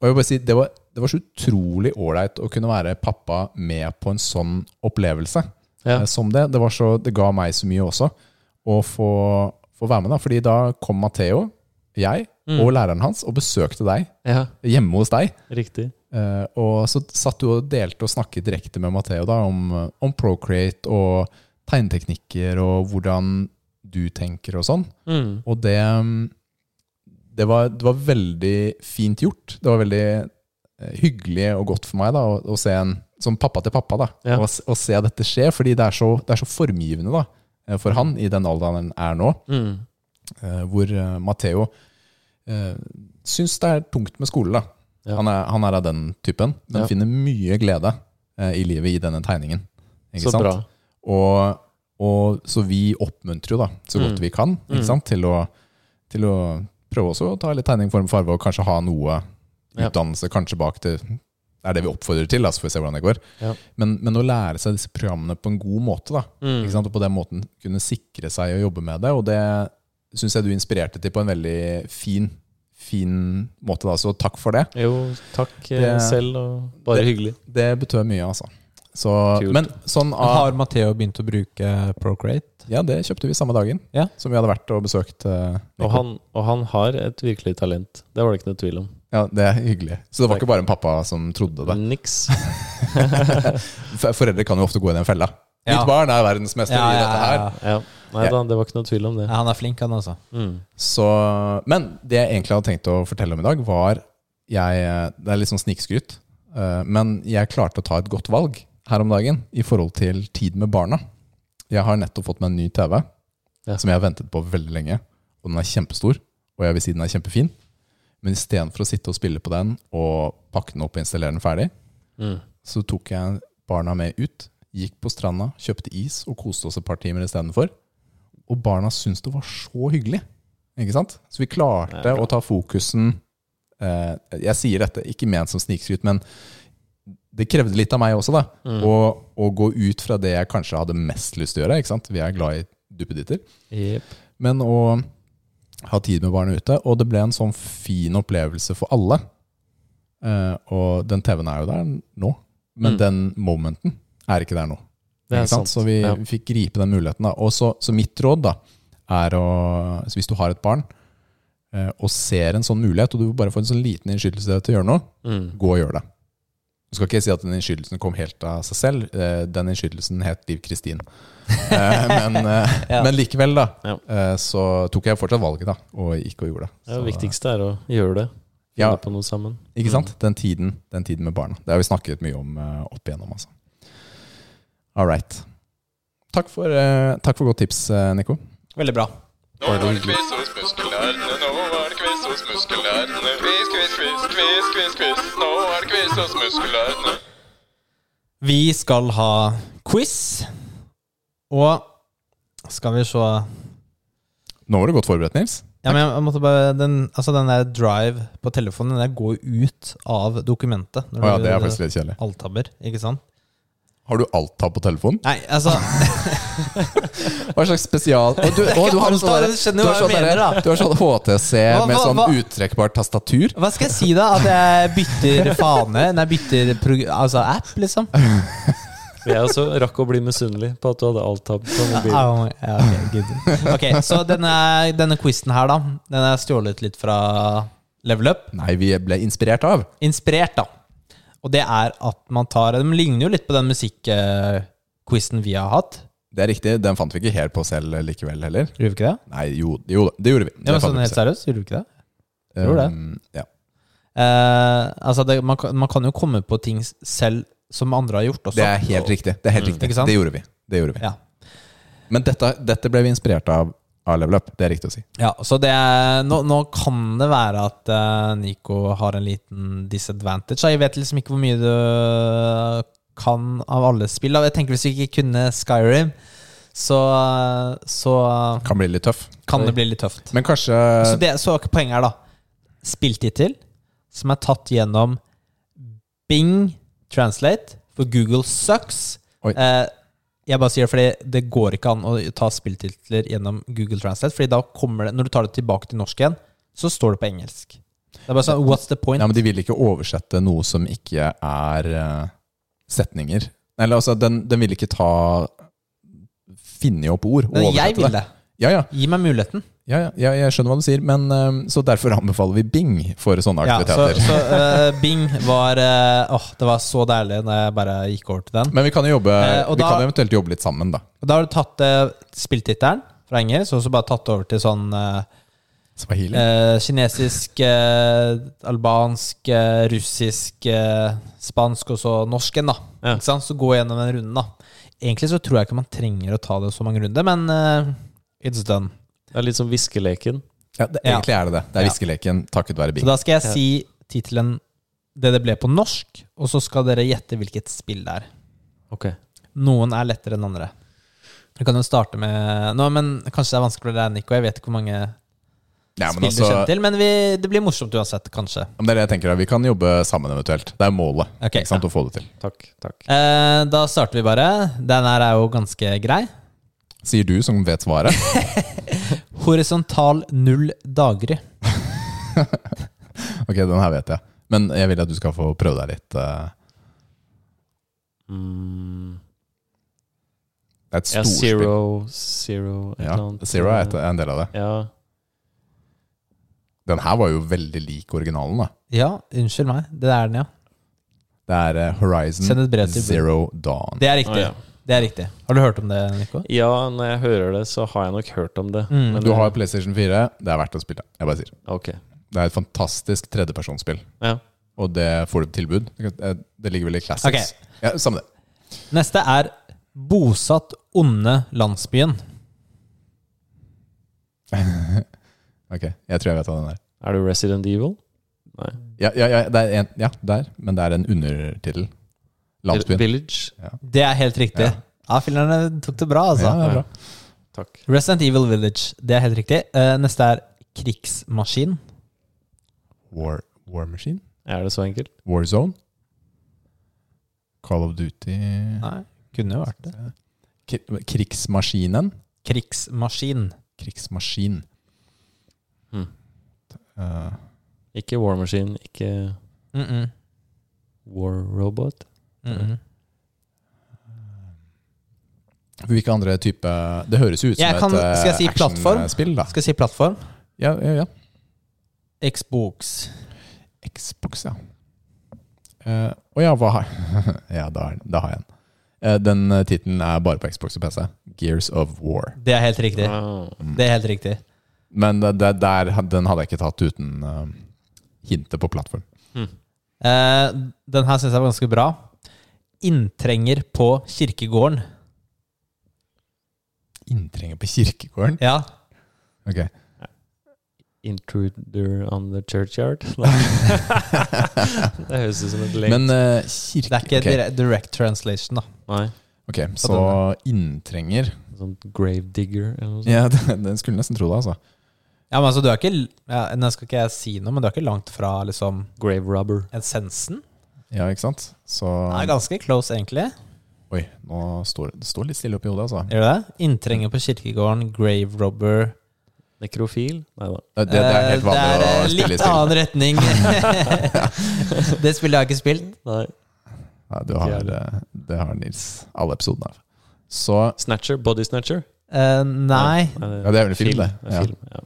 S2: Og jeg vil bare si, det var, det var så utrolig ålreit å kunne være pappa med på en sånn opplevelse
S3: Ja.
S2: eh, som det. Det, var så, det ga meg så mye også å få, få være med, da. Fordi da kom Matheo, jeg
S3: Mm.
S2: og læreren hans og besøkte deg
S3: ja,
S2: hjemme hos deg.
S3: riktig.
S2: Eh, og så satt du og delte og snakket direkte med Matheo da, om, om Procreate og tegneteknikker og hvordan du tenker og sånn.
S3: Mm.
S2: Og det, mm, det, var, det var veldig fint gjort. Det var veldig eh, hyggelig og godt for meg da, å, å se en som pappa til pappa da,
S3: Ja.
S2: å, s- å se dette skje, fordi det er så, det er så formgivende da, eh, for han i den alderen han er nå.
S3: Mm.
S2: Eh, hvor uh, Matheo uh, syns det er tungt med skole. da.
S3: Ja.
S2: Han, er, han er av den typen, men
S3: Ja.
S2: finner mye glede eh, i livet i denne tegningen. Ikke
S3: Så
S2: sant?
S3: bra.
S2: Og, og så vi oppmuntrer jo da, så godt
S3: Mm.
S2: vi kan, ikke
S3: Mm.
S2: sant? Til, å, til å prøve også å ta litt tegning, form, farve, og kanskje ha noe
S3: Ja.
S2: utdannelse kanskje bak det. Det er det vi oppfordrer til, da, så får vi se hvordan det går.
S3: Ja.
S2: Men, men å lære seg disse programmene på en god måte, da.
S3: Mm.
S2: Ikke sant? Og på den måten kunne sikre seg å jobbe med det. Og det syns jeg du inspirerte til på en veldig fin, fin måte, da. Så takk for det.
S3: Jo, takk eh,
S2: Det-
S3: selv, og bare
S2: det-
S3: hyggelig.
S2: Det betød mye, altså. Så,
S3: Kult.
S2: men sånn av
S1: Har Matheo begynt å bruke Procreate?
S2: Ja, det kjøpte vi samme dagen
S1: Ja.
S2: som vi hadde vært og besøkt eh, Nico.
S3: Og han, og han har et virkelig talent. Det var det ikke noe tvil om.
S2: Ja, det er hyggelig. Så det var
S3: Takk.
S2: ikke bare en pappa som trodde
S1: Mm.
S2: det.
S3: Niks.
S2: For- Foreldre kan jo ofte gå i den fella.
S1: Ja.
S2: Mitt barn er verdensmester
S1: Ja,
S2: i
S1: ja,
S2: dette her.
S1: ja.
S3: Ja. Nei da, det var ikke noe tvil om det.
S1: Ja, han er flink, han altså.
S3: Mm.
S2: Så, men det jeg egentlig hadde tenkt å fortelle om i dag, var jeg, Det er litt sånn snikskryt, eh, men jeg klarte å ta et godt valg her om dagen i forhold til tid med barna. Jeg har nettopp fått meg en ny TV
S3: Ja.
S2: som jeg har ventet på veldig lenge. Og den er kjempestor, og jeg vil si den er kjempefin. Men istedenfor å sitte og spille på den og pakke den opp og installere den ferdig,
S3: Mm.
S2: så tok jeg barna med ut, gikk på stranda, kjøpte is og koste oss et par timer istedenfor. Og barna syntes det var så hyggelig. Ikke sant? Så vi klarte
S3: Det er bra.
S2: å ta fokusen eh, Jeg sier dette ikke ment som snikskryt, men det krevde litt av meg også, da. Å å gå ut fra det jeg kanskje hadde mest lyst til å gjøre. Ikke sant? Vi er glad i duppeditter.
S3: Jep.
S2: Men å ha tid med barna ute. Og det ble en sånn fin opplevelse for alle. Eh, og den TV-en er jo der nå, men
S3: Mm.
S2: den momenten er ikke der nå.
S3: Det er
S2: ikke sant? Så
S3: sant.
S2: vi
S3: Ja.
S2: vi fikk gripe den muligheten. Da. Og så, så mitt råd da, er å så Hvis du har et barn eh, og ser en sånn mulighet, og du bare får en sånn liten innskytelse til å gjøre noe,
S3: Mm.
S2: gå og gjør det. Du skal ikke si at den innskytelsen kom helt av seg selv. Eh, Den innskytelsen het Liv Kristin. Eh, Men, eh,
S1: Ja.
S2: men likevel, da,
S3: Ja.
S2: eh, så tok jeg fortsatt valget, da, og gikk og gjorde det.
S3: Ja,
S2: Så,
S3: det viktigste er å gjøre det. Finne
S2: Ja.
S3: på noe sammen.
S2: Ikke sant? Den tiden, den tiden med barna. Det har vi snakket mye om eh, opp igjennom, altså. All right. Takk for, eh, takk for godt tips, eh, Nico.
S1: Veldig bra.
S5: Nå var det quiz hos muskelnerdene, nå var det quiz hos muskelnerdene. Quiz, quiz, quiz, quiz, quiz, quiz. Nå er det quiz hos muskelnerdene.
S1: Vi skal ha quiz, og skal vi se
S2: Nå var du godt forberedt, Nils.
S1: Ja, men jeg måtte bare Den, altså den der drive på telefonen, den der går ut av dokumentet. Når
S2: Å ja,
S1: du-
S2: det er faktisk litt kjedelig.
S1: Alttabber, ikke sant?
S2: Har du alt-tab på telefonen?
S1: Nei, altså
S2: Hva slags spesial Å, du, å, du har sånn
S1: alt-tab,
S2: derre-
S1: du skjønner
S2: du har
S1: hva jeg
S2: sånn
S1: mener,
S2: derre-
S1: da.
S2: du har sånn HTC
S1: Hva-
S2: med
S1: hva-
S2: sånn
S1: hva-
S2: uttrekkbart tastatur.
S1: Hva skal jeg si, da? At jeg bytter fane? Nei, bytter prog altså app, liksom?
S3: Jeg også rakk å bli misunnelig på at du hadde alt-tab på mobilen.
S1: Au, Ah, ja, ok, good. Ok, så denne, denne quizen her, da, den er stjålet litt fra Level Up.
S2: Nei, vi ble inspirert av.
S1: Inspirert, da. Og det er at man tar De ligner jo litt på den musikkquizen vi har hatt.
S2: Det er riktig, den fant vi ikke helt på selv likevel heller.
S1: Gjorde vi ikke det?
S2: Nei, jo, jo da, det gjorde vi.
S1: Det var
S2: fant
S1: sånn
S2: vi
S1: helt
S2: på selv.
S1: seriøst, gjorde du ikke det? tror det.
S2: Um, ja.
S1: Eh, altså, det, man, kan- man kan jo komme på ting selv som andre har gjort også.
S2: Det er helt riktig. Det, er helt
S1: Mm, Ikke
S2: riktig.
S1: sant?
S2: det gjorde vi. Det gjorde vi.
S1: Ja.
S2: Men dette, dette ble vi inspirert av av Level Up. Det er riktig å si.
S1: Ja, så det er, nå, nå kan det være at eh, Nico har en liten disadvantage. da. Jeg vet liksom ikke hvor mye du kan av alle spill. da. Jeg tenker Hvis vi ikke kunne Skyrim, så, så
S2: Kan bli litt tøff.
S1: kan det bli litt tøft.
S2: Men kanskje
S1: Så, det, så er poenget her, da. Spilltittel som er tatt gjennom Bing Translate, for Google sucks.
S2: Oi.
S1: Eh, jeg bare sier det fordi det går ikke an å ta spilltitler gjennom Google Translate. Fordi da kommer det, når du tar det tilbake til norsk igjen, så står det på engelsk. Det er bare sånn, what's the point?
S2: Ja, men de vil ikke oversette noe som ikke er eh, setninger. Eller altså, den, den vil ikke ta Finne opp ord. og
S1: men jeg
S2: oversette
S1: vil det.
S2: Ja, ja,
S1: Gi meg muligheten.
S2: ja, ja, ja, jeg skjønner hva du sier. Men eh, Så derfor anbefaler vi Bing for sånne
S1: Ja, så
S2: aktiviteter.
S1: så eh, Bing var eh, Åh, det var så deilig da jeg bare gikk over til den.
S2: Men vi kan jo jobbe
S1: Eh, og
S2: Vi
S1: da-
S2: kan jo eventuelt jobbe litt sammen, da.
S1: Og da har du tatt eh, spilltittelen fra engelsk, og så bare tatt det over til sånn eh,
S2: Swahili.
S1: Eh, kinesisk, eh, albansk, eh, russisk, eh, spansk og så norsken, da.
S3: Ja.
S1: Ikke sant? Så gå gjennom den runden, da. Egentlig så tror jeg ikke man trenger å ta det så mange runder, men eh, it's done.
S3: Det er litt som viskeleken.
S2: ja, det,
S1: ja.
S2: Egentlig er det det. Det er
S1: Ja.
S2: viskeleken takket være
S1: Så
S2: Bing.
S1: da skal jeg si tittelen det det ble på norsk, og så skal dere gjette hvilket spill det er.
S3: Ok.
S1: Noen er lettere enn andre. Vi kan jo starte med Nå, men Kanskje det er vanskelig for deg, Nico. Jeg vet ikke hvor mange
S2: Ja,
S1: spill
S2: men
S1: du
S2: altså,
S1: kjenner til, men vi, det blir morsomt uansett, kanskje.
S2: om det er det jeg tenker, da. Vi kan jobbe sammen eventuelt. Det er målet
S1: Ok,
S2: ikke sant, å få det til.
S3: Takk. takk.
S1: Eh, da starter vi bare. Den her er jo ganske grei.
S2: Sier du, som vet svaret.
S1: Horisontal null daggry.
S2: Ok, den her vet jeg. Men jeg vil at du skal få prøve deg litt. eh.
S3: Mm,
S2: Det er et
S3: ja,
S2: storspill.
S3: zero, zero et
S2: Ja,
S3: eller annet.
S2: Zero er et, er en del av det.
S3: Ja.
S2: Den her var jo veldig lik originalen. da
S1: Ja, unnskyld meg. Det er den, ja.
S2: Det er eh,
S1: Send
S2: Horizon
S1: et brev til
S2: Zero Dawn.
S1: Det er riktig.
S3: Å, ja.
S1: Det er riktig. Har du hørt om det, Nico?
S3: ja, når jeg hører det, så har jeg nok hørt om det.
S1: Mm.
S3: Men-
S2: Du har PlayStation 4. Det er verdt å spille. Jeg bare sier
S3: Ok.
S2: Det er et fantastisk tredjepersonsspill.
S3: Ja.
S2: Og det får du på tilbud. Det ligger vel i classics.
S1: Ok.
S2: Ja, samme det.
S1: Neste er Bosatt onde landsbyen.
S2: Ok, Jeg tror jeg vet hva den er.
S3: Er du Resident Evil? Nei.
S2: Ja, ja, ja, det er en, ja der. Men det er en undertittel. Landsbyen.
S3: Village?
S1: Det er helt riktig.
S2: Ja.
S1: Ja, fillerne tok det bra, altså.
S2: Ja, det er bra.
S3: Takk.
S1: Resident Evil Village. Det er helt riktig. Eh, neste er Krigsmaskin.
S2: War, War Machine?
S3: Er det så enkelt?
S2: War Zone? Call of Duty
S1: Nei, kunne jo vært det.
S2: Kri- Krigsmaskinen?
S1: Krigsmaskin.
S2: Krigsmaskin.
S1: Hmm.
S3: Mm.
S2: Eh,
S3: Ikke War Machine, ikke
S1: Mm -mm.
S3: War Robot?
S1: Mm -mm.
S2: hvilke andre type Det høres jo ut som
S1: Jeg kan-
S2: et eh,
S1: skal jeg si plattform?
S2: actionspill, da.
S1: Skal jeg si plattform?
S2: Ja, ja, ja.
S1: Xbox.
S2: Xbox, ja. Eh, Å ja, hva har Ja, da, er- da har jeg en. Eh, den eh, tittelen er bare på Xbox og PC. Gears of War.
S1: Det er helt riktig.
S3: Ah.
S1: Det er helt riktig.
S2: Men det, det, der, den hadde jeg ikke tatt uten eh, hintet på plattform.
S1: Eh, den her syns jeg var ganske bra. Inntrenger på kirkegården.
S2: Inntrenger på kirkegården?
S1: Ja.
S2: Ok.
S3: Intruder on the churchyard? Nei. det høres ut som et lenk.
S2: Men eh,
S1: Det er
S2: kirke...
S1: ikke
S2: ok.
S1: dire- direct translation, da.
S3: Nei.
S2: ok, så inntrenger
S3: Sånn grave digger eller noe sånt.
S2: Ja, den, den skulle nesten tro det, altså.
S1: Ja, men altså, du er ikke l- ja, Nå skal ikke jeg si noe, men du er ikke langt fra liksom
S3: Grave rubber.
S1: essensen.
S2: Ja, ikke sant? Så
S1: Det er ganske close, egentlig.
S2: Oi, nå står det står litt stille oppi hodet, altså.
S1: Gjør du det? Inntrenger på kirkegården, grave robber
S3: Nekrofil? Nei da.
S2: Det, det er helt vanlig
S1: Eh, det er, eh,
S2: å spille i
S1: Litt
S2: spill.
S1: annen retning. det spillet har jeg ikke spilt.
S3: Nei.
S2: Ja, du har, eh, det har Nils alle episodene av. Så
S3: Snatcher? Body Snatcher?
S1: Eh, nei,
S2: Ja, det er vel en film, det. Ja.
S3: film, ja.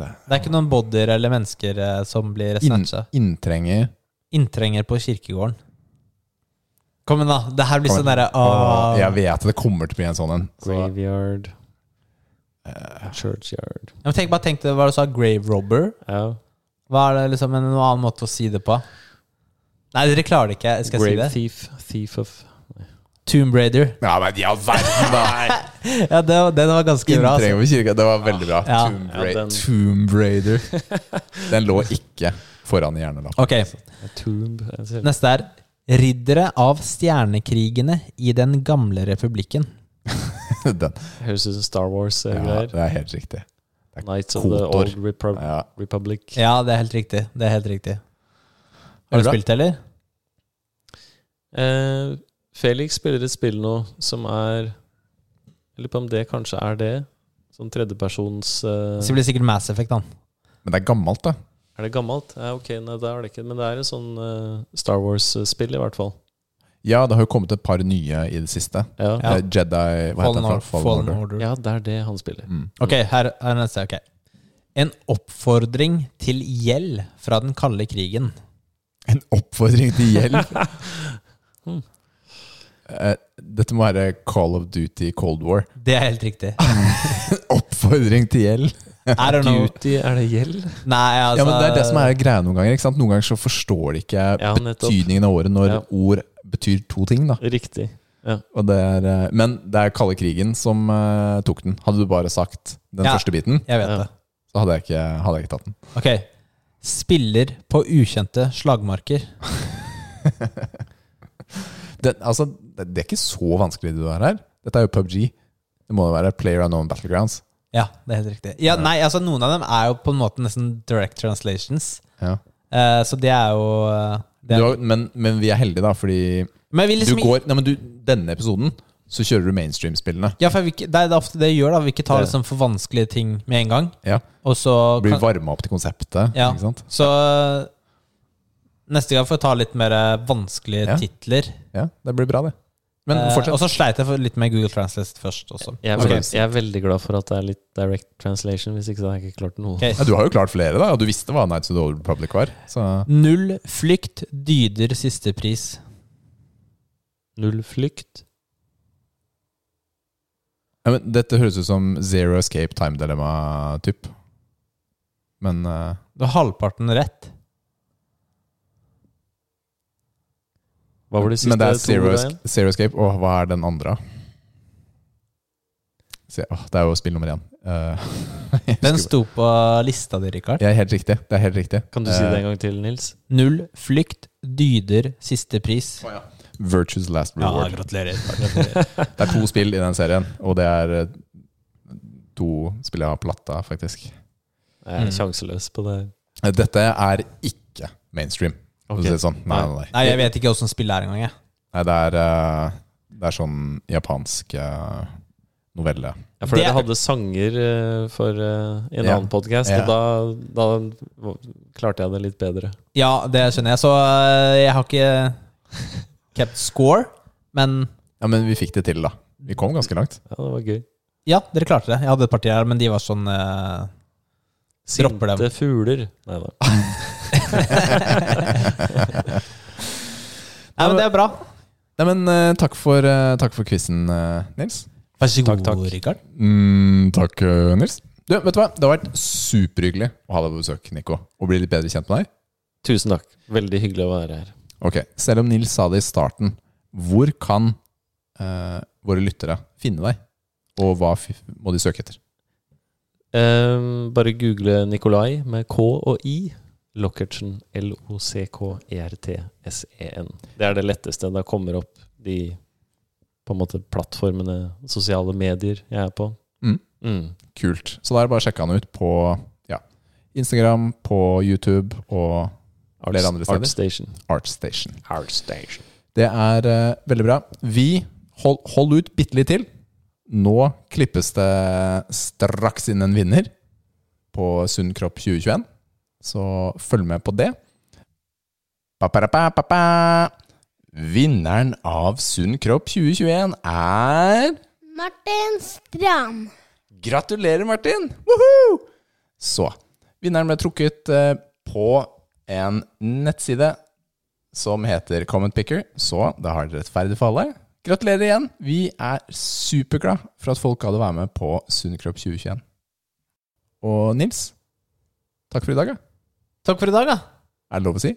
S1: det er ikke noen bodyer eller mennesker eh, som blir
S2: inn,
S1: snatcha.
S2: inntrenger
S1: Inntrenger på kirkegården. Kom igjen, da. Det her blir
S2: Kom
S1: sånn derre
S2: Åh,
S1: ja,
S2: Jeg vet at det kommer til å bli en sånn en. Så, eh,
S3: Graveyard. Churchyard.
S1: men tenk, Bare tenk deg hva du sa. Grave robber.
S3: Ja.
S1: Hva er det liksom en annen måte å si det på? Nei, dere klarer det ikke. Skal jeg
S3: Grave
S1: si det?
S3: Thief. Thief of
S1: Tomb Raider.
S2: ja, men i all verden, da!
S1: Ja, det, var- den var ganske bra. Altså.
S2: Inntrenger på kirka, det var veldig bra.
S1: Ja.
S2: Tomb,
S3: Ja,
S2: Ra
S3: den-
S2: Tomb Raider. Den lå ikke foran i hjernelappen.
S1: Ok,
S3: Tomb Jeg ser-
S1: neste er Riddere av stjernekrigene i den gamle republikken.
S2: Den.
S3: Høres ut som Star
S2: Ja,
S3: Wars-greier.
S2: det er helt riktig.
S3: Knights of the
S2: Kotor.
S3: Old Repub
S2: Ja.
S3: Republic.
S1: Ja, det er helt riktig. Det er helt riktig.
S2: Er
S1: Har
S2: det
S1: du
S2: bra?
S1: spilt det, eller?
S3: Eh, Felix spiller et spill nå som er Jeg lurer på om det kanskje er det. Sånn tredjepersons eh,
S1: Så blir det sikkert Mass Effect, da.
S2: Men det er gammelt, da.
S3: Er det gammelt? Ja, ok, nei, det er det ikke. Men det er et sånn eh, Star Wars-spill, i hvert fall.
S2: Ja, det har jo kommet et par nye i det siste.
S3: Ja.
S1: Ja.
S2: Eh, Jedi Hva heter
S1: Fallen,
S2: den?
S1: Or
S2: fra-
S1: Fallen Order.
S3: ja, det er det han spiller.
S2: Mm.
S1: Ok, her er neste. ok. En oppfordring til gjeld fra den kalde krigen.
S2: En oppfordring til hjelp. Eh, Dette må være Call of Duty Cold War.
S1: Det er helt riktig.
S2: Oppfordring til gjeld.
S1: I don't know.
S3: Duty, er det gjeld?
S1: Nei, altså,
S2: Ja, men Det er det som er greia noen ganger. ikke sant? Noen ganger så forstår de ikke
S3: Ja, nettopp.
S2: betydningen av ordet når
S3: Ja.
S2: ord betyr to ting. da.
S3: Riktig.
S2: Og det er, eh, men det er kalde krigen som eh, tok den. Hadde du bare sagt den
S1: Ja.
S2: første biten,
S1: Jeg vet
S3: Ja.
S1: det.
S2: så hadde jeg ikke, hadde jeg ikke tatt den.
S1: Ok. Spiller på ukjente slagmarker.
S2: Det, altså, det det er ikke så vanskelig det du har her. Dette er jo PubG. Det må jo være Player Unknown Battlegrounds.
S1: Ja, det er helt riktig. Ja, nei, altså Noen av dem er jo på en måte nesten direct translations.
S2: Ja.
S1: Eh, så det er jo eh, det
S2: Du
S1: er,
S2: har, men, men vi er heldige, da, fordi
S1: Men jeg vil
S2: du
S1: liksom
S2: går nei, men du, Denne episoden så kjører du mainstream-spillene.
S1: Ja, for jeg vil ikke, det er ofte det jeg gjør. da Vi ikke tar
S3: Det-
S1: liksom for vanskelige ting med en gang.
S2: Ja.
S1: Og så
S2: Blir
S1: kan-
S2: varma opp til konseptet.
S1: ja,
S2: Ikke sant?
S1: Så eh, neste gang får jeg ta litt mer eh, vanskelige
S2: Ja.
S1: titler.
S2: Ja, det blir bra, det. Men
S1: Eh,
S2: fortsett.
S1: og så sleit jeg for litt med Google Translate først også.
S3: Jeg er,
S2: Ok.
S3: veldig, jeg er veldig glad for at det er litt direct translation, hvis ikke så hadde jeg ikke klart noe.
S1: Ok.
S2: Ja, du har jo klart flere, da. Og du visste hva Nights of the Old Republic var. Så
S1: Null flykt dyder siste pris.
S3: Null flykt.
S2: ja, men Dette høres ut som Zero Escape Time Dilemma-typ. Men eh,
S1: Du har halvparten rett.
S3: Hva var det siste?
S2: Men det er
S3: to
S2: Zero,
S3: ordet
S2: Esc-
S3: igjen?
S2: Zero Escape. Og hva er den andre? Se, åh, det er jo spill nummer én. Eh, jeg
S1: Den
S2: husker-
S1: sto på lista di, Rikard.
S2: ja, helt riktig. Det er helt riktig.
S3: Kan du si
S2: Eh,
S3: det en gang til, Nils?
S1: Null flykt dyder siste pris.
S2: Eh, Virtues Last Reward.
S1: gratulerer.
S2: det er to spill i den serien, og det er eh, to spill jeg har platta, faktisk.
S3: Jeg
S1: Mm.
S3: er sjanseløs på det.
S2: Eh, Dette er ikke mainstream. for å
S3: Ok.
S2: Si det sånn. Nei, nei, nei.
S1: Nei, jeg vet ikke åssen spillet er engang. jeg.
S2: nei det, er, eh, det er sånn japansk eh, novelle.
S3: Ja, for
S1: Det-
S3: dere hadde sanger eh, for eh, i en
S2: Ja.
S3: annen podkast,
S2: Ja.
S3: og da, da v- klarte jeg det litt bedre.
S1: Ja, det skjønner jeg. Så øh, jeg har ikke kept score, men
S2: Ja, Men vi fikk det til, da. Vi kom ganske langt.
S3: Ja, det var gøy.
S1: ja, dere klarte det. Jeg hadde et parti her, men de var sånn øh, Dropper dem.
S3: Sinte fugler. Nei da.
S1: Nei, men det er bra.
S2: Nei, men eh, takk for, uh, takk for quizen, eh, Nils.
S1: Vær så
S3: Takk,
S1: god,
S3: takk.
S1: Rikard.
S2: Mm, takk, eh, Nils. Du, vet du hva? Det har vært superhyggelig å ha deg på besøk, Nico. Og bli litt bedre kjent med deg.
S3: Tusen takk. Veldig hyggelig å være her.
S2: Ok, Selv om Nils sa det i starten, hvor kan eh, våre lyttere finne deg? Og hva f må de søke etter?
S3: Ehm, bare google Nikolai med K og I. Lockertsen. E L-O-C-K-E-R-T-S-E-N. E Det er det letteste. Da kommer opp de på en måte plattformene, sosiale medier jeg er på.
S2: Mm. Kult. Så da er det bare å sjekke han ut på ja, Instagram, på YouTube og Flere andre steder?
S3: Artstation.
S2: Artstation.
S3: Artstation.
S2: Det er eh, veldig bra. Vi hold, hold ut bitte litt til. Nå klippes det straks inn en vinner på Sunn kropp 2021. Så følg med på det. Ba-ba-da-ba-ba-ba. Vinneren av Sunn kropp 2021 er
S6: Martin Strand.
S2: Gratulerer, Martin! Woohoo! Så vinneren ble trukket eh, på en nettside som heter Comment Picker. Så da har dere rettferdig for alle. Gratulerer igjen. Vi er superglad for at folk hadde vært med på Sunn kropp 2021. Og Nils, takk for i dag. Ja.
S1: Takk for i dag, da.
S2: Er det lov å si?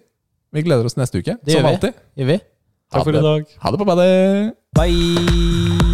S2: Vi gleder oss til neste uke,
S1: Det
S2: som
S1: gjør vi.
S2: alltid.
S1: Gjør vi?
S3: Takk for i dag.
S2: Ha det på badet!
S1: Bye!